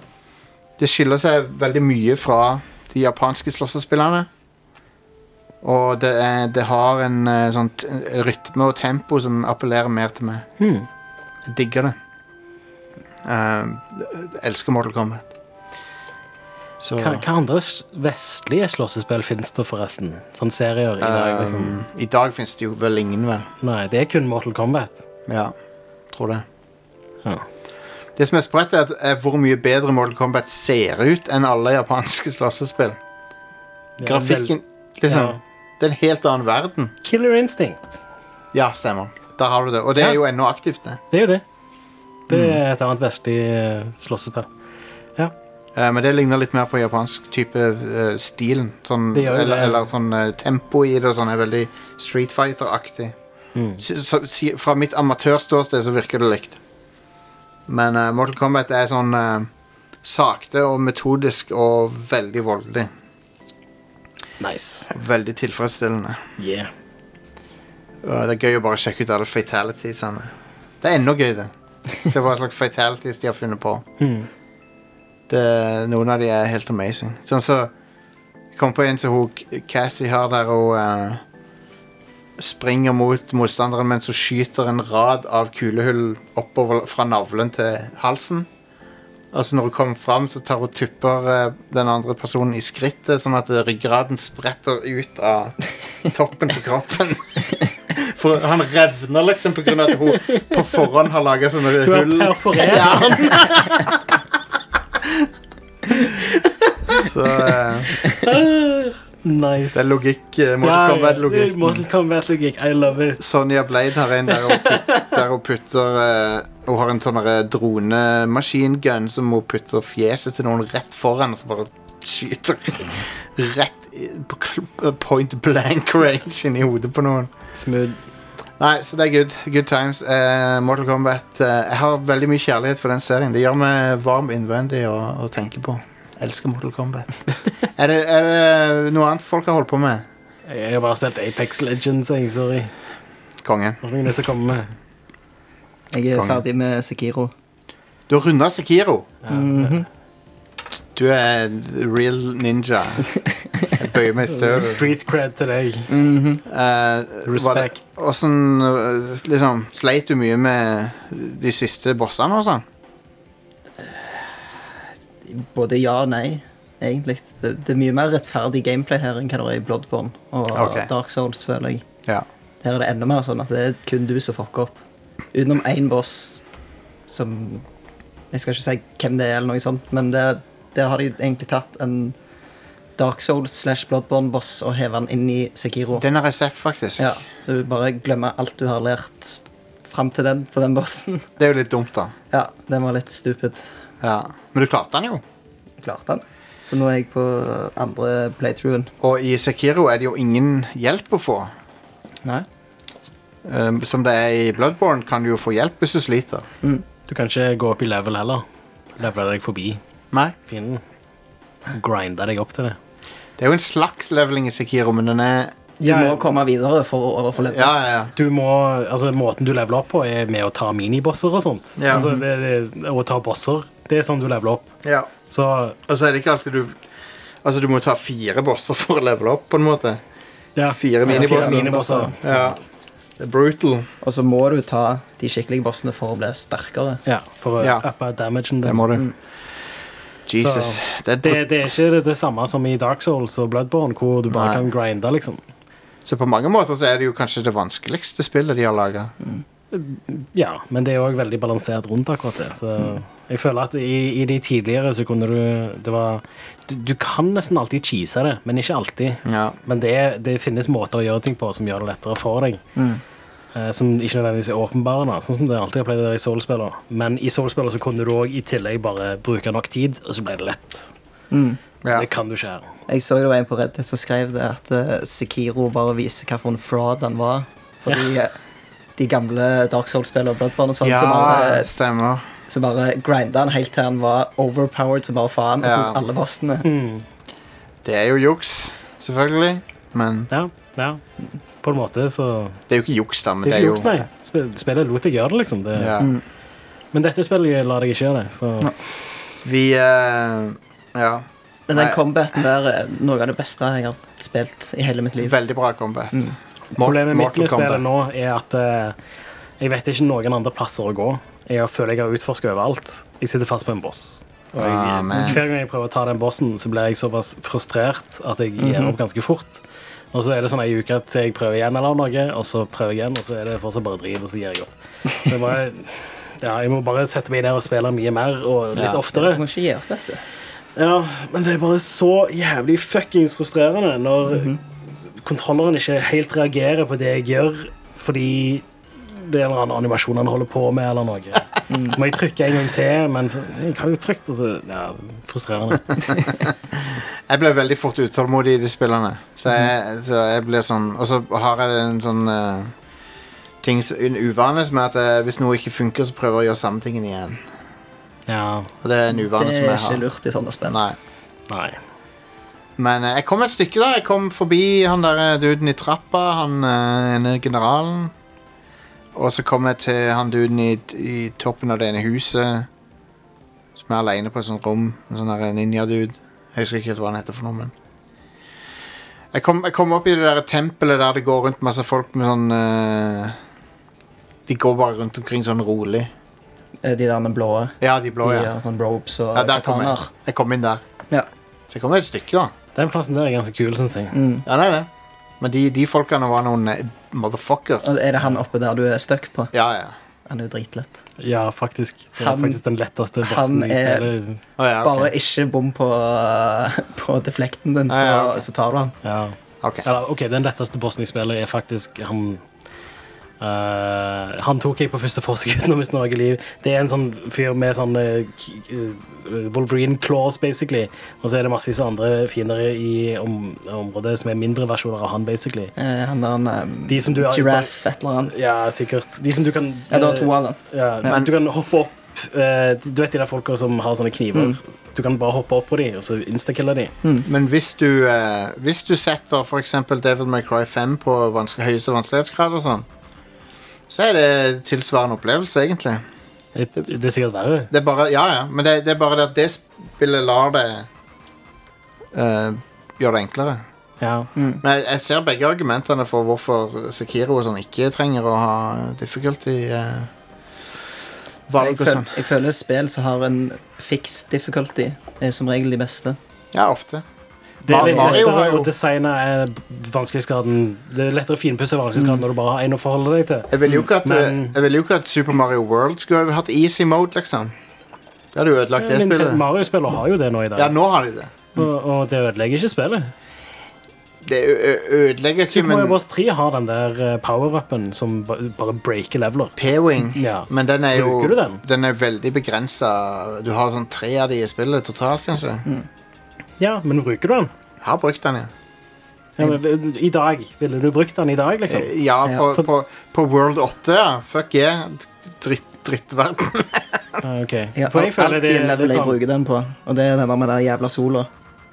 Speaker 1: det skiller seg veldig mye fra de japanske slåssespillerne. Og det, er, det har en eh, sånn t- rytme og tempo som appellerer mer til meg.
Speaker 2: Hmm.
Speaker 1: Jeg digger det. Eh, jeg elsker Mortal Kombat. Så
Speaker 2: Hva, hva andre s- vestlige slåssespill finnes det, forresten? Sånn serier i dag? Liksom.
Speaker 1: um, I dag finnes det jo vel ingen, vel.
Speaker 2: Nei, det er kun Mortal Kombat.
Speaker 1: Ja, tror det.
Speaker 2: Ja.
Speaker 1: Det som er sprøtt, er, at, er hvor mye bedre Mortal Kombat ser ut enn alle japanske slåssespill.
Speaker 2: Det er
Speaker 1: Grafikken
Speaker 2: vel-
Speaker 1: liksom,
Speaker 2: ja.
Speaker 1: Det er en helt annen verden.
Speaker 2: Killer Instinct.
Speaker 1: Ja, stemmer. Der har du det. Og det
Speaker 2: Ja.
Speaker 1: er jo ennå aktivt, det.
Speaker 2: Det er jo det. Det
Speaker 1: Mm.
Speaker 2: er et annet vestlig eh, slåssespill.
Speaker 1: Eh, men det ligner litt mer på japansk type eh, stilen. Sånn,
Speaker 2: Det gjør jo
Speaker 1: eller,
Speaker 2: det.
Speaker 1: eller sånn eh, tempo i det og sånn er veldig Street Fighter-aktig.
Speaker 2: Mm.
Speaker 1: Si- så- si- Fra mitt amatørståsted så virker det likt. Men eh, Mortal Kombat er sånn eh, sakte og metodisk og veldig voldelig.
Speaker 2: Nice.
Speaker 1: Veldig tilfredsstillende.
Speaker 2: Yeah.
Speaker 1: Og det er gøy å bare sjekke ut alle fatalities-ene. Det er enda gøy, det. Se hva slags fatalities de har funnet på.
Speaker 2: Hmm.
Speaker 1: Det, eh, noen av de er helt amazing. Sånn så Jeg kom på en som hun Cassie har der hun eh, springer mot motstanderen, men så skyter en rad av kulehull oppover fra navlen til halsen. Og så når hun kommer fram, så tar hun tupper eh, den andre personen i skrittet, sånn at eh, ryggraden spretter ut av toppen på kroppen. For han revner liksom på grunn av at hun på forhånd har laga sånne
Speaker 2: Du har
Speaker 1: hull.
Speaker 2: perforert.
Speaker 1: Ja. så eh,
Speaker 2: Nice.
Speaker 1: det er logikk. eh,
Speaker 2: Ja,
Speaker 1: Mortal
Speaker 2: ja.
Speaker 1: Kombat-logikk.
Speaker 2: Mortal Kombat-logikk. I love it.
Speaker 1: Sonja Blade har en der hun, put, der hun putter eh, Hun har en sånn der dronemaskingun som hun putter fjeset til noen rett foran, og så bare skyter rett i, på kl- point blank range inn i hodet på noen.
Speaker 2: Smooth.
Speaker 1: Nei, så det er good, good times. Eh, Mortal Kombat eh, Jeg har veldig mye kjærlighet for den serien. Det gjør meg varm innvendig å, å tenke på. Elsker Mortal Kombat. er, det, er det noe annet folk har holdt på med?
Speaker 2: Jeg har bare spilt Apex Legends, jeg. Sorry.
Speaker 1: Konge.
Speaker 2: Har noen nødt til å komme med.
Speaker 3: Jeg er
Speaker 1: Konge.
Speaker 3: ferdig med Sekiro.
Speaker 1: Du har runda Sikiro. Mm.
Speaker 3: Mhm.
Speaker 1: Du er en real ninja. Jeg bøyer meg i støvet.
Speaker 2: Street cred til deg.
Speaker 3: Mhm.
Speaker 1: Eh, var det-
Speaker 2: Respect.
Speaker 1: Åssen eh, liksom, Sleit du mye med de siste bossene og sånn?
Speaker 3: Både ja og nei, egentlig. Det, det er mye mer rettferdig gameplay her enn hva det er i Bloodborne og
Speaker 1: Ok.
Speaker 3: Dark Souls, føler jeg.
Speaker 1: Ja.
Speaker 3: Her er det enda mer sånn at det er kun du som fucker opp. Utenom én boss som Jeg skal ikke si hvem det er, eller noe sånt, men der, der har de egentlig tatt en Dark Souls slash Bloodborne-boss og hevet den inn i Sekiro.
Speaker 1: Den har jeg sett, faktisk.
Speaker 3: Ja, så du bare glemmer alt du har lært fram til den på den bossen.
Speaker 1: Det er jo litt dumt, da.
Speaker 3: Ja, den var litt stupid.
Speaker 1: Ja. Men du klarte den jo.
Speaker 3: Klarte den. Så nå er jeg på andre playthroughen.
Speaker 1: Og i Sekiro er det jo ingen hjelp å få.
Speaker 3: Nei.
Speaker 1: Um, som det er i Bloodborne, kan du jo få hjelp hvis du sliter.
Speaker 2: Du kan ikke gå opp i level heller. Levele deg forbi
Speaker 1: Nei.
Speaker 2: fienden. Grinde deg opp til det.
Speaker 1: Det er jo en slags leveling i Sekiro, men den er
Speaker 3: Du må komme videre for å overleve.
Speaker 1: Ja, ja, ja.
Speaker 2: du må, altså Måten du leveler opp på, er med å ta minibosser og sånt.
Speaker 1: Ja.
Speaker 2: Altså, det, det, å ta bosser. Det er sånn du leveler opp.
Speaker 1: ja.
Speaker 2: Så
Speaker 1: Og så er det ikke alltid du Altså, du må ta fire bosser for å levele opp, på en måte.
Speaker 2: ja.
Speaker 1: Fire minibosser.
Speaker 2: minibosser.
Speaker 1: Ja. Det er brutal.
Speaker 3: Og så må du ta de skikkelige bossene for å bli sterkere.
Speaker 2: Ja, for å
Speaker 1: Ja.
Speaker 2: uppe damagen.
Speaker 1: Det
Speaker 2: din.
Speaker 1: må du. Jesus.
Speaker 2: Så-
Speaker 1: det er
Speaker 2: Det, det er ikke det, det samme som i Dark Souls og Bloodborne, hvor du bare
Speaker 1: Nei.
Speaker 2: kan grinde, liksom.
Speaker 1: Så på mange måter så er det jo kanskje det vanskeligste spillet de har laga.
Speaker 2: Ja, men det er òg veldig balansert rundt akkurat det. Så jeg føler at i, i de tidligere så kunne du Det var Du, du kan nesten alltid cheese det, men ikke alltid.
Speaker 1: Ja.
Speaker 2: Men det, det finnes måter å gjøre ting på som gjør det lettere for deg.
Speaker 1: Mm.
Speaker 2: Eh, som ikke nødvendigvis er åpenbare, da, sånn som det alltid har pleid å være i Soul-spiller. Men i Soul-spiller så kunne du òg i tillegg bare bruke nok tid, og så ble det lett.
Speaker 1: Ja.
Speaker 2: Det kan du ikke her.
Speaker 3: Jeg så det var en på Reddit som skrev det at eh, Sekiro bare viser hvilken fraud han var. Fordi eh, de gamle Dark Souls-spillene og Bloodborne og sånn, som,
Speaker 1: Ja,
Speaker 3: bare,
Speaker 1: stemmer.
Speaker 3: som bare grinda han helt til han var overpowered som bare faen og
Speaker 1: Ja.
Speaker 3: tok alle bossene.
Speaker 2: Mm.
Speaker 1: Det er jo juks, selvfølgelig. Men
Speaker 2: Ja, ja. På en måte, så
Speaker 1: det er jo ikke juks, da. Men
Speaker 2: Det
Speaker 1: det
Speaker 2: er
Speaker 1: er
Speaker 2: ikke
Speaker 1: jo
Speaker 2: juks, nei. Sp- Spillet lot deg gjøre det, liksom. Det,
Speaker 1: ja.
Speaker 2: Men dette spillet lar deg ikke gjøre det. Så
Speaker 1: Vi eh, Ja.
Speaker 3: Men den
Speaker 1: Nei.
Speaker 3: combaten der er noe av det beste jeg har spilt i hele mitt liv.
Speaker 1: Veldig bra combat. Mor-
Speaker 2: Mm. problemet mitt
Speaker 1: Mortal
Speaker 2: med
Speaker 1: Kombat.
Speaker 2: spillet nå er at eh, jeg vet ikke noen andre plasser å gå. Jeg føler jeg har utforska overalt. Jeg sitter fast på en boss. Og jeg,
Speaker 1: Ah, man.
Speaker 2: hver gang jeg prøver å ta den bossen, så blir jeg såpass frustrert at jeg
Speaker 1: Mhm.
Speaker 2: gir opp ganske fort. Og så er det sånn ei uke til jeg prøver igjen eller noe, og så prøver jeg igjen, og så er det fortsatt bare drit, og så gir jeg opp. Så jeg, bare, ja, jeg må bare sette meg ned og spille mye mer og litt
Speaker 1: Ja.
Speaker 3: Du
Speaker 2: oftere.
Speaker 3: må ikke gi opp, vet du.
Speaker 2: Ja, men det er bare så jævlig fuckings frustrerende når
Speaker 3: Mhm.
Speaker 2: s- kontrolleren ikke helt reagerer på det jeg gjør, fordi det er en eller annen animasjon han holder på med, eller noe.
Speaker 3: Mm.
Speaker 2: Så må jeg trykke en gang til, men så, jeg har jo trykt, og så Ja, frustrerende.
Speaker 1: Jeg ble veldig fort utålmodig i de spillene. Så jeg, så jeg ble sånn Og så har jeg en sånn eh, ting s- En uvane som er at eh, hvis noe ikke funker, så prøver jeg å gjøre samme tingen igjen.
Speaker 2: Ja,
Speaker 1: Og det er en uvane
Speaker 3: Det
Speaker 1: som
Speaker 3: er
Speaker 1: jeg
Speaker 3: ikke
Speaker 1: har.
Speaker 3: lurt i sånne spill.
Speaker 1: Nei.
Speaker 2: nei.
Speaker 1: Men eh, jeg kom et stykke, da. Jeg kom forbi han der eh, duden i trappa, han eh, ene generalen. Og så kom jeg til han duden i, i toppen av det ene huset. Som er aleine på et sånt rom. En sånn der ninja-dude. Jeg husker ikke helt hva han heter for noe, men jeg kom, jeg kom opp i det der tempelet der det går rundt masse folk med sånn eh, De går bare rundt omkring sånn rolig.
Speaker 3: Eh, De der med blå
Speaker 1: Ja, de blå,
Speaker 3: de
Speaker 1: ja.
Speaker 3: har sånn robes og
Speaker 1: ja der kom jeg.
Speaker 3: kataner.
Speaker 1: jeg kom inn der.
Speaker 3: Ja.
Speaker 1: Så jeg kom et stykke, da.
Speaker 2: Den plassen der er ganske kul, syns jeg.
Speaker 3: Mm.
Speaker 1: Ja, nei, nei. Men de, de folkene var noen eh, motherfuckers.
Speaker 3: Og er det han oppe der du er stuck på?
Speaker 1: Ja, ja.
Speaker 3: Han er jo dritlett.
Speaker 2: Ja, faktisk. Det er
Speaker 3: Han-
Speaker 2: faktisk den letteste bossen
Speaker 3: han
Speaker 2: i
Speaker 3: er-
Speaker 2: spillet.
Speaker 1: Å, ja
Speaker 3: Bare
Speaker 1: ok.
Speaker 3: ikke bom på, på deflekten din, så,
Speaker 1: Ja, ja, ok.
Speaker 3: så tar du han.
Speaker 2: Ja.
Speaker 1: Ok.
Speaker 2: Eller, OK, den letteste bossen i spillet er faktisk han eh, Han tok jeg på første forsøk uten å miste noe liv. Det er en sånn fyr med sånn eh, k- eh, Wolverine claws, basically. Og så er det massevis av andre fiender i om, området som er mindre versjoner av han, basically.
Speaker 3: Eh, han der um,
Speaker 2: De som du har-
Speaker 3: Giraffe, et eller annet.
Speaker 2: Ja, sikkert. De som du kan eh,
Speaker 3: Ja, det var to av dem.
Speaker 2: Ja,
Speaker 1: Men-
Speaker 2: du kan hoppe opp. eh, du vet de der folka som har sånne kniver?
Speaker 3: Mm.
Speaker 2: Du kan bare hoppe opp på dem og så instakille dem.
Speaker 1: Men hvis du, eh, hvis du setter for eksempel Devil May Cry 5 på vans høyeste vanskelighetsgrad og sånn, så er det tilsvarende opplevelse, egentlig.
Speaker 2: Det, det er sikkert verre.
Speaker 1: Det er bare, ja, ja. Men det, det er bare det at det spillet lar det eh, gjøre det enklere.
Speaker 2: Ja.
Speaker 1: Men jeg, jeg ser begge argumentene for hvorfor Sekiro og sånn ikke trenger å ha difficulty eh,
Speaker 3: Jeg,
Speaker 1: valg og
Speaker 3: føl,
Speaker 1: sånn.
Speaker 3: jeg føler spill som har en fix difficulty, er som regel de beste.
Speaker 1: Ja, ofte.
Speaker 2: Det er litt
Speaker 1: Mario har
Speaker 2: lettere
Speaker 1: jo-
Speaker 2: å designe eh, vanskelighetsgraden Det er lettere å finpusse vanskelighetsgraden når du bare har én å forholde deg til.
Speaker 1: Mm. Jeg ville jo ikke at,
Speaker 2: Mm,
Speaker 1: eh,
Speaker 2: Men-
Speaker 1: jeg ville jo ikke at Super Mario World skulle ha hatt easy mode, liksom. Da hadde jo ødelagt det
Speaker 2: Nintendo-
Speaker 1: spillet.
Speaker 2: Mario-spiller har jo det nå i dag,
Speaker 1: Ja, nå har de det.
Speaker 2: og, og det ødelegger ikke spillet.
Speaker 1: Det ø- ø- ødelegger ikke,
Speaker 2: Super Mario
Speaker 1: men
Speaker 2: Bros. 3 har den der eh, power-upen som ba- bare breaker leveler.
Speaker 1: P-Wing
Speaker 2: Ja.
Speaker 1: Men den er jo
Speaker 2: Bruker du den?
Speaker 1: er veldig begrensa. Du har sånn tre av de i spillet totalt, kanskje.
Speaker 2: Ja, men bruker du den?
Speaker 1: Har brukt den, ja.
Speaker 2: Ja, men, I dag? Ville du brukt den i dag, liksom?
Speaker 1: Eh, Ja, på,
Speaker 2: for-
Speaker 1: på, på World 8, ja. Fuck yeah. Dritt, drittverden.
Speaker 2: Ja, Ah, ok.
Speaker 3: Jeg
Speaker 2: For
Speaker 3: har
Speaker 2: jeg føler det
Speaker 3: alltid en
Speaker 2: er
Speaker 3: level
Speaker 2: litt
Speaker 3: jeg
Speaker 2: sånn
Speaker 3: bruker den på, og det er den der med den jævla sola.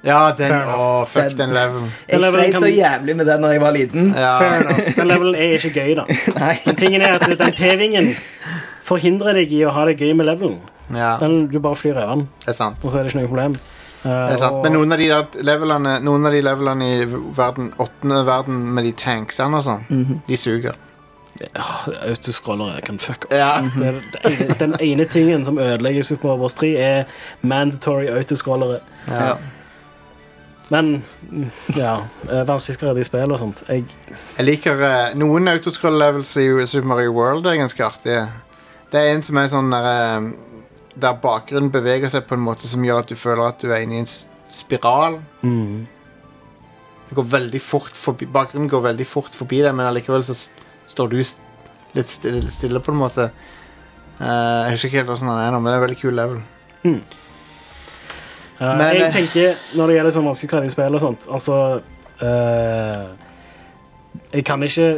Speaker 1: Ja, den
Speaker 2: Fair enough.
Speaker 1: Å, fuck
Speaker 3: Den-
Speaker 1: den levelen.
Speaker 3: Jeg
Speaker 2: levelen
Speaker 3: sleit
Speaker 2: kan-
Speaker 3: så jævlig med den da jeg var liten.
Speaker 2: Fair
Speaker 1: Ja.
Speaker 2: enough. Den levelen er ikke gøy, da.
Speaker 3: Nei.
Speaker 2: Men tingen er at den P-vingen forhindrer deg i å ha det gøy med levelen.
Speaker 1: ja, det
Speaker 2: Den, du bare flyr over den,
Speaker 1: er sant.
Speaker 2: og så er det ikke noe problem. Eh,
Speaker 1: Det er sant.
Speaker 2: og-
Speaker 1: Men noen av de der levelene Noen av de levelene i verden, åttende verden med de tanksene og sånn, de suger.
Speaker 2: Autoscrollere kan fuck off.
Speaker 1: Ja.
Speaker 2: Det er det ene- Den ene tingen som ødelegger Super Mario Bros. 3, er mandatory autoscrollere.
Speaker 1: Ja.
Speaker 2: Men mm, ja, eh, vanskeligere i spill og sånt. Jeg,
Speaker 1: Jeg liker eh, noen autoscroll-levels i Super Mario World. er ganske artige. Det er en som er sånn der, eh, der bakgrunnen beveger seg på en måte som gjør at du føler at du er inne i en s- spiral. Mm.
Speaker 2: Eh,
Speaker 1: Det går veldig fort forbi, bakgrunnen går veldig fort forbi deg, men allikevel så s- står du s- litt stille, stille på en måte. Eh, jeg husker ikke helt hvordan han er nå, men det er en veldig kul level.
Speaker 2: eh,
Speaker 1: Men, eh,
Speaker 2: jeg tenker, når det gjelder sånn vanskeligere i spill og sånt, altså eh, Jeg kan ikke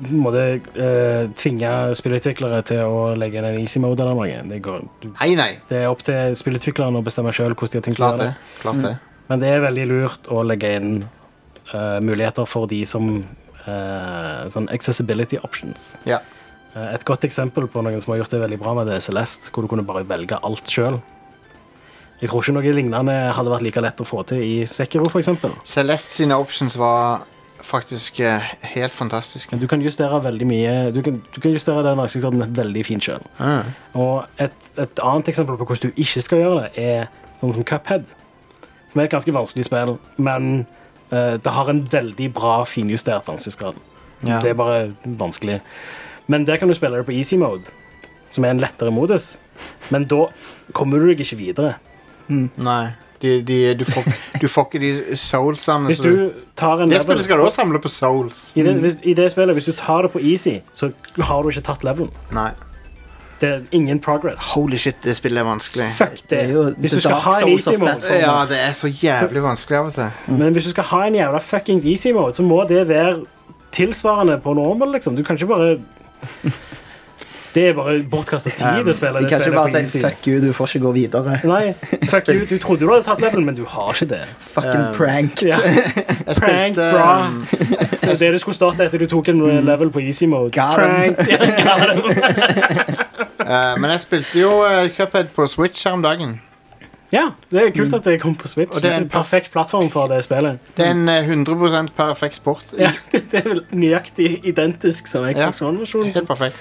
Speaker 2: på en måte eh, tvinge spillutviklere til å legge inn en easy mode eller noe. Det, går, du-
Speaker 1: Nei, nei.
Speaker 2: det er opp til spillutviklerne å bestemme sjøl hvordan de har tenkt å
Speaker 1: Klart det.
Speaker 2: gjøre
Speaker 1: Mm.
Speaker 2: det.
Speaker 1: Klart det.
Speaker 2: Men det er veldig lurt å legge inn eh, muligheter for de som eh, sånn accessibility options.
Speaker 1: Ja.
Speaker 2: Eh, Et godt eksempel på noen som har gjort det veldig bra med det er Celeste, hvor du kunne bare velge alt sjøl. Jeg tror ikke noe lignende hadde vært like lett å få til i Sekiro, f.eks.
Speaker 1: Celeste sine options var faktisk eh, helt fantastiske.
Speaker 2: Du kan justere veldig mye Du kan, du kan justere den vanskelighetsgraden veldig fint sjøl.
Speaker 1: Ah.
Speaker 2: Og et, et annet eksempel på hvordan du ikke skal gjøre det, er sånn som Cuphead. Som er et ganske vanskelig spill, men eh, det har en veldig bra finjustert vanskelighetsgrad.
Speaker 1: Ja.
Speaker 2: Det er bare vanskelig. Men der kan du spille det på easy mode, som er en lettere modus. Men da kommer du deg ikke videre.
Speaker 1: Nei. De, de, du, får, du får ikke de soulsene.
Speaker 2: Hvis
Speaker 1: så
Speaker 2: du tar en
Speaker 1: Altså, Det
Speaker 2: level
Speaker 1: spillet skal du også samle på souls.
Speaker 2: i det, hvis, I det spillet, hvis du tar det på easy, så har du ikke tatt levelen.
Speaker 1: Nei.
Speaker 2: Det er ingen progress.
Speaker 1: Holy shit, det spillet er vanskelig.
Speaker 2: Fuck det.
Speaker 3: Det er jo
Speaker 2: Hvis du
Speaker 3: The
Speaker 2: skal
Speaker 3: Dark
Speaker 2: ha en
Speaker 3: Souls
Speaker 2: easy
Speaker 3: of
Speaker 2: mode,
Speaker 3: platformers.
Speaker 1: Ja, det er så jævlig vanskelig av og til.
Speaker 2: Men hvis du skal ha en jævla fuckings easy mode, så må det være tilsvarende på normal, liksom. Du kan ikke bare Det er bare bortkasta tid å spille
Speaker 3: De
Speaker 2: det
Speaker 3: kan ikke
Speaker 2: spillet på
Speaker 3: bare
Speaker 2: easy.
Speaker 3: si 'fuck you, du får ikke gå videre'.
Speaker 2: Nei, fuck you. Du trodde du hadde tatt levelen, men du har ikke det.
Speaker 3: Fucking prank.
Speaker 2: Ja.
Speaker 1: Jeg
Speaker 2: Prank,
Speaker 1: spilte,
Speaker 2: bra.
Speaker 1: um,
Speaker 2: Det er det du skulle starte etter du tok en eh, level på easy mode.
Speaker 3: Mm. Got him.
Speaker 2: Prank. Ja, got him.
Speaker 1: eh, men jeg spilte jo eh, Cuphead på Switch her om dagen.
Speaker 2: ja, det er
Speaker 3: Mm.
Speaker 2: kult at det kom på Switch.
Speaker 1: Og det er en
Speaker 2: en perfekt plattform for det spillet.
Speaker 1: Det er en eh, 100 perfekt port.
Speaker 2: Ja, det er vel nøyaktig identisk som Xbox
Speaker 1: Ja.
Speaker 2: One-versjonen.
Speaker 1: Helt perfekt.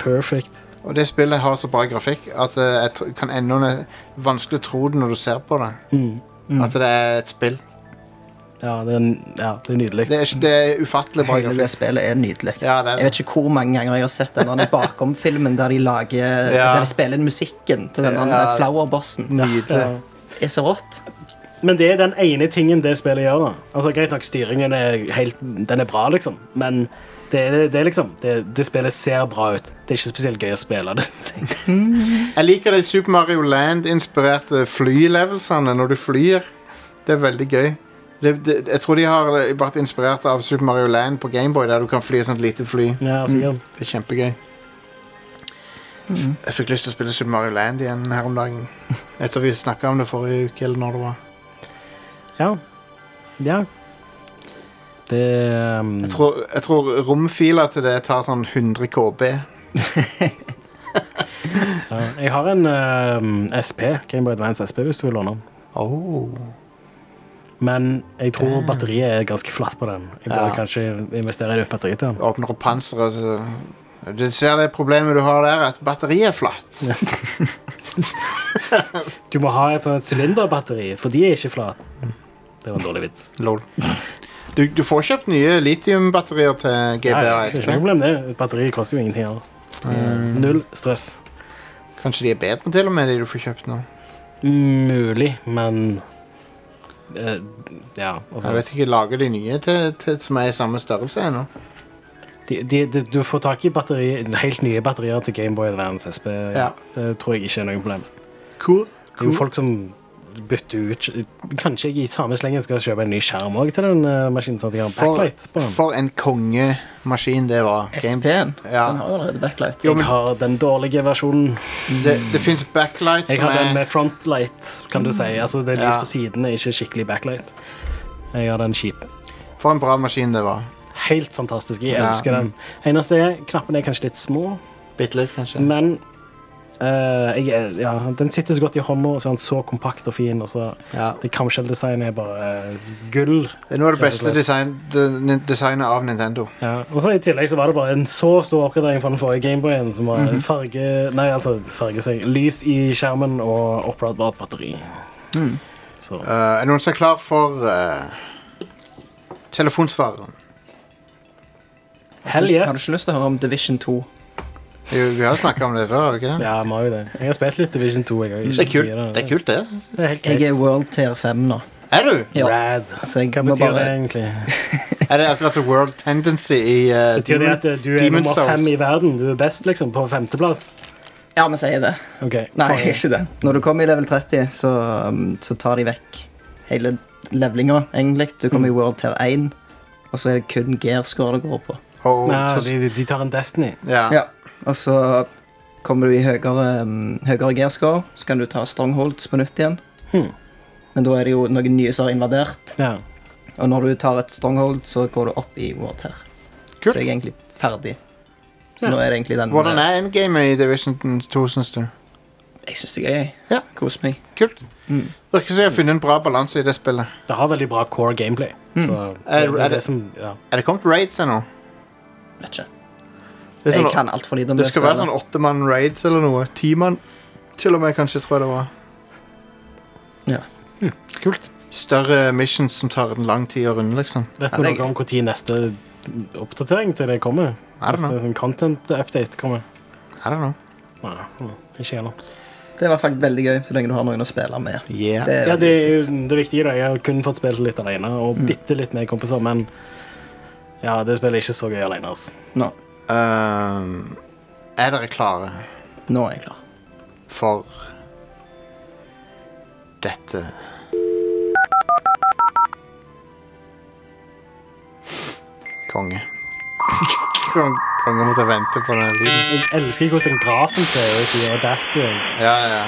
Speaker 2: Perfect.
Speaker 1: Og det spillet har så bra grafikk at eh, jeg tr- kan ennå ne- vanskelig tro det når du ser på det. At det er et spill.
Speaker 2: Ja, det er, en- ja, det er nydelig.
Speaker 1: Det er, ikke- det er ufattelig bra
Speaker 3: Hele det
Speaker 1: grafikk.
Speaker 3: spillet er nydelig.
Speaker 1: Ja, det er det.
Speaker 3: Jeg vet ikke hvor mange ganger jeg har sett denne bakom filmen der de, lager, der de spiller inn musikken til denne
Speaker 1: Ja.
Speaker 3: flowerbossen.
Speaker 1: Nydelig.
Speaker 2: Ja.
Speaker 3: Det er så rått.
Speaker 2: Men det er den ene tingen det spillet gjør. da Altså Greit nok, styringen er helt Den er bra, liksom, men det, er- det er liksom det, det spillet ser bra ut. Det er ikke spesielt gøy å spille det.
Speaker 1: Jeg liker de Super Mario Land-inspirerte flylevelsene når du flyr. Det er veldig gøy. Det, det, jeg tror de har eh, vært inspirert av Super Mario Land på Gameboy, der du kan fly et sånt lite fly.
Speaker 2: Ja, sikkert.
Speaker 1: Det er kjempegøy. Jeg fikk lyst til å spille Super Mario Land igjen her om dagen. Etter vi snakka om det forrige uke, eller når det var.
Speaker 2: Ja. ja. Det um,
Speaker 1: Jeg tror, jeg tror romfila til det tar sånn 100 KB.
Speaker 2: ja. Jeg har en um, SP, Gameboy Advance SP, hvis du vil låne den.
Speaker 1: Oh.
Speaker 2: Men jeg tror batteriet er ganske flatt på den. Jeg bør
Speaker 1: Ja.
Speaker 2: kanskje investere i nytt batteri til den.
Speaker 1: Åpner opp panseret, så Du ser det problemet du har der, at batteriet er flatt.
Speaker 2: Du må ha et sånt et sylinderbatteri, for de er ikke flate.
Speaker 1: Mm.
Speaker 2: Det var en dårlig vits.
Speaker 1: Lol. Du, du får kjøpt nye litiumbatterier til GBA
Speaker 2: Nei, det er
Speaker 1: SP.
Speaker 2: ikke noe problem det. Et batteri koster jo ingenting. Altså.
Speaker 1: Mm.
Speaker 2: Null stress.
Speaker 1: Kanskje de er bedre til og med de du får kjøpt nå.
Speaker 2: Mulig, men eh, Ja, altså
Speaker 1: Jeg vet ikke, Lager de nye til, til, som er i samme størrelse ennå?
Speaker 2: de, de, de, Du får tak i batteri, helt nye batterier til Gameboy Advance SP.
Speaker 1: Ja.
Speaker 2: Det tror jeg ikke er noe problem.
Speaker 1: Cool.
Speaker 2: Det er jo folk som bytter ut Kanskje jeg i samme slengen skal kjøpe en ny skjerm også til den eh, maskinen, sånn at jeg har en
Speaker 1: For,
Speaker 2: backlight på den.
Speaker 1: for en kongemaskin det var. Game-
Speaker 3: SP-en.
Speaker 1: Ja.
Speaker 3: Den har jo allerede backlight.
Speaker 1: Jo, men
Speaker 2: Jeg har den dårlige versjonen.
Speaker 1: det, det fins backlight
Speaker 2: Jeg
Speaker 1: som
Speaker 2: har den med
Speaker 1: er
Speaker 2: frontlight, kan du si. Altså, det er lys
Speaker 1: Ja.
Speaker 2: på sidene, ikke skikkelig backlight. Jeg har den kjipe.
Speaker 1: For en bra maskin det var.
Speaker 2: Helt fantastisk. Jeg
Speaker 1: Ja.
Speaker 2: elsker den. Eneste er, knappene er kanskje litt små,
Speaker 1: Bitte litt, kanskje.
Speaker 2: men eh, jeg, er- ja, den sitter så godt i hånda, og så er den så kompakt og fin. Og så
Speaker 1: Ja.
Speaker 2: det Kamskjell-designet er bare eh, gull.
Speaker 1: Det er noe av det beste
Speaker 2: Rett og
Speaker 1: design, de, designet av Nintendo.
Speaker 2: Ja. Og så I tillegg så var det bare en så stor oppgradering fra den forrige Gameboyen, som var
Speaker 3: Mhm.
Speaker 2: farge Nei, altså farge seg lys i skjermen og oppladbart batteri.
Speaker 3: Mhm.
Speaker 2: Så
Speaker 1: Eh, er noen som er klar for eh, telefonsvareren?
Speaker 2: hell
Speaker 3: Har du
Speaker 2: yes.
Speaker 3: ikke lyst til å høre om Division 2?
Speaker 1: Vi vi har jo snakka om det før, har vi ikke det?
Speaker 2: Ja, vi har jo det. Jeg har spilt litt Division 2. Jeg har ikke
Speaker 1: Det er kult,
Speaker 2: tid til
Speaker 1: det. Er kult, det.
Speaker 2: Det er helt
Speaker 3: Jeg
Speaker 2: greit.
Speaker 3: er World Tier 5 nå.
Speaker 1: Er du?
Speaker 3: Ja.
Speaker 2: Rad.
Speaker 3: Så jeg
Speaker 2: Hva
Speaker 3: må
Speaker 2: betyr det
Speaker 3: bare
Speaker 2: egentlig?
Speaker 1: Er det akkurat som World Tendency i uh,
Speaker 2: Betyr det at eh, du er nummer fem i verden? Du er best, liksom? På femteplass?
Speaker 3: Ja, vi sier det.
Speaker 2: Ok.
Speaker 3: Nei,
Speaker 2: Konge.
Speaker 3: ikke det. Når du kommer i level 30, så, um, så tar de vekk hele levelinga, egentlig. Du kommer i World Tier 1, og så er det kun gearscore det går på.
Speaker 1: Og,
Speaker 2: Nei,
Speaker 1: så-
Speaker 2: altså, de, de- de tar en Destiny.
Speaker 1: ja.
Speaker 3: Ja, og så kommer du i høyere, um, høyere gearscore, så kan du ta strongholds på nytt igjen.
Speaker 2: Hmm.
Speaker 3: Men da er det jo noen nye som har invadert,
Speaker 2: Ja.
Speaker 3: og når du tar et stronghold, så går du opp i water.
Speaker 1: Kult.
Speaker 3: Så jeg er egentlig ferdig. Så
Speaker 2: Ja.
Speaker 3: nå er det egentlig den
Speaker 1: Hvordan er endgamet i Division 2, syns du?
Speaker 3: eh, Jeg syns det er gøy.
Speaker 1: Ja.
Speaker 3: Kos meg.
Speaker 1: Kult. Virker som jeg har funnet en bra balanse i det spillet.
Speaker 2: Det har veldig bra core gameplay. Så det,
Speaker 1: Mm. Er-
Speaker 2: det,
Speaker 1: er
Speaker 2: er det
Speaker 1: det-
Speaker 2: som ja.
Speaker 1: Er det kommet raids ennå?
Speaker 3: Vet ikke.
Speaker 1: Det, er
Speaker 3: Jeg
Speaker 1: sånn-
Speaker 3: kan altfor lite om
Speaker 1: det
Speaker 3: det.
Speaker 1: skal være sånn åttemann raids eller noe. Timann til og med, kanskje, tror jeg det var. sånn-
Speaker 3: Ja.
Speaker 1: Kult. Større missions som tar en lang tid å runde, liksom.
Speaker 2: Vet
Speaker 3: Ja,
Speaker 2: du
Speaker 3: det er
Speaker 2: noe om når neste oppdatering til det kommer?
Speaker 1: I don't know.
Speaker 2: Neste sånn content update kommer?
Speaker 1: I don't know.
Speaker 2: Nei, hm, ikke heller.
Speaker 3: Det er i hvert fall veldig gøy, så lenge du har noen å spille med.
Speaker 1: Yeah.
Speaker 3: Det er
Speaker 2: Ja, det,
Speaker 3: veldig Mm.
Speaker 2: er
Speaker 3: viktig.
Speaker 2: jo- det viktige da, Jeg har kun fått spilt litt alene og bitte litt med kompiser, men ja, det spillet er ikke så gøy alene. Altså.
Speaker 3: Nå.
Speaker 1: Ehm, er dere klare
Speaker 3: Nå er jeg klar.
Speaker 1: for dette? Konge. Kong- Konge måtte vente på den lyden.
Speaker 2: Jeg elsker hvordan den grafen ser ut i Audacity.
Speaker 1: Ja, ja.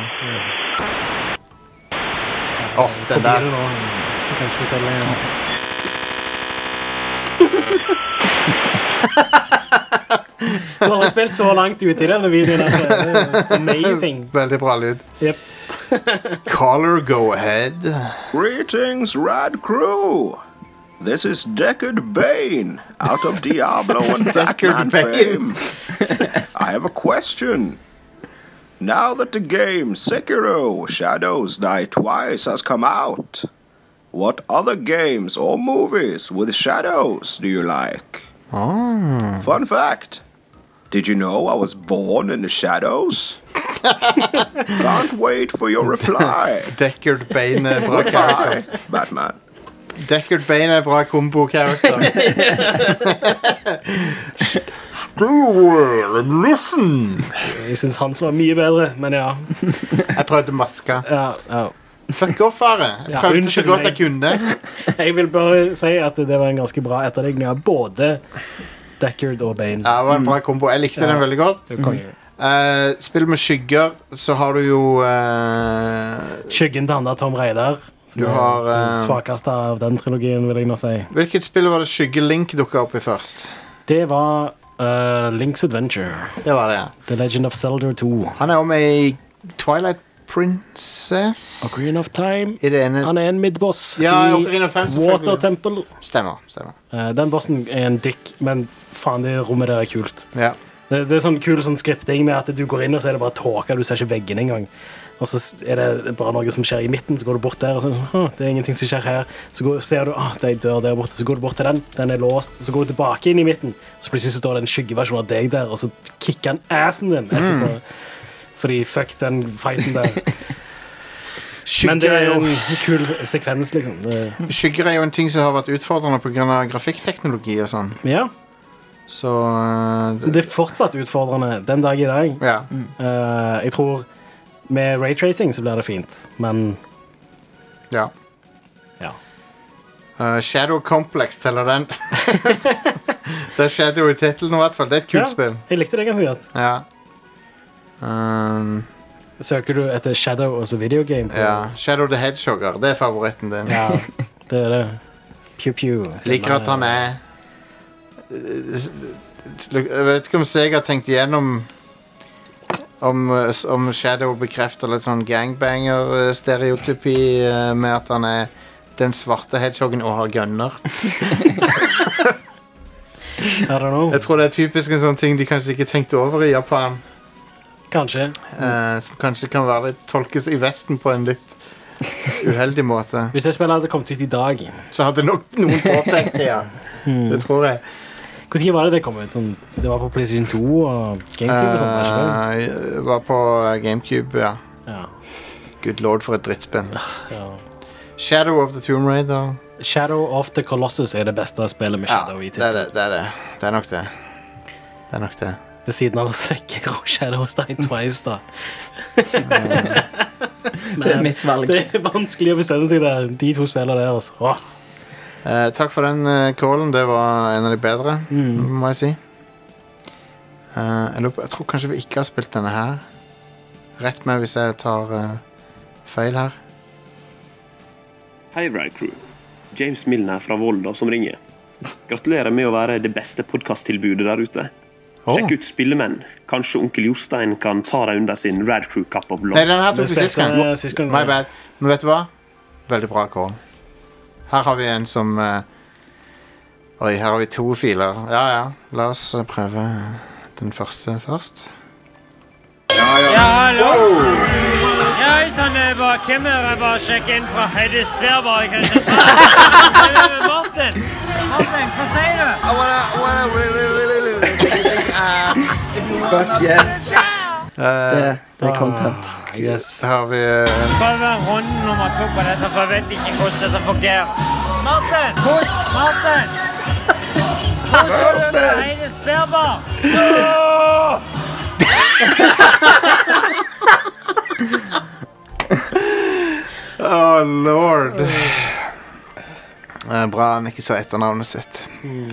Speaker 1: Åh, den
Speaker 2: Forbi det
Speaker 1: der.
Speaker 2: nå. Jeg kan ikke se det lenger. Du har spilt så langt ute i denne videoen. at det er Amazing.
Speaker 1: Veldig bra lyd.
Speaker 2: Jep.
Speaker 1: Caller go ahead.
Speaker 8: Greetings, Rad Crew! Oh, This is Deckard Bane, out of Diablo and Batman
Speaker 1: Bane.
Speaker 8: fame. I have a question. Now that the game Sekiro Shadows Die Twice has come out, what other games or movies with shadows do you like? Fun fact Did you know I was born in the shadows? Can't wait for your reply.
Speaker 1: Deckard Bane er bra
Speaker 8: Goodbye, Batman.
Speaker 1: Deckard Bane er bra kombo-character. Steward, listen!
Speaker 2: Jeg syns hans var mye bedre, men ja.
Speaker 1: Jeg prøvde maska.
Speaker 2: ja, ja.
Speaker 1: Fuck off, Are. Jeg
Speaker 2: Ja,
Speaker 1: prøvde så
Speaker 2: unnskyld
Speaker 1: godt jeg
Speaker 2: meg.
Speaker 1: kunne.
Speaker 2: Jeg vil bare si at det var en ganske bra etterligning av både Deckard og Bane.
Speaker 1: Ja, det var en bra kombo. Jeg likte den veldig godt.
Speaker 2: Det er konge.
Speaker 1: Eh, spill med skygger, så har du jo eh,
Speaker 2: Skyggen til han der Tom Reidar, som
Speaker 1: Du
Speaker 2: er
Speaker 1: har, eh,
Speaker 2: den svakeste av den trilogien, vil jeg nå si.
Speaker 1: Hvilket spill var det Skygge-Link dukka opp i først?
Speaker 2: Det var eh, Link's Adventure.
Speaker 1: Det var det, ja.
Speaker 2: The Legend of Zelda 2.
Speaker 1: Han er jo med i Twilight Princess
Speaker 2: Ocarina of Time.
Speaker 1: I det ene
Speaker 2: Han er en midboss
Speaker 1: Ja,
Speaker 2: i
Speaker 1: Ocarina of Time, selvfølgelig.
Speaker 2: Water Temple.
Speaker 1: Stemmer. stemmer
Speaker 2: Eh, den bossen er en dick, men faen, det rommet der er kult.
Speaker 1: ja.
Speaker 2: Det, det er sånn kul sånn skripting med at du går inn, og så er det bare tåke. Du ser ikke veggene engang. Og så er det bare noe som skjer i midten, så går du bort der. Og så, er det sånn, «Hå, det er ingenting som skjer her. Så går, ser du at det er en dør der borte, så går du bort til den. Den er låst. Så går du tilbake inn i midten, så plutselig så står det en skyggeversjon av deg der, og så kicker han assen din. etterpå.
Speaker 1: Mm.
Speaker 2: Fordi fuck den fighten der. Men det
Speaker 1: Skygger,
Speaker 2: er jo
Speaker 1: er
Speaker 2: en kul sekvens, liksom. Det,
Speaker 1: jo, skygger er jo en ting som har vært utfordrende pga. grafikkteknologi og sånn.
Speaker 2: ja,
Speaker 1: Så eh, det,
Speaker 2: det er fortsatt utfordrende den dag i dag.
Speaker 1: Ja.
Speaker 2: Eh, jeg tror med raytracing så blir det fint, men
Speaker 1: ja.
Speaker 2: ja.
Speaker 1: Eh, Shadow Complex teller den. det er Shadow i tittelen i hvert fall. Det er et kult
Speaker 2: ja,
Speaker 1: spill.
Speaker 2: Jeg likte det ganske godt.
Speaker 1: Ja. Um,
Speaker 2: Søker du etter Shadow og så videogame? på-
Speaker 1: ja. Shadow the Hedgehogger. Det er favoritten din.
Speaker 2: ja. Det er det. Pew-pew.
Speaker 1: Jeg liker at han er eh, Jeg vet ikke om Sega tenkte gjennom om, om Shadow bekrefter litt sånn gangbanger-stereotypi eh, med at han er den svarte hedgehoggen og har gunner.
Speaker 2: I don't know.
Speaker 1: Jeg tror det er typisk en sånn ting de kanskje ikke tenkte over i Japan.
Speaker 2: Kanskje.
Speaker 1: eh, som kanskje kan være litt, tolkes i Vesten på en litt uheldig måte.
Speaker 2: Hvis det spillet hadde kommet ut i dag
Speaker 1: Så hadde nok noen påpekt det, ja. Det tror jeg.
Speaker 2: Når var det det kom ut? Sånn, det var på PlayStation 2 og GameCube og sånn? var det ikke det?
Speaker 1: Eh, jeg var på GameCube, ja.
Speaker 2: Ja.
Speaker 1: Good lord, for et drittspill.
Speaker 2: ja.
Speaker 1: Shadow of the Tomb Raider.
Speaker 2: Shadow of the Colossus er det beste spillet med
Speaker 1: Ja,
Speaker 2: Shadow i
Speaker 1: det er
Speaker 2: tittelen.
Speaker 1: det. Det er, det. det er nok det. Det er nok det.
Speaker 2: Ved siden av Sekiro og Shadowstein Twice, da.
Speaker 3: Det er mitt valg.
Speaker 2: Det er vanskelig å bestemme seg der. De to spiller der, altså. Åh.
Speaker 1: Eh, takk for den eh, callen. Det var en av de bedre, må jeg si. Eh, jeg, lurer på- jeg tror kanskje vi ikke har spilt denne her. Rett meg hvis jeg tar eh, feil her.
Speaker 8: Hei, Rad Crew. James Milner fra Volda som ringer. Gratulerer med å være det beste podkasttilbudet der ute.
Speaker 1: Åh.
Speaker 8: Sjekk ut Spillemenn. Kanskje onkel Jostein kan ta deg under sin Rad Crew Cup of Love.
Speaker 1: Nei, den her tok vi sist gang.
Speaker 2: eh, sist gang.
Speaker 1: My bad. Men vet du hva? Veldig bra call. Her har vi en som eh, Oi, her har vi to filer. Ja, ja. La oss eh, prøve den første først.
Speaker 9: Ja, hallo! Ja, hei sann, jeg bare Kim her. Jeg bare sjekker inn fra Heidesberg, bare i Kristiansand. Jeg er Martin. Martin, hva sier du? I wanna, wanna really, really,
Speaker 3: Fuck yes.
Speaker 1: det,
Speaker 3: det er content.
Speaker 1: ah. Yes. Her har vi eh,
Speaker 9: Kan være hånd nummer to på dette, for jeg vet ikke hvordan dette fungerer. Martin! Kos! Martin! Kos og løp på Heines bærbar!
Speaker 1: Oh lord. Eh, bra han ikke sa etternavnet sitt.
Speaker 2: Mm.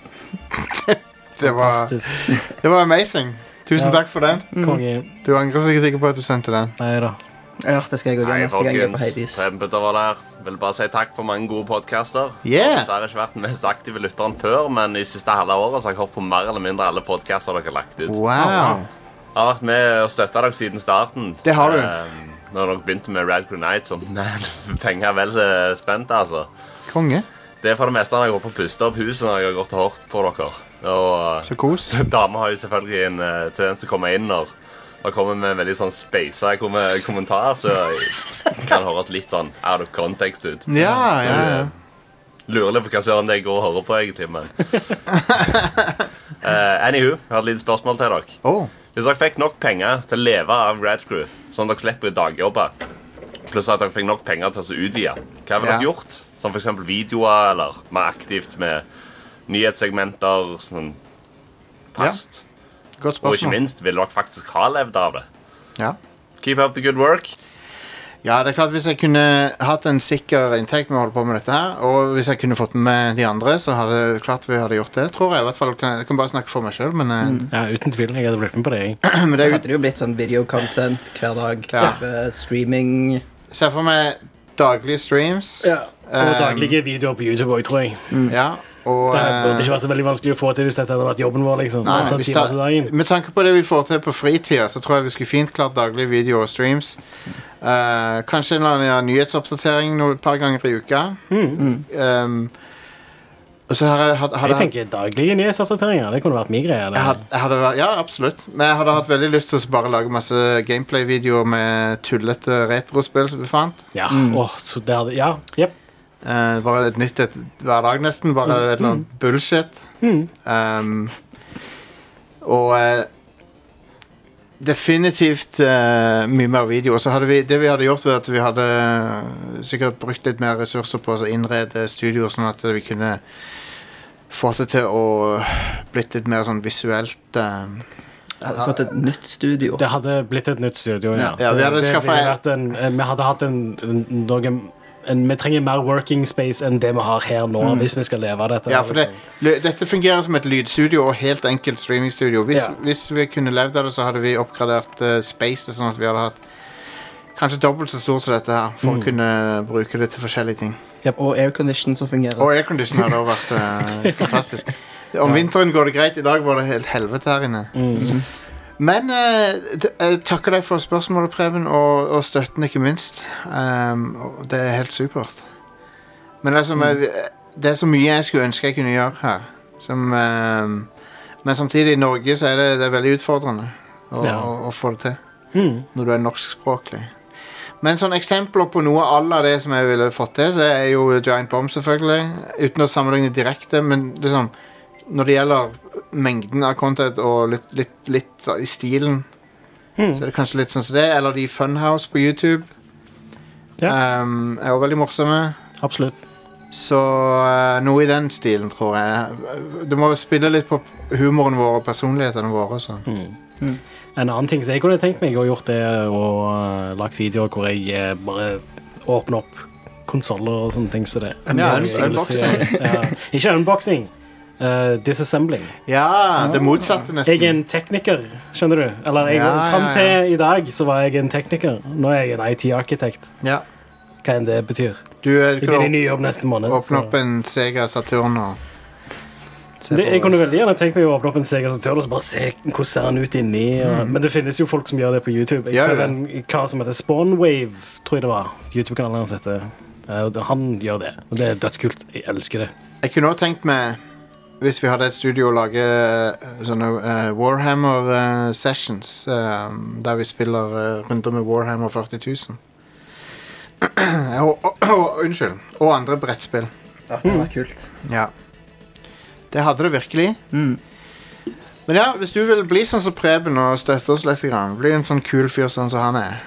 Speaker 1: det var
Speaker 2: Fantastisk.
Speaker 1: Det var amazing. Tusen
Speaker 2: Ja.
Speaker 1: takk for den.
Speaker 2: Konge.
Speaker 1: Du angrer sikkert ikke på at du sendte den.
Speaker 2: Nei da.
Speaker 3: Ja, det skal jeg gå igjen neste gang jeg er på Hades.
Speaker 10: Trembutter var der. Vil bare si takk for mange gode podcaster.
Speaker 1: Yeah.
Speaker 10: Har dessverre ikke vært den mest aktive lytteren før, men i siste halve året så har jeg hørt på mer eller mindre alle podcaster dere har lagt ut.
Speaker 1: Wow.
Speaker 10: Jeg har vært med og støtta dere siden starten.
Speaker 1: Det har du.
Speaker 10: Eh, når dere begynte med Rad Night, så man, penger er vel eh, spent, altså.
Speaker 1: Konge.
Speaker 10: Det er for det meste når jeg går på puste opp huset når jeg har gått og hørt på dere. Og
Speaker 1: Så kos.
Speaker 10: damer har jo selvfølgelig en eh, tendens til å komme inn når dere kommer med veldig sånn speisa kom kommentarer, så jeg kan høres litt sånn out of context ut.
Speaker 1: Ja, ja, ja.
Speaker 10: Lurer litt på hva søren det jeg går og hører på, egentlig, men Eh, Anywho, jeg har et lite spørsmål til dere.
Speaker 1: Oh.
Speaker 10: Hvis dere fikk nok penger til å leve av Radcrew, sånn at dere slipper dagjobber, pluss at dere fikk nok penger til å utvide, hva
Speaker 1: Ja.
Speaker 10: ville dere gjort? Som f.eks. videoer, eller mer aktivt med nyhetssegmenter sånn fast.
Speaker 1: Godt
Speaker 10: Og ikke
Speaker 1: spørsmål.
Speaker 10: minst, ville dere faktisk ha levd av det?
Speaker 1: Ja.
Speaker 10: Keep up the good work.
Speaker 1: Ja, det er klart Hvis jeg kunne hatt en sikker inntekt med å holde på med dette her, og hvis jeg kunne fått med de andre, så hadde klart vi hadde gjort det. tror Jeg i hvert fall, kan- jeg kan bare snakke for meg sjøl, men, eh,
Speaker 2: Ja, uten tvil. Jeg hadde blitt med på Mm. det, jeg.
Speaker 1: men det
Speaker 3: Det
Speaker 1: er jo
Speaker 3: hadde jo blitt sånn videocontent hver dag.
Speaker 1: Ja.
Speaker 3: type Streaming.
Speaker 1: Se for meg daglige streams.
Speaker 2: Ja. Og
Speaker 1: Um,
Speaker 2: daglige videoer på YouTube òg, tror jeg.
Speaker 1: Ja, og
Speaker 2: Det hadde
Speaker 1: eh,
Speaker 2: ikke vært så veldig vanskelig å få til hvis dette hadde vært jobben vår. liksom.
Speaker 1: Nei,
Speaker 2: Åtte
Speaker 1: hvis
Speaker 2: timer
Speaker 1: det-
Speaker 2: til dagen.
Speaker 1: Med tanke på det vi får til på fritida, så tror jeg vi skulle fint klart daglige videoer og streams. Eh, kanskje en eller annen ja, nyhetsoppdatering noe- et par ganger i uka. Um, og så har jeg hatt hadde
Speaker 2: Mm. Jeg tenker daglige nyhetsoppdateringer. Det kunne vært min greie.
Speaker 1: jeg
Speaker 2: det.
Speaker 1: hadde, jeg hadde, vært- ja, absolutt. Men jeg hadde hatt veldig lyst til å bare lage masse gameplay-videoer med tullete retrospill som vi fant.
Speaker 2: Ja, åh, så det hadde, ja, jep.
Speaker 1: Eh, bare et nytt et, hver dag, nesten. Bare et eller annet bullshit. Um, og eh, definitivt eh, mye mer video. Og så hadde vi, det vi hadde gjort, var at vi hadde eh, sikkert brukt litt mer ressurser på å innrede studioer, sånn at vi kunne fått det til å blitt litt mer sånn visuelt eh,
Speaker 3: Jeg Hadde fått et nytt studio.
Speaker 2: Det hadde blitt et nytt studio, ja.
Speaker 1: Ja, vi hadde
Speaker 2: Det- det
Speaker 1: skaffet-
Speaker 2: ville vært en, eh, vi hadde hatt en, en, noen- en Vi trenger mer working space enn det vi har her nå, hvis vi skal leve av dette.
Speaker 1: Mm. Ja, for det,
Speaker 2: liksom.
Speaker 1: lø- dette fungerer som et lydstudio og helt enkelt streamingstudio. Hvis,
Speaker 2: Ja.
Speaker 1: hvis vi kunne levd av det, så hadde vi oppgradert uh, spacet sånn at vi hadde hatt kanskje dobbelt så stort som dette her, for å kunne bruke det til forskjellige ting.
Speaker 3: Og aircondition som fungerer.
Speaker 1: Og aircondition hadde også vært eh, fantastisk. Om vinteren går det greit. I dag var det helt helvete her inne. Men eh, d- jeg takker deg for spørsmålet, Preben, og, og støtten, ikke minst. Um, og det er helt supert. Men det er, som, jeg, det er så mye jeg skulle ønske jeg kunne gjøre her. Som, ehm, men samtidig, i Norge så er det, det er veldig utfordrende å,
Speaker 2: Ja. Mm.
Speaker 1: å, å få det til. Når du er norskspråklig. Men sånn eksempler på noe alle det som jeg ville fått til, så er jo Giant Bomb, selvfølgelig. Uten å sammenligne direkte, men liksom Når det gjelder mengden av content og litt, litt, litt i stilen,
Speaker 2: Mm.
Speaker 1: så er det kanskje litt sånn som det. Eller de i Funhouse på YouTube.
Speaker 2: Ja.
Speaker 1: ehm, er jo veldig morsomme.
Speaker 2: liksom. Absolutt.
Speaker 1: Så eh, noe i den stilen, tror jeg. Du må spille litt på humoren vår og sånn. personlighetene våre. Så.
Speaker 2: En annen ting som jeg kunne tenkt meg å gjort, er å uh, lagt videoer hvor jeg eh, bare eh, åpner opp konsoller og sånne ting. Så det.
Speaker 1: Ja, unboxing.
Speaker 2: Ja. Ikke unboxing. eh, disassembling.
Speaker 1: Ja, det motsatte nesten.
Speaker 2: Ah. Jeg er en tekniker, skjønner du. Eller jeg,
Speaker 1: Ja, ja, ja.
Speaker 2: fram til i dag så var jeg en tekniker. Nå er jeg en IT-arkitekt.
Speaker 1: Ja.
Speaker 2: Hva enn det betyr.
Speaker 1: Du, eh,
Speaker 2: I
Speaker 1: kan
Speaker 2: din nye jobb neste måned,
Speaker 1: Åpne
Speaker 2: så-
Speaker 1: opp en Sega Saturn og se
Speaker 2: Det,
Speaker 1: på-
Speaker 2: jeg kunne veldig gjerne tenkt meg å åpne opp en Sega Saturn og så bare se hvordan ser den ut inni. Og,
Speaker 1: Mm.
Speaker 2: Men det finnes jo folk som gjør det på YouTube. Jeg
Speaker 1: Gjør
Speaker 2: føler
Speaker 1: det?
Speaker 2: en hva som heter Spawnwave, tror jeg det var. YouTube-kanalen hans heter. Eh, og Han gjør det, og det er dødskult. Jeg elsker det.
Speaker 1: Jeg kunne også tenkt meg, hvis vi hadde et studio, å lage eh, sånne eh, Warhammer eh, sessions, eh, der vi spiller eh, runder med Warhammer 40 000. og, og, og, unnskyld. Og andre brettspill.
Speaker 3: Ja, det var kult.
Speaker 1: Ja. Det hadde det virkelig. Men ja, hvis du vil bli sånn som Preben og støtte oss litt, grann, bli en sånn kul fyr sånn som han er,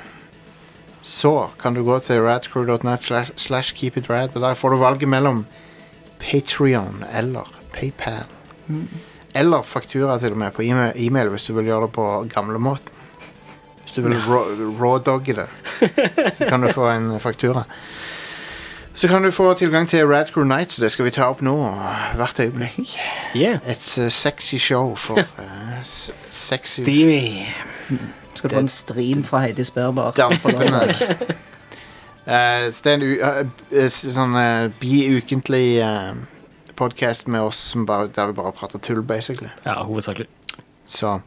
Speaker 1: så kan du gå til radcrew.net slash- slash keepitrad, og der får du valget mellom Patreon eller PayPal. Eller faktura til og med på e-mail- e-mail hvis du vil gjøre det på gamlemåten. Hvis du vil raw- rawdogge det, så kan du få en faktura. Så kan du få tilgang til Radcrew Nights, det skal vi ta opp nå hvert øyeblikk. Et eh, sexy show for eh, s- sexy
Speaker 2: Steamy.
Speaker 3: Skal du få en stream fra Heidi Sperbar? på lørdag?
Speaker 1: Dampene. Eh, så det er en u eh, eh, s- sånn eh, biukentlig eh, podcast med oss som bare, der vi bare prater tull, basically.
Speaker 2: Ja, hovedsakelig.
Speaker 1: Så.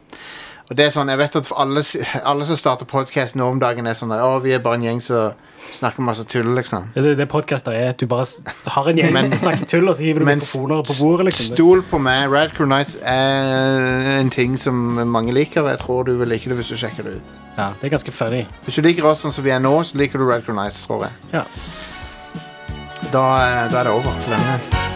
Speaker 1: Og det er sånn, jeg vet at for alle, s- alle som starter podcast nå om dagen er sånn der, å, vi er bare en gjeng som snakker masse tull, liksom.
Speaker 2: Det, det podcaster er at du bare s- har en gjeng
Speaker 1: Men-
Speaker 2: som snakker tull, og så hiver du
Speaker 1: men
Speaker 2: mikrofoner på bordet. liksom.
Speaker 1: Stol på meg, Radcrew Nights er en ting som mange liker, jeg tror du vil like det hvis du sjekker det ut.
Speaker 2: Ja, det er ganske funny.
Speaker 1: Hvis du liker oss sånn som vi er nå, så liker du Radcrew Nights, tror jeg.
Speaker 2: Ja.
Speaker 1: Da, eh, da er det over for denne.